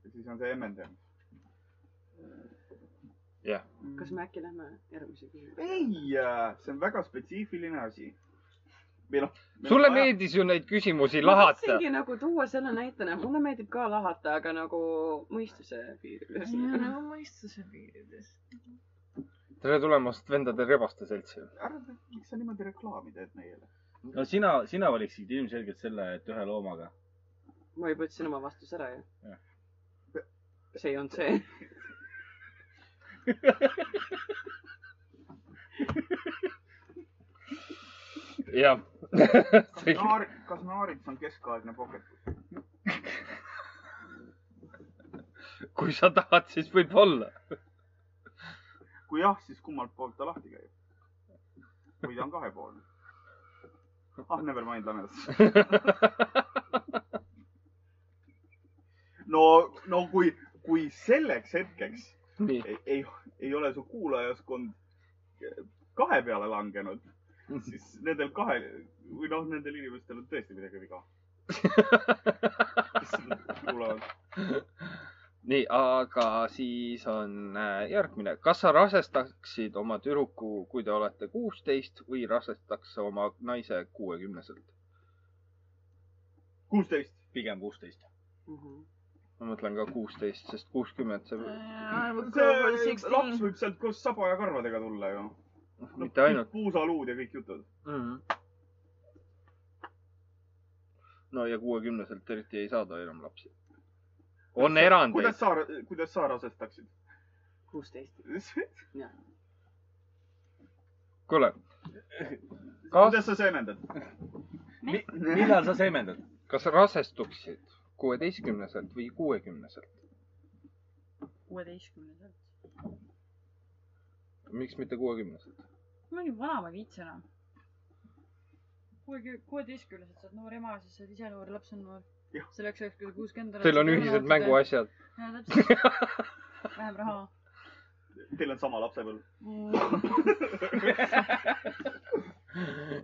Speaker 2: siis siis on see MND .
Speaker 4: kas me äkki lähme järgmise küsimuse ?
Speaker 2: ei , see on väga spetsiifiline asi . või noh .
Speaker 1: sulle meeldis ju neid küsimusi lahata .
Speaker 4: tahtsingi nagu tuua selle näitena , mulle meeldib ka lahata , aga nagu mõistuse piiril .
Speaker 2: Mhm.
Speaker 5: nagu mõistuse piirides .
Speaker 1: tere tulemast vendade rebaste seltsi .
Speaker 2: ära , miks sa niimoodi reklaami teed meile ?
Speaker 3: no sina , sina valiksid ilmselgelt selle , et ühe loomaga .
Speaker 4: ma juba ütlesin oma vastuse ära ju
Speaker 3: Jah. .
Speaker 4: see ei olnud see .
Speaker 1: jah .
Speaker 2: kas naar- , kas naarits on keskaegne poketus ?
Speaker 1: kui sa tahad , siis võib-olla .
Speaker 2: kui jah , siis kummalt poolt ta lahti käib ? või ta on kahepoolne ? ah , never mind , lame edasi . no , no kui , kui selleks hetkeks
Speaker 1: nii ,
Speaker 2: ei, ei , ei ole su kuulajaskond eh, kahe peale langenud ,
Speaker 1: Mhm.
Speaker 2: siis nendel kahe või noh , nendel inimestel on tõesti midagi viga . kes seda kuulavad .
Speaker 1: nii , aga siis on äh, järgmine . kas sa rasestaksid oma tüdruku , kui te olete kuusteist või rasestaks sa oma naise kuuekümneselt ?
Speaker 2: kuusteist .
Speaker 3: pigem kuusteist .
Speaker 4: Mhm.
Speaker 1: ma mõtlen ka kuusteist , sest kuuskümmend see noh,
Speaker 4: Nagu
Speaker 2: see laps võib sealt koos saba ja karvadega tulla ju .
Speaker 1: mitte ainult .
Speaker 2: puusaluud ja kõik jutud .
Speaker 1: no ja kuuekümneselt eriti ei saada enam lapsi . on erandeid
Speaker 2: kuidas . sa , kuidas sa rasestaksid ?
Speaker 4: kuusteist .
Speaker 1: kuule ,
Speaker 2: kuidas sa seemendad ?
Speaker 3: millal sa seemendad ?
Speaker 1: kas rasestuksid kuueteistkümneselt või kuuekümneselt ?
Speaker 5: kuueteistkümnendaselt .
Speaker 1: miks mitte kuuekümneselt ?
Speaker 5: ma olin vana , ma ei viitsi enam . kuuekümne , kuueteistkümneselt saad noor ema , siis saad ise noor , laps on noor
Speaker 2: Jah. .
Speaker 5: selleks ajaks , kui sa kuuskümmend oled .
Speaker 1: Teil on ühised . mänguasjad .
Speaker 5: jaa , täpselt . vähem raha .
Speaker 2: Teil on sama lapsepõlv .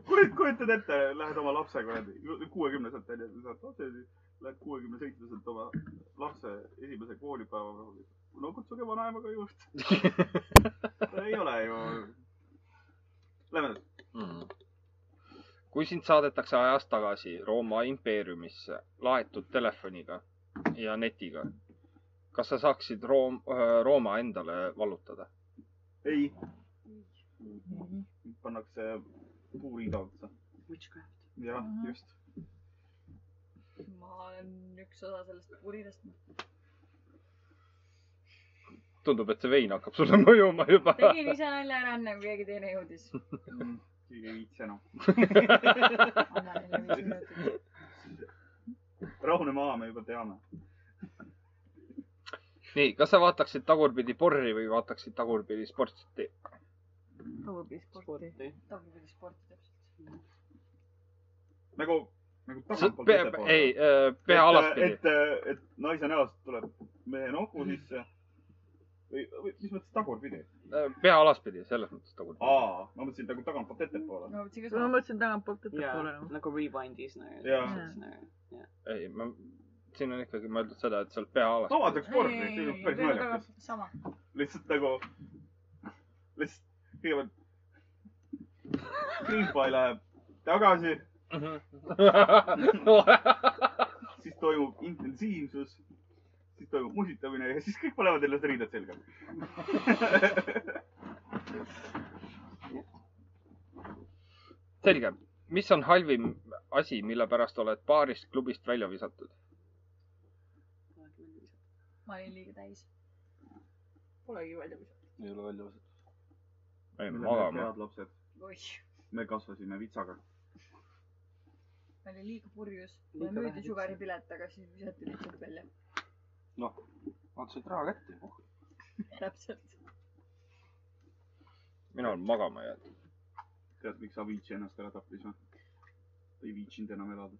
Speaker 2: kurat , kujutad ette , lähed oma lapse kuradi , kuuekümneselt onju , saad lapse , lähed kuuekümne seitsmeselt oma lapse esimese koolipäeva peale . no kutsuge vanaema ka juurde . ei ole ju . Lähme nüüd . Mhm.
Speaker 1: kui sind saadetakse ajas tagasi Rooma impeeriumisse laetud telefoniga ja netiga , kas sa saaksid Room- , Rooma endale vallutada ?
Speaker 2: ei . pannakse puuriida otsa .
Speaker 4: Witchcraft .
Speaker 2: jah , just .
Speaker 5: ma olen üks osa sellest purinast .
Speaker 1: tundub , et see vein hakkab sulle mõjuma juba .
Speaker 5: tegin ise nalja ära enne , kui keegi teine jõudis .
Speaker 2: Mm, keegi ei viitsi enam .
Speaker 5: anna neile viis minutit .
Speaker 2: rahune maa , me juba teame .
Speaker 1: nii , kas sa vaataksid tagurpidi porri või vaataksid tagurpidi sporti ?
Speaker 5: tagurpidi sporti . tagurpidi sporti täpselt .
Speaker 2: nagu , nagu tagantpoolt
Speaker 1: pea , ei , pea alaspidi .
Speaker 2: et , et, et naise näost tuleb mehe nohu sisse . või , või mis mõttes tagurpidi ?
Speaker 1: pea alaspidi , Äh, selles mõttes tagurpidi .
Speaker 2: aa , ma mõtlesin nagu tagantpoolt ettepoole .
Speaker 5: ma mõtlesin ka
Speaker 7: ma
Speaker 5: seda .
Speaker 7: mõtlesin tagantpoolt ettepoole nagu .
Speaker 4: nagu rewind'is nagu .
Speaker 2: Jaa.
Speaker 1: ei , ma , siin on ikkagi mõeldud seda , et seal pea
Speaker 2: ma
Speaker 1: alaspidi .
Speaker 2: vaataks kordi , see on päris naljakas .
Speaker 5: sama .
Speaker 2: lihtsalt nagu , lihtsalt kõigepealt kriipai läheb tagasi , siis toimub intensiivsus , siis toimub musitamine ja siis kõik panevad endast riided selga .
Speaker 1: selge , mis on halvim asi , mille pärast oled baarist , klubist välja visatud ?
Speaker 5: ma olin liiga täis .
Speaker 6: Polegi välja visatud .
Speaker 3: ei ole välja osatud .
Speaker 1: jäin magama .
Speaker 2: head lapsed ,
Speaker 5: oih ,
Speaker 2: me kasvasime vitsaga .
Speaker 5: ma olin liiga purjus .
Speaker 4: Liiga
Speaker 5: mulle
Speaker 4: vähe
Speaker 5: müüdi sugaripilet , aga siis visati lihtsalt välja .
Speaker 3: maksid raha kätte .
Speaker 5: täpselt .
Speaker 1: mina olen magama jäänud .
Speaker 2: tead , miks Avicii ennast ära tappis või ? ta ei viitsinud enam elada .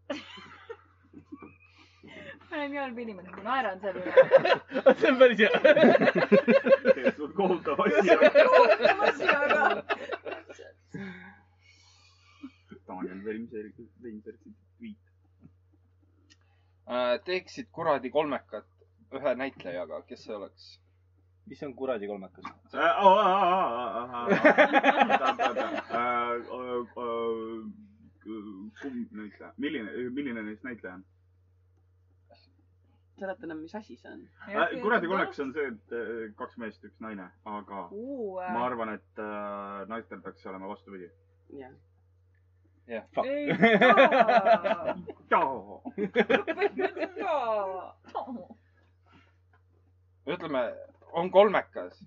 Speaker 5: ma olen nii halb inimene , ma naeran selle üle .
Speaker 3: see on päris hea .
Speaker 2: see on kohutav asi . Daniel Veinberg , Veinberg tweet .
Speaker 1: teeksid kuradi Äh, kolmekat ühe näitlejaga , kes see oleks ?
Speaker 3: mis on kuradi kolmekas ?
Speaker 2: Äh, äh, kumb näitleja , milline , milline neist näitleja on ?
Speaker 4: seleta enam , mis asi see on .
Speaker 5: Äh,
Speaker 2: Äh, kuradi kolmeks on see , et äh, kaks meest , üks naine , aga ma arvan , et äh, naistel peaks olema vastupidi .
Speaker 4: jah .
Speaker 3: jah , fuck .
Speaker 2: jaa .
Speaker 1: ütleme , on kolmekas .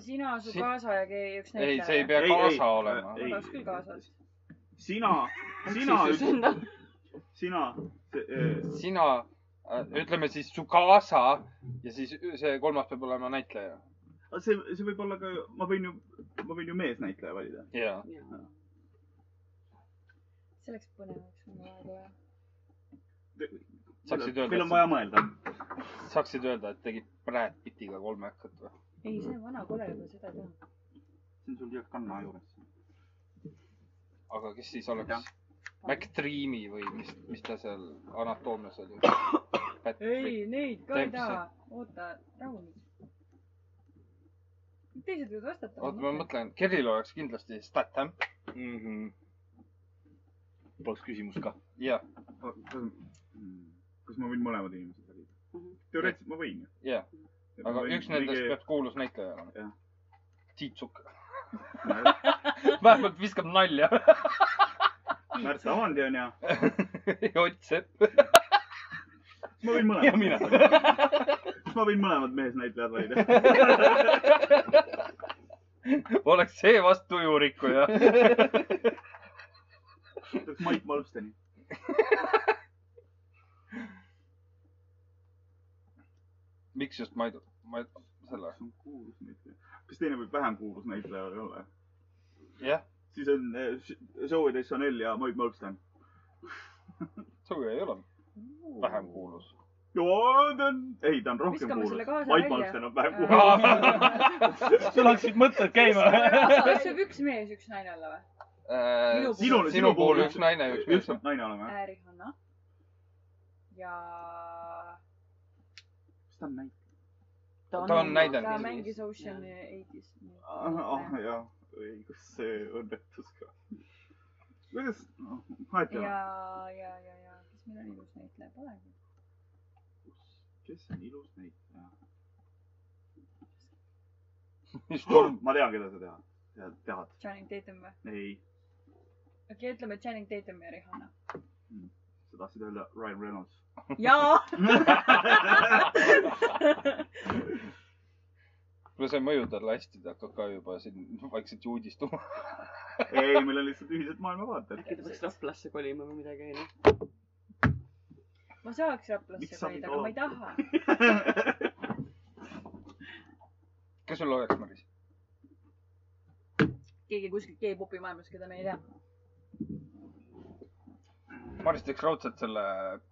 Speaker 5: sina , su
Speaker 1: Si-
Speaker 5: kaasa ja keegi üks
Speaker 1: ei , see ei
Speaker 5: näitleja .
Speaker 1: pea
Speaker 2: Ei, ei.
Speaker 1: kaasa olema .
Speaker 2: Ei.
Speaker 5: ma tahaks küll kaasa .
Speaker 2: sina , sina ,
Speaker 4: sinna .
Speaker 2: sina , äh,
Speaker 1: sina , ütleme siis su kaasa ja siis ü- see kolmas peab olema näitleja .
Speaker 2: see , see võib olla ka , ma võin ju , ma võin ju meesnäitleja valida .
Speaker 1: jaa .
Speaker 5: see läks põnevaks , mul on aega vaja .
Speaker 1: Saaksid öelda,
Speaker 2: meil
Speaker 1: et
Speaker 2: on
Speaker 1: sa-
Speaker 2: vaja mõelda .
Speaker 1: saaksid öelda , et tegid Brad Pittiga kolmekat või ?
Speaker 5: ei , see on vana kole juba , seda ei taha .
Speaker 2: see on sul jah kanna juures .
Speaker 1: aga kes siis oleks ? McDreamy või mis , mis ta seal anatoomias oli ?
Speaker 5: ei , neid ka ei
Speaker 1: Täpselt.
Speaker 5: taha . oota , rahu nüüd . teised võivad vastata .
Speaker 1: oota , ma . mõtlen , Keril oleks kindlasti Statham . Mhm.
Speaker 3: Poleks küsimust ka .
Speaker 1: jah ,
Speaker 2: kas mm, ma võin mõlemad inimesed valida ? teoreetiliselt ma võin ju .
Speaker 1: jah . aga üks nendest peab kuulus näitleja olema
Speaker 2: Jah. .
Speaker 1: Tiit Sukk .
Speaker 2: peab .
Speaker 1: vähemalt viskab nalja .
Speaker 2: Märt Avandi on ja
Speaker 1: Ott Sepp
Speaker 2: ma võin
Speaker 1: ja
Speaker 2: mõlemad ,
Speaker 1: mina .
Speaker 2: ma võin mõlemad meesnäitlejad valida .
Speaker 1: oleks see vast tujurikkuja .
Speaker 2: Mait Malmsteni .
Speaker 1: miks just Maidu , Maidu , selle ,
Speaker 2: see on kuulus näitleja . kas teine võib vähem kuulus näitleja olla ?
Speaker 1: jah ,
Speaker 2: siis on eh, Zoe Deschanel ja Mait Malmsten .
Speaker 1: suvi ei ole vähem kuulus .
Speaker 2: joo , ta on , ei , ta on rohkem
Speaker 5: Viskame
Speaker 2: kuulus
Speaker 5: selle . kaasa
Speaker 2: Mait
Speaker 5: välja.
Speaker 2: Malmsten on vähem kuulus .
Speaker 1: äh,
Speaker 10: sul hakkasid mõtted käima .
Speaker 5: kas saab üks mees , üks naine olla või ?
Speaker 1: sinu,
Speaker 2: Sinul-
Speaker 1: Äh, sinu puhul üks naine , üks mees
Speaker 2: just . naine olema , jah ?
Speaker 5: Rihanna . ja .
Speaker 2: kas ta on näitleja ?
Speaker 1: ta on .
Speaker 5: ta
Speaker 1: näidanud
Speaker 5: mängis
Speaker 1: niiviisi .
Speaker 5: Ocean'i Eightis .
Speaker 2: ah jah , õigus , see õnnetus ka . kuidas , noh , vahet ei
Speaker 5: ja
Speaker 2: ole .,
Speaker 5: ja , ja , ja kes meil on ilus näitleja , polegi .
Speaker 2: kes on ilus näitleja ?
Speaker 1: Storm ,
Speaker 2: Oh, ma tean , keda sa tead . tead , tead .
Speaker 5: Channing Tatum või ?
Speaker 2: ei ,
Speaker 5: okei okay, , ütleme Channing Tatum ja Rihanna .
Speaker 2: sa tahtsid öelda Ryan Reynolds .
Speaker 5: jaa .
Speaker 1: kuule , see mõjub talle hästi , ta hakkab ka juba siin vaikselt juudistuma .
Speaker 2: ei , meil on lihtsalt ühised maailmavaated .
Speaker 4: äkki ta peaks Raplasse kolima või midagi , noh. onju .
Speaker 5: ma saaks Raplasse
Speaker 2: Miks sa
Speaker 5: kolida ,
Speaker 2: mind
Speaker 5: aga ma ei taha .
Speaker 1: kes sul oleks , Maris ?
Speaker 5: keegi kuskil K-popi maailmas , keda me ei tea .
Speaker 1: Maris teeks raudselt selle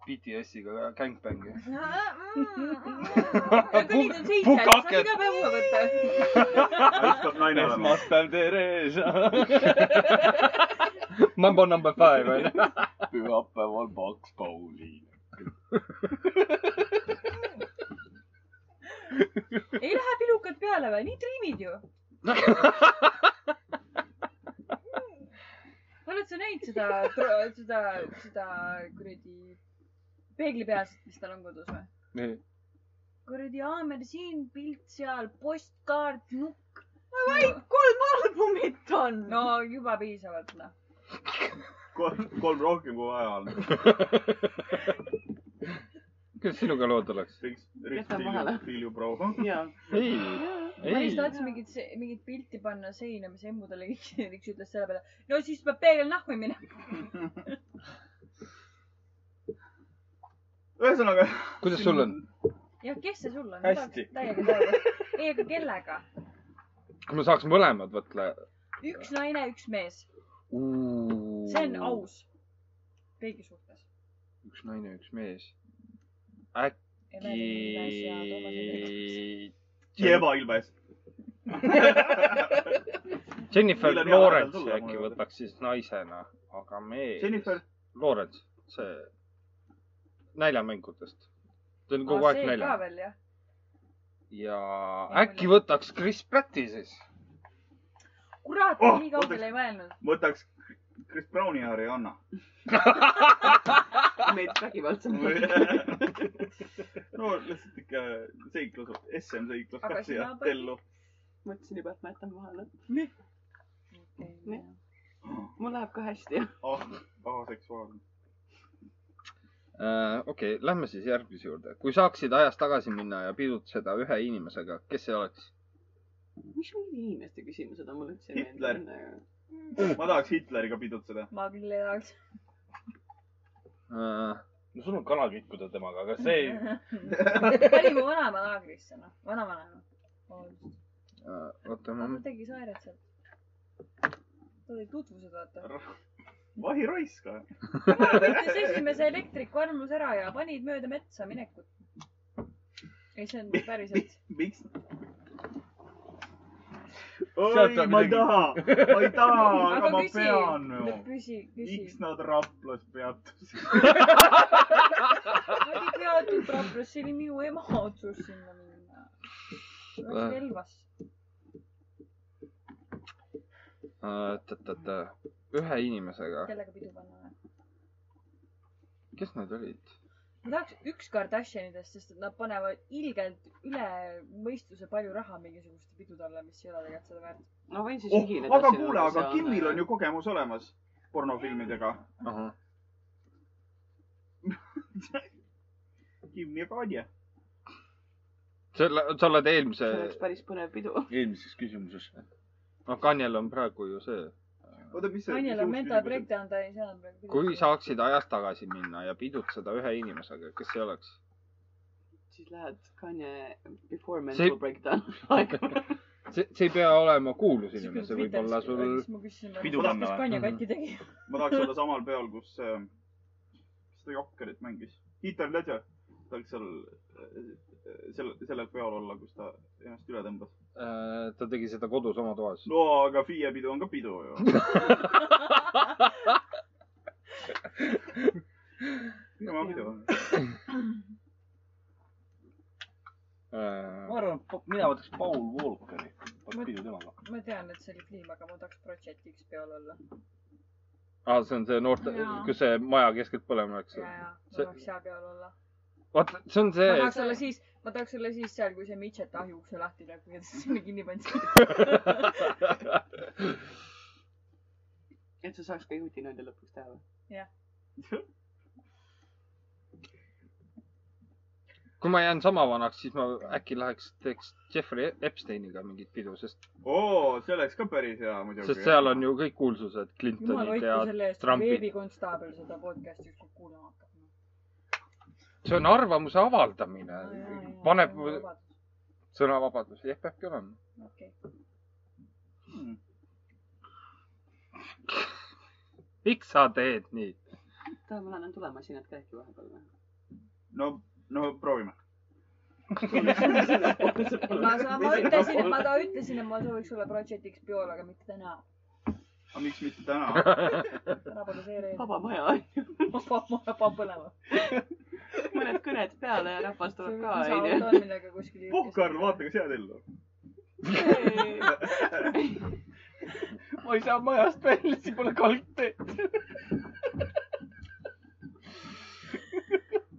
Speaker 1: BTS-iga gängbangi .
Speaker 5: kõigil on seitse , saab
Speaker 1: Pukaket.
Speaker 5: iga päev uue võtta .
Speaker 2: üks peab naine olema .
Speaker 3: esmaspäev , Theresa .
Speaker 1: Mambo number five , onju .
Speaker 3: pühapäeval paks Pauliin .
Speaker 5: ei lähe pilukad peale või ? nii triimid ju . oled sa näinud seda , seda , seda kuradi peeglipeast , mis tal on kodus või ?
Speaker 1: nii ,
Speaker 5: kuradi haamer siin , pilt seal , postkaart , nukk .
Speaker 11: kolm albumit on .
Speaker 5: no juba piisavalt , noh .
Speaker 2: kolm , kolm rohkem kui vaja on .
Speaker 1: kuidas sinuga lood oleks ?
Speaker 2: riks , riks
Speaker 4: Jätan vahele. ,
Speaker 2: Vilju Pro .
Speaker 4: jaa .
Speaker 1: ei ,
Speaker 5: Maris
Speaker 1: ei ,
Speaker 5: tahtis mingit , mingit pilti panna seina , mis emmu talle kirjutaks , ütles selle peale , no siis peab peegel nahku minema .
Speaker 2: ühesõnaga .
Speaker 1: kuidas sul on ?
Speaker 5: jah , kes see sul on ?
Speaker 3: Hästi.
Speaker 5: täiega teada . ei , aga kellega ?
Speaker 1: kui me saaks mõlemad , mõtle .
Speaker 5: üks naine , üks mees . see
Speaker 1: see
Speaker 5: on . aus . kõigi suhtes .
Speaker 1: üks naine , üks mees . äkki .
Speaker 2: Jeva Ilves .
Speaker 1: Jennifer
Speaker 2: Millal mina vahepeal
Speaker 1: Lawrence
Speaker 2: tulla,
Speaker 1: äkki
Speaker 2: mul ei ole-
Speaker 1: võtaks siis naisena , aga mees .
Speaker 2: Jennifer .
Speaker 1: Lawrence , see näljamängudest . ta on kogu aeg
Speaker 5: Ah, nagu- ka
Speaker 1: nälja .
Speaker 5: veel jah ?
Speaker 1: ja äkki võtaks Chris Patti siis ?
Speaker 5: kurat
Speaker 2: Oh,
Speaker 5: oh, , nii kaugele
Speaker 2: ootaks.
Speaker 5: ei mõelnud .
Speaker 2: võtaks Chris Browni ja Rihanna .
Speaker 4: meid vägivaldsemalt .
Speaker 2: no lihtsalt ikka seiklus , SM seiklus
Speaker 5: Aga
Speaker 2: kaks ja
Speaker 5: sina, Padri?
Speaker 2: tellu .
Speaker 4: mõtlesin juba , et ma jätan vahele .
Speaker 5: Nii.
Speaker 4: mul läheb ka hästi .
Speaker 2: ah , aseksuaalne .
Speaker 1: Äh, okei , lähme siis järgmise juurde . kui saaksid ajas tagasi minna ja pidutseda ühe inimesega , kes see oleks ?
Speaker 4: mis mingid inimeste küsimused on , mulle üldse ei
Speaker 2: Hitler.
Speaker 4: meeldi . nagu-
Speaker 2: ma tahaks Hitleriga pidutseda .
Speaker 5: ma küll ei tahaks .
Speaker 1: Äh,
Speaker 3: no sul on kana kitkuda temaga , aga see ei ,
Speaker 5: panime vanaema laagrisse , noh , vanavanaema .
Speaker 1: Mm.
Speaker 5: aga
Speaker 1: Äh, oota , ma
Speaker 5: ta tegi saaret sealt . tal olid tutvused , vaata .
Speaker 2: vahi raiska .
Speaker 5: tema võttis esimese elektriku armus ära ja panid mööda metsa minekut . ei , see on päriselt .
Speaker 2: miks ?
Speaker 3: Sealt
Speaker 2: oi ,
Speaker 3: tuleb
Speaker 2: ma ei
Speaker 3: midagi.
Speaker 2: taha , ma ei taha , aga
Speaker 5: aga
Speaker 2: ma
Speaker 5: küsi
Speaker 2: pean ju .,
Speaker 5: küsi ,
Speaker 2: miks
Speaker 5: küsi .
Speaker 2: nad Raplas peatusid ?
Speaker 5: ma ei tea , et Raplas , see oli minu ema otsus sinna minna . oleks relvas .
Speaker 1: Äh, oot-oot-oot , ühe inimesega ,
Speaker 5: kellega pidu panna või ?
Speaker 1: kes need olid ?
Speaker 5: ma tahaks üks Kardashianidest , sest et nad panevad ilgelt üle mõistuse palju raha mingisuguste pidude alla , mis ei ole tegelikult seda väärt .
Speaker 4: ma võin siis
Speaker 2: oh ,
Speaker 4: ühineda .
Speaker 2: aga kuule , aga Kimmil on ju kogemus olemas pornofilmidega . Kim ja Kanye .
Speaker 1: selle , sa oled eelmise
Speaker 4: see , oleks päris põnev pidu .
Speaker 1: eelmises küsimuses . no Kanjel on praegu ju see .
Speaker 2: oota , mis see .
Speaker 5: Anjel on mental . breakdown , ta ei saanud praegu .
Speaker 1: kui . saaksid ajas tagasi minna ja pidutseda ühe inimesega , kes see oleks ?
Speaker 4: siis lähed Kanye Before Mental
Speaker 1: See-
Speaker 4: see... Breakdown aega .
Speaker 1: see , see ei pea olema kuulus inimene , see võib olla sul .
Speaker 5: siis ma küsisin ,
Speaker 3: Pidu
Speaker 5: kas
Speaker 3: panna või?
Speaker 5: Kanja katki tegi .
Speaker 2: ma tahaks olla samal peol , kus äh, , kes seda Jokkerit mängis , Heater Ledger . tahaks seal , seal , sellel peol olla , kus ta ennast üle tõmbas .
Speaker 1: äh, ta tegi seda kodus oma toas .
Speaker 2: no aga FIE pidu on ka pidu ju . tema pidu .
Speaker 1: Äh,
Speaker 3: ma arvan , mina võtaks Paul Walkeri , paneks pidu temaga .
Speaker 5: ma tean , et see oli film , aga ma tahaks Projectiks peal olla .
Speaker 1: aa , see on see noorte
Speaker 12: Jaa. ,
Speaker 1: kus see maja keskelt põlema läks
Speaker 5: ja ,. ja ma
Speaker 1: See-
Speaker 5: tahaks seal peal olla .
Speaker 1: vaat , see on
Speaker 5: ma
Speaker 1: see ,
Speaker 5: tahaks olla siis , ma tahaks olla siis seal , kui see midžet ahju ukse lahti lööb , kui ta sinna kinni pandi .
Speaker 4: et sa saaks ka jutinalja lõpuks teha või ?
Speaker 1: kui ma jään sama vanaks , siis ma äkki läheks , teeks Jeffrey Epsteiniga mingit pidu , sest ,
Speaker 2: oo , see oleks ka päris hea muidugi .
Speaker 1: sest seal on ju kõik kuulsused ,
Speaker 5: jumal
Speaker 1: Clintonid ja
Speaker 5: hoidku selle eest , kui
Speaker 1: Trumpid.
Speaker 5: veebikonstaabel seda podcast'i ükskord kuulama hakkab .
Speaker 1: see on arvamuse avaldamine , paneb sõnavabadus , jah , peabki olema .
Speaker 5: okei ,
Speaker 1: miks sa teed nii ?
Speaker 4: tahad , ma lähen tulemasinad ka äkki vahepeal või ?
Speaker 2: no , no proovime .
Speaker 5: ma , ma ütlesin , et ma ta ütlesin , et ma sooviks olla Projectiks peol , aga mitte täna .
Speaker 2: aga miks mitte täna ?
Speaker 5: täna pole see reede .
Speaker 4: vaba maja on ju ,
Speaker 5: ma pean põlema .
Speaker 4: mõned kõned peale ja rahvas tuleb ka onju .
Speaker 5: lisaauto on millega kuskil .
Speaker 2: oh , Karl , vaata , kas jääd ellu .
Speaker 13: ma ei saa majast välja , siin pole kaldteed .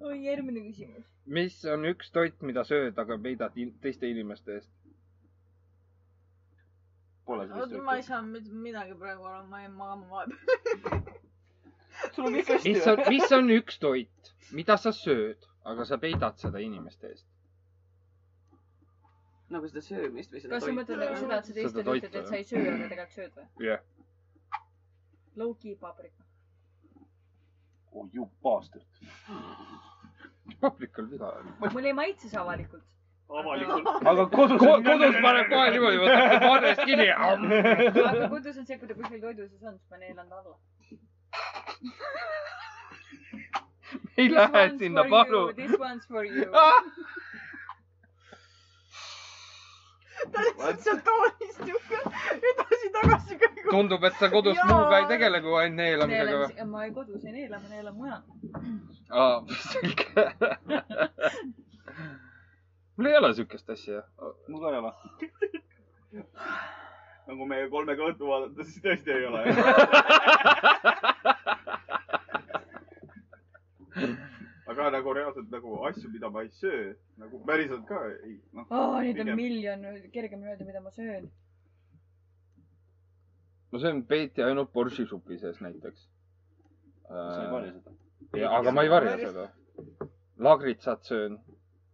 Speaker 5: oi , järgmine küsimus .
Speaker 1: mis on üks toit , mida sööd , aga peidad in- teiste inimeste eest ?
Speaker 3: Pole sellist
Speaker 14: oota , ma ei
Speaker 3: juttu .
Speaker 14: saa mitte midagi praegu aru , ma jäin magama vahepeal .
Speaker 13: sul on kõik hästi
Speaker 1: mis on , mis on üks toit , mida sa sööd , aga sa peidad seda inimeste eest ?
Speaker 4: nagu seda söömist või seda
Speaker 5: kas sa
Speaker 4: toitu .
Speaker 5: mõtled nagu seda , et sa
Speaker 1: Seda
Speaker 5: teistele ütled ,
Speaker 1: toitu,
Speaker 5: et sa ei söö , aga tegelikult sööd või ?
Speaker 1: jah .
Speaker 5: Low-key paprika .
Speaker 3: oh you bastard .
Speaker 1: paprikal viga on .
Speaker 5: mul ei maitse see avalikult .
Speaker 2: avalikult .
Speaker 3: aga kodus on
Speaker 1: kodus paneb kohe niimoodi , võtab selle paanest kinni .
Speaker 5: aga kodus on see , kui ta kuskil toiduses on , siis ma neelan ta alla .
Speaker 1: ei lähe sinna , palun .
Speaker 5: This one's for you .
Speaker 14: ta lihtsalt seal toolis niuke edasi-tagasi kõigub .
Speaker 1: tundub , et sa kodus
Speaker 14: Jaa.
Speaker 1: muuga ei tegele , kui ainult neelamisega või ?
Speaker 5: ma ei kodus ei neela , ma neelan mujal .
Speaker 1: aa , selge . mul ei ole siukest asja .
Speaker 3: mul ka ei ole .
Speaker 2: nagu meie kolmega õhtu vaadata , siis tõesti ei ole . aga nagu reaalselt nagu asju , mida ma ei söö , nagu päriselt ka ei , noh .
Speaker 5: oh, . Neid on
Speaker 2: Pigem-
Speaker 5: miljon , kergemini öelda , mida ma söön .
Speaker 1: ma söön peeti ainult boršisupi sees näiteks .
Speaker 3: sa ei varja seda .
Speaker 1: aga ma ei varja seda . lagritsat söön ,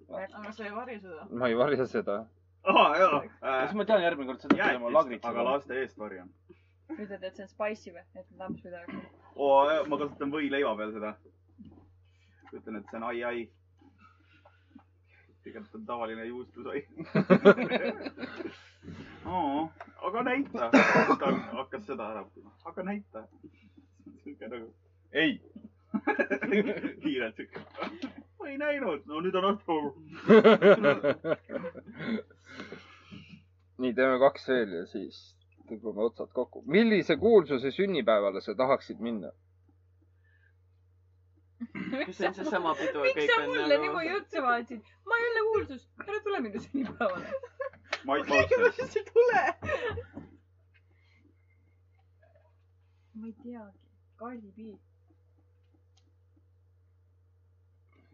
Speaker 4: Ah.
Speaker 15: aga sa ei varja seda .
Speaker 1: ma ei varja seda .
Speaker 2: aa , jaa Äh,
Speaker 3: kas . ma tean järgmine kord seda , mida ma
Speaker 2: jäätist ,
Speaker 3: lagritsa
Speaker 2: aga laste eest varjan .
Speaker 5: nüüd ta teeb , see on spicy või , et lamps midagi .
Speaker 2: ma kasutan võileiva peal seda . ütlen , et see on ai-ai . tegelikult on tavaline juustusai oh, . aga näita . ta hakkas seda ära õppima . aga näita . siuke nagu , ei . kiirelt siuke . ma ei näinud , no nüüd on õhtu .
Speaker 1: nii , teeme kaks veel ja siis tõmbame otsad kokku . millise kuulsuse sünnipäevale sa tahaksid minna ?
Speaker 4: kas see on seesama pidu ja
Speaker 5: miks
Speaker 4: kõik
Speaker 5: sa
Speaker 4: on
Speaker 5: mulle niimoodi
Speaker 4: nagu .
Speaker 5: juttu vaatasid ? ma ei ole kuulsus , ära tule minu sünnipäevale .
Speaker 2: ma ei saa .
Speaker 15: sa ei tule .
Speaker 5: ma ei teagi , Cardi B .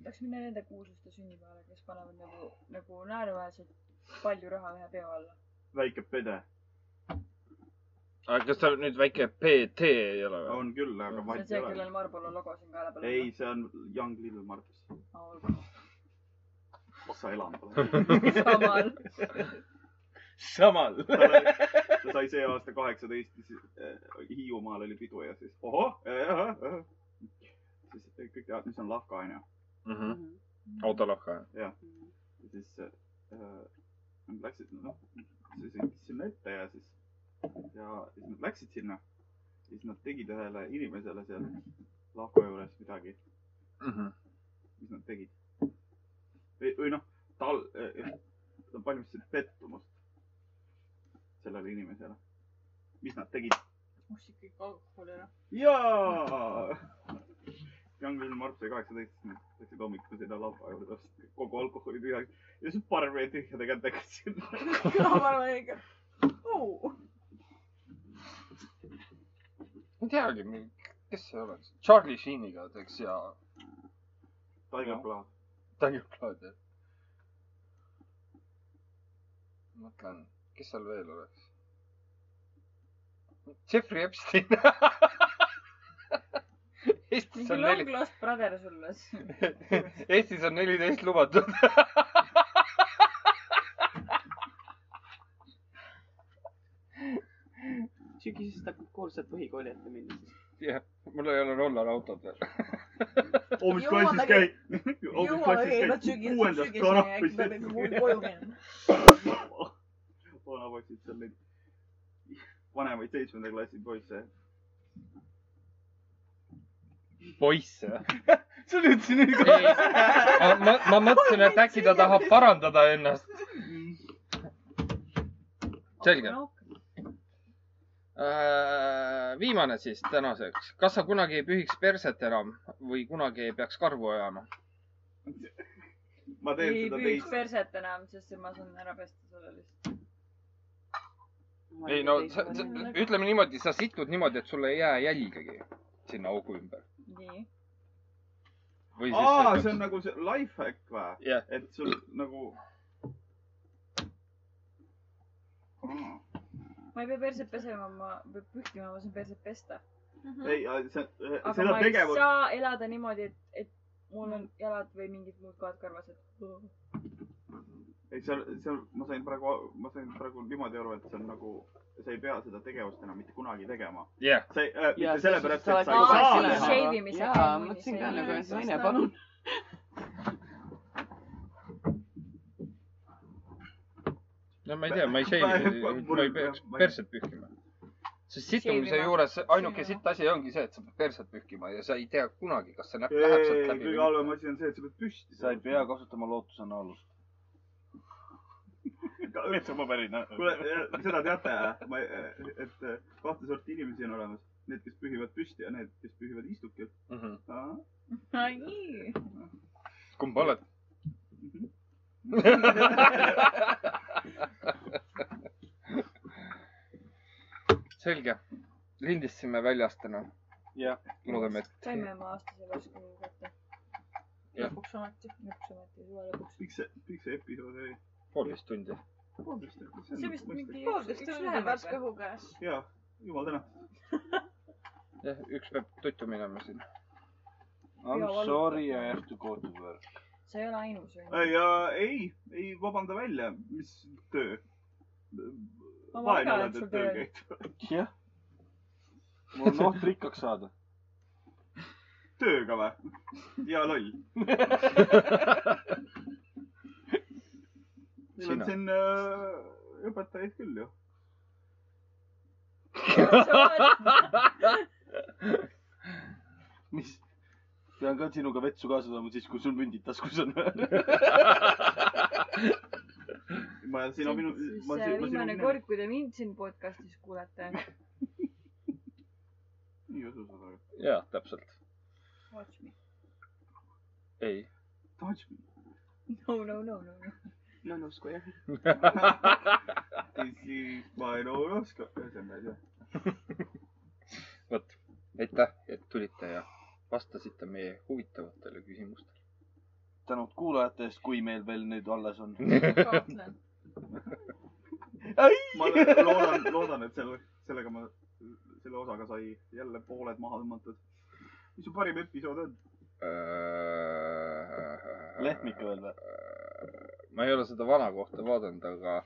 Speaker 5: tahaks minna nende kuulsuste sünnipäevale , kes panevad nagu , nagu naeruväärselt palju raha ühe peo alla .
Speaker 2: väike pede .
Speaker 1: aga kas ta nüüd väike PT ei ole või ?
Speaker 2: on küll , aga
Speaker 5: see on
Speaker 2: vahet
Speaker 5: see
Speaker 2: ei , ole .
Speaker 5: kellel Marlboro logo siin kaela peal
Speaker 2: ei , see on Young Little Marcus .
Speaker 5: on .
Speaker 2: sa elad praegu .
Speaker 5: samal .
Speaker 3: samal .
Speaker 2: ta sai see aasta kaheksateist , siis äh, Hiiumaal oli pidu ja siis ohoh , ahah , ahah . siis äh, kõik teavad , mis on lahka onju .
Speaker 1: Mhm. oota , lahka .
Speaker 2: ja siis äh, nad läksid , noh , siis jõudis sinna ette ja siis , ja siis nad läksid sinna . siis nad tegid ühele inimesele seal lahko juures midagi ,
Speaker 1: Mhm.
Speaker 2: mis nad tegid . või , või noh , tal äh, , nad valmistasid pettumust sellele inimesele . mis nad tegid ?
Speaker 15: must ikka ikka alkoholi
Speaker 5: noh.
Speaker 15: ära .
Speaker 2: jaa . Young Lil Marp sai kaheksateist , läksid hommikul sinna laua juurde , ostsid kogu alkoholi tühjaks ja siis barmen tühjade kätega sinna .
Speaker 15: kõlavarva ikka . oo ,
Speaker 1: ma ei teagi , kes see oleks . Charlie Sheeniga teeks hea
Speaker 2: Tiger Blood .
Speaker 1: Tiger Blood , jah . mõtlen , kes seal veel oleks ? Jeffrey Epstein . Eestis on
Speaker 5: mingi
Speaker 1: neli ,
Speaker 5: Long Lost Brother sulle .
Speaker 1: Eestis on neliteist lubatud .
Speaker 4: sügisest hakkab kool sealt põhikooli ette minna siis .
Speaker 1: jah , mul ei ole rollerautot veel .
Speaker 2: oo , mis
Speaker 15: Jumala
Speaker 2: klassis käid ? oo , mis
Speaker 15: jumala
Speaker 2: klassis
Speaker 15: keelad
Speaker 2: käid ?
Speaker 15: sügiseni ,
Speaker 2: kuuendas
Speaker 15: sügiseni äkki peab ikka kooli koju
Speaker 2: kanapist .
Speaker 15: minema .
Speaker 2: vanapoisid seal neid vanemaid seitsmenda klassi poisse .
Speaker 1: poiss , jah ?
Speaker 16: sa nüüd siin nüüd
Speaker 1: ei , ma , ma mõtlesin , et äkki ta tahab parandada ennast . selge . Äh,
Speaker 5: noh,
Speaker 1: viimane siis tänaseks . kas sa kunagi ei pühiks perset enam või kunagi ei peaks karvu ajama ?
Speaker 2: ma teen
Speaker 5: ei
Speaker 2: seda
Speaker 5: püüaks
Speaker 2: teist .
Speaker 5: perset enam , sest ma saan ära pesta selle lihtsalt .
Speaker 1: ei no , ütleme niimoodi , sa situd niimoodi , et sul ei jää jälgegi sinna augu ümber .
Speaker 5: nii .
Speaker 1: või
Speaker 2: aa , see on
Speaker 1: siis .
Speaker 2: nagu see life hack või ?
Speaker 1: jah ,
Speaker 2: et sul nagu .
Speaker 5: ma ei pea perset pesema , ma pean pühkima , ma saan perset pesta .
Speaker 2: ei , see ,
Speaker 5: aga
Speaker 2: seda
Speaker 5: ma ei
Speaker 2: tegevust .
Speaker 5: saa elada niimoodi , et , et mul on jalad või mingid muud kohad karvas , et
Speaker 2: ei , seal , seal ma sain praegu , ma sain praegu niimoodi aru , et see on nagu , sa ei pea seda tegevust enam mitte kunagi tegema .
Speaker 1: jah .
Speaker 2: sa ei äh, ,
Speaker 4: Jaa,
Speaker 2: mitte sellepärast ,
Speaker 4: sa
Speaker 2: et sa ei
Speaker 5: oled
Speaker 2: saa
Speaker 5: vaesem.
Speaker 2: teha .
Speaker 5: shave imisega
Speaker 4: jaa ,
Speaker 5: muidu
Speaker 4: mõtlesin
Speaker 5: see
Speaker 4: ka
Speaker 5: ei
Speaker 4: nagu
Speaker 5: ole
Speaker 4: naine ,
Speaker 5: seda.
Speaker 4: palun .
Speaker 1: no ma ei tea , ma ei shave , ma ei peaks perset pühkima . sest situmise
Speaker 5: Shave'ima.
Speaker 1: juures ainuke
Speaker 5: Shave'ima.
Speaker 1: sitt asi ongi see , et sa pead perset pühkima ja sa ei tea kunagi , kas see näpp läheb sealt
Speaker 2: ei ,
Speaker 1: läbi .
Speaker 2: kõige halvem . asi on see , et sa pead püsti .
Speaker 3: sa ei pea . kasutama lootusanaalust .
Speaker 2: kuule ,
Speaker 16: paberina .
Speaker 2: seda teate , ma , et äh, kahte sorti inimesi on olemas . Need , kes pühivad püsti ja need , kes pühivad istukil .
Speaker 1: Mhm. Mm -hmm.
Speaker 2: aa
Speaker 5: nii .
Speaker 1: kumb oled ? selge , lindistasime väljas täna .
Speaker 3: Jah.
Speaker 1: loodame , et .
Speaker 5: saime oma aastase lasku kätte .
Speaker 1: Jah.
Speaker 5: lõpuks ometi . lõpuks ometi , suve lõpuks .
Speaker 2: miks see , miks see episood oli ?
Speaker 1: poolteist tundi .
Speaker 5: see vist mingi
Speaker 6: poolteist tundi on värske õhu käes .
Speaker 2: jaa , jumal tänatud .
Speaker 1: jah , üks peab tuttu minema siin .
Speaker 3: I m sorry I have to go to work .
Speaker 5: sa ei ole ainus ju .
Speaker 2: Äh, ja ei , ei vabanda välja , mis töö .
Speaker 5: Ma
Speaker 2: vaene
Speaker 5: vaatan,
Speaker 2: oled ,
Speaker 5: et sul
Speaker 2: et tööl
Speaker 5: töö-
Speaker 2: käid .
Speaker 3: jah . mul on oht rikkaks saada .
Speaker 2: tööga või ? ja loll . meil on
Speaker 1: Sina.
Speaker 2: siin äh, õpetajaid küll ju .
Speaker 3: mis ? pean ka sinuga vetsu kaasa tooma siis , kui sul mündid taskus on .
Speaker 2: ma ,
Speaker 5: see
Speaker 2: sina minu , ma , ma
Speaker 5: see
Speaker 2: sinu
Speaker 5: viimane
Speaker 2: minu .
Speaker 5: kord , kui te mind siin podcastis kuulete .
Speaker 2: nii usu seda .
Speaker 1: jaa , täpselt .
Speaker 5: Watch me .
Speaker 1: ei .
Speaker 2: Touch me .
Speaker 5: no , no , no , no , no .
Speaker 4: no usku jah .
Speaker 2: siis ma ei no ei oska , ühesõnaga ei tea .
Speaker 1: vot , aitäh , et tulite ja vastasite meie huvitavatele küsimustele .
Speaker 3: tänud kuulajate eest , kui meil veel nüüd alles on .
Speaker 6: kahtlen .
Speaker 2: ma loodan , loodan , et selle , sellega ma , selle osaga sai jälle pooled maha tõmmatud . mis su parim episood on ?
Speaker 3: lehmik veel või ?
Speaker 1: Äh, ma ei ole seda vana kohta vaadanud , aga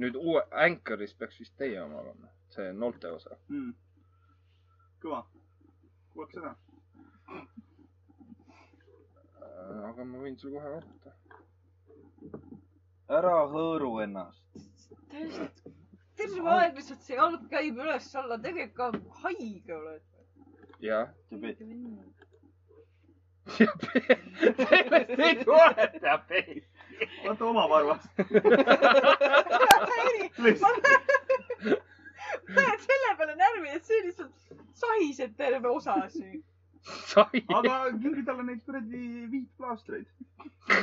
Speaker 1: nüüd uue Anchoris peaks vist teie oma olema , see Nolte osa .
Speaker 2: mm. . kõva , kuulake seda .
Speaker 1: Äh, aga ma võin sul kohe vaadata .
Speaker 3: ära hõõru ennast .
Speaker 6: tervist , terve aeg lihtsalt see jalg käib üles-alla , tegelikult ka haige oled .
Speaker 1: jah ,
Speaker 3: diabeet .
Speaker 17: sellest ei tule diabeet .
Speaker 2: vaata oma varvast .
Speaker 6: ma olen selle peale närvi , et see lihtsalt sahiseb terve osa siin .
Speaker 1: sai .
Speaker 2: aga kingi talle neid kuradi viitplaastreid . see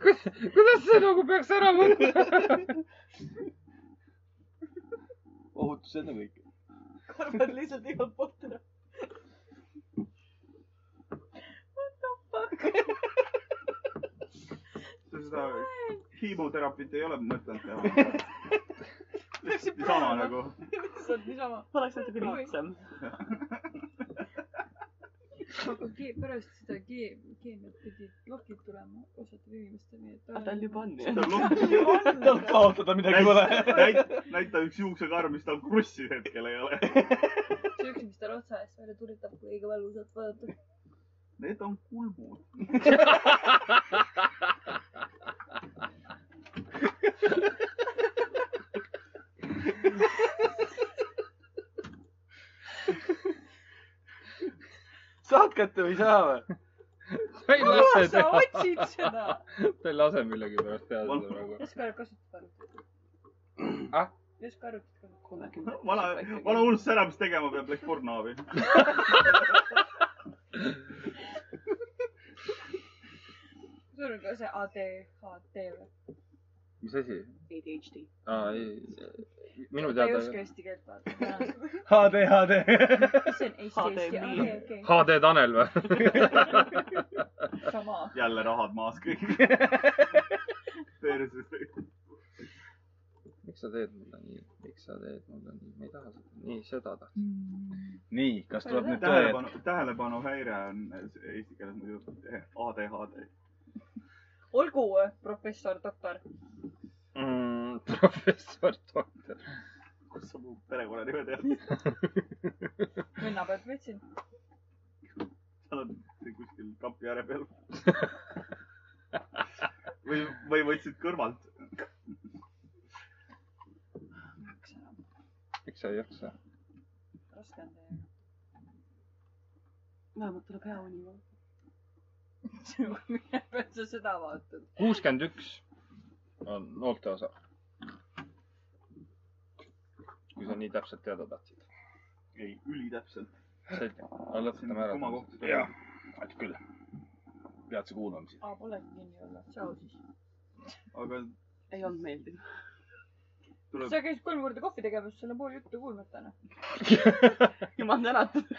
Speaker 1: kuidas see nagu peaks ära võtma ?
Speaker 3: ohutus ennekõike .
Speaker 6: karvad lihtsalt igalt poolt ära .
Speaker 2: seda hiimuterapiat ei ole mõtet teha . lihtsalt niisama nagu .
Speaker 6: lihtsalt niisama .
Speaker 4: oleks natuke lihtsam .
Speaker 5: pärast seda ke- , keemiat pidid plokid tulema osadel inimestel , nii et .
Speaker 4: aga Ah, tal juba on ju .
Speaker 2: näita ,
Speaker 3: tal kaotada midagi pole .
Speaker 2: näita , näita üks juuksekarv , mis tal krussi hetkel ei ole .
Speaker 5: see üks , mis tal otsa eest välja turitab , kui õige valusalt vaadata .
Speaker 2: Need on kulmud .
Speaker 3: saad kätte või ei saa või ?
Speaker 1: ta ei lase
Speaker 6: kuule , sa
Speaker 1: teha ,
Speaker 6: otsid seda .
Speaker 1: ta ei lase millegipärast teha seda nagu. praegu .
Speaker 5: las ka kasutab arvutit
Speaker 1: Ah? .
Speaker 5: las ka arvutit kasutab .
Speaker 2: vana , vana hulss ära , mis tegema peab , läks porno abi .
Speaker 5: sul on ka see ADHD või ?
Speaker 1: mis asi ?
Speaker 4: ADHD .
Speaker 1: aa , ei , minu
Speaker 5: ta ei
Speaker 1: teada
Speaker 5: oska . eesti keelt vaadata .
Speaker 3: HD , HD .
Speaker 5: mis see on eesti , eesti ,
Speaker 4: HDMI.
Speaker 5: okei , okei .
Speaker 1: HD Tanel või ?
Speaker 5: sama .
Speaker 2: jälle rahad maas kõik . perses .
Speaker 1: miks sa teed mulle nii , miks sa teed mulle nii , ma ei taha seda , nii seda tahtsin .
Speaker 3: nii , kas tuleb nüüd tõe ?
Speaker 2: tähelepanu , tähelepanuhäire on eesti keeles muidu eh, ADHD .
Speaker 5: olgu , professor , doktor .
Speaker 1: Mm, professor doktor .
Speaker 2: kus sa mu perekonnanime tead ?
Speaker 5: venna pealt võtsin .
Speaker 2: sa oled kuskil kapi ääre peal . või , või võtsid kõrvalt .
Speaker 1: miks sa ei jaksa ?
Speaker 5: raske on teiega .
Speaker 4: vähemalt tuleb hea uni ka .
Speaker 5: mille pealt sa seda vaatad ?
Speaker 1: kuuskümmend üks on noolte osa . kui sa nii täpselt teada tahtsid .
Speaker 2: ei , ülitäpselt .
Speaker 1: selge , aga lõpetame ära .
Speaker 2: koma kohta .
Speaker 3: aitäh küll .
Speaker 18: peatse kuulamisi .
Speaker 5: aa , pole kinni olla . tšau siis .
Speaker 2: aga
Speaker 4: ei olnud meeldiv .
Speaker 2: tuleb ,
Speaker 5: sa käisid kolm korda kohvi tegemas , sul on pool juttu kuulmata , noh .
Speaker 4: jumal tänatud .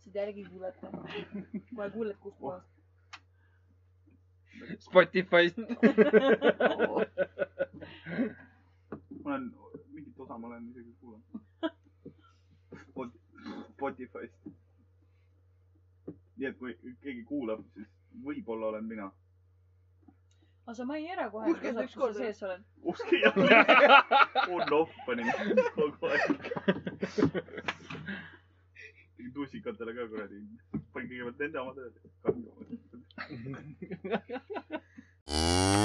Speaker 5: saad järgi kuulata . kohe kuuled , kus kohas .
Speaker 1: Spotify'st .
Speaker 2: ma olen , mingit osa ma olen isegi kuulanud Spot, . Spotify'st . nii et kui keegi kuulab , siis võib-olla olen mina .
Speaker 5: aga sa maini ära kohe , kus
Speaker 19: kuuskümmend üks
Speaker 5: sa
Speaker 19: korda.
Speaker 5: sees oled .
Speaker 2: uski ja on off panin kogu aeg . tegin tussikatele ka kuradi , panin kõigepealt nende oma tööle . kahju .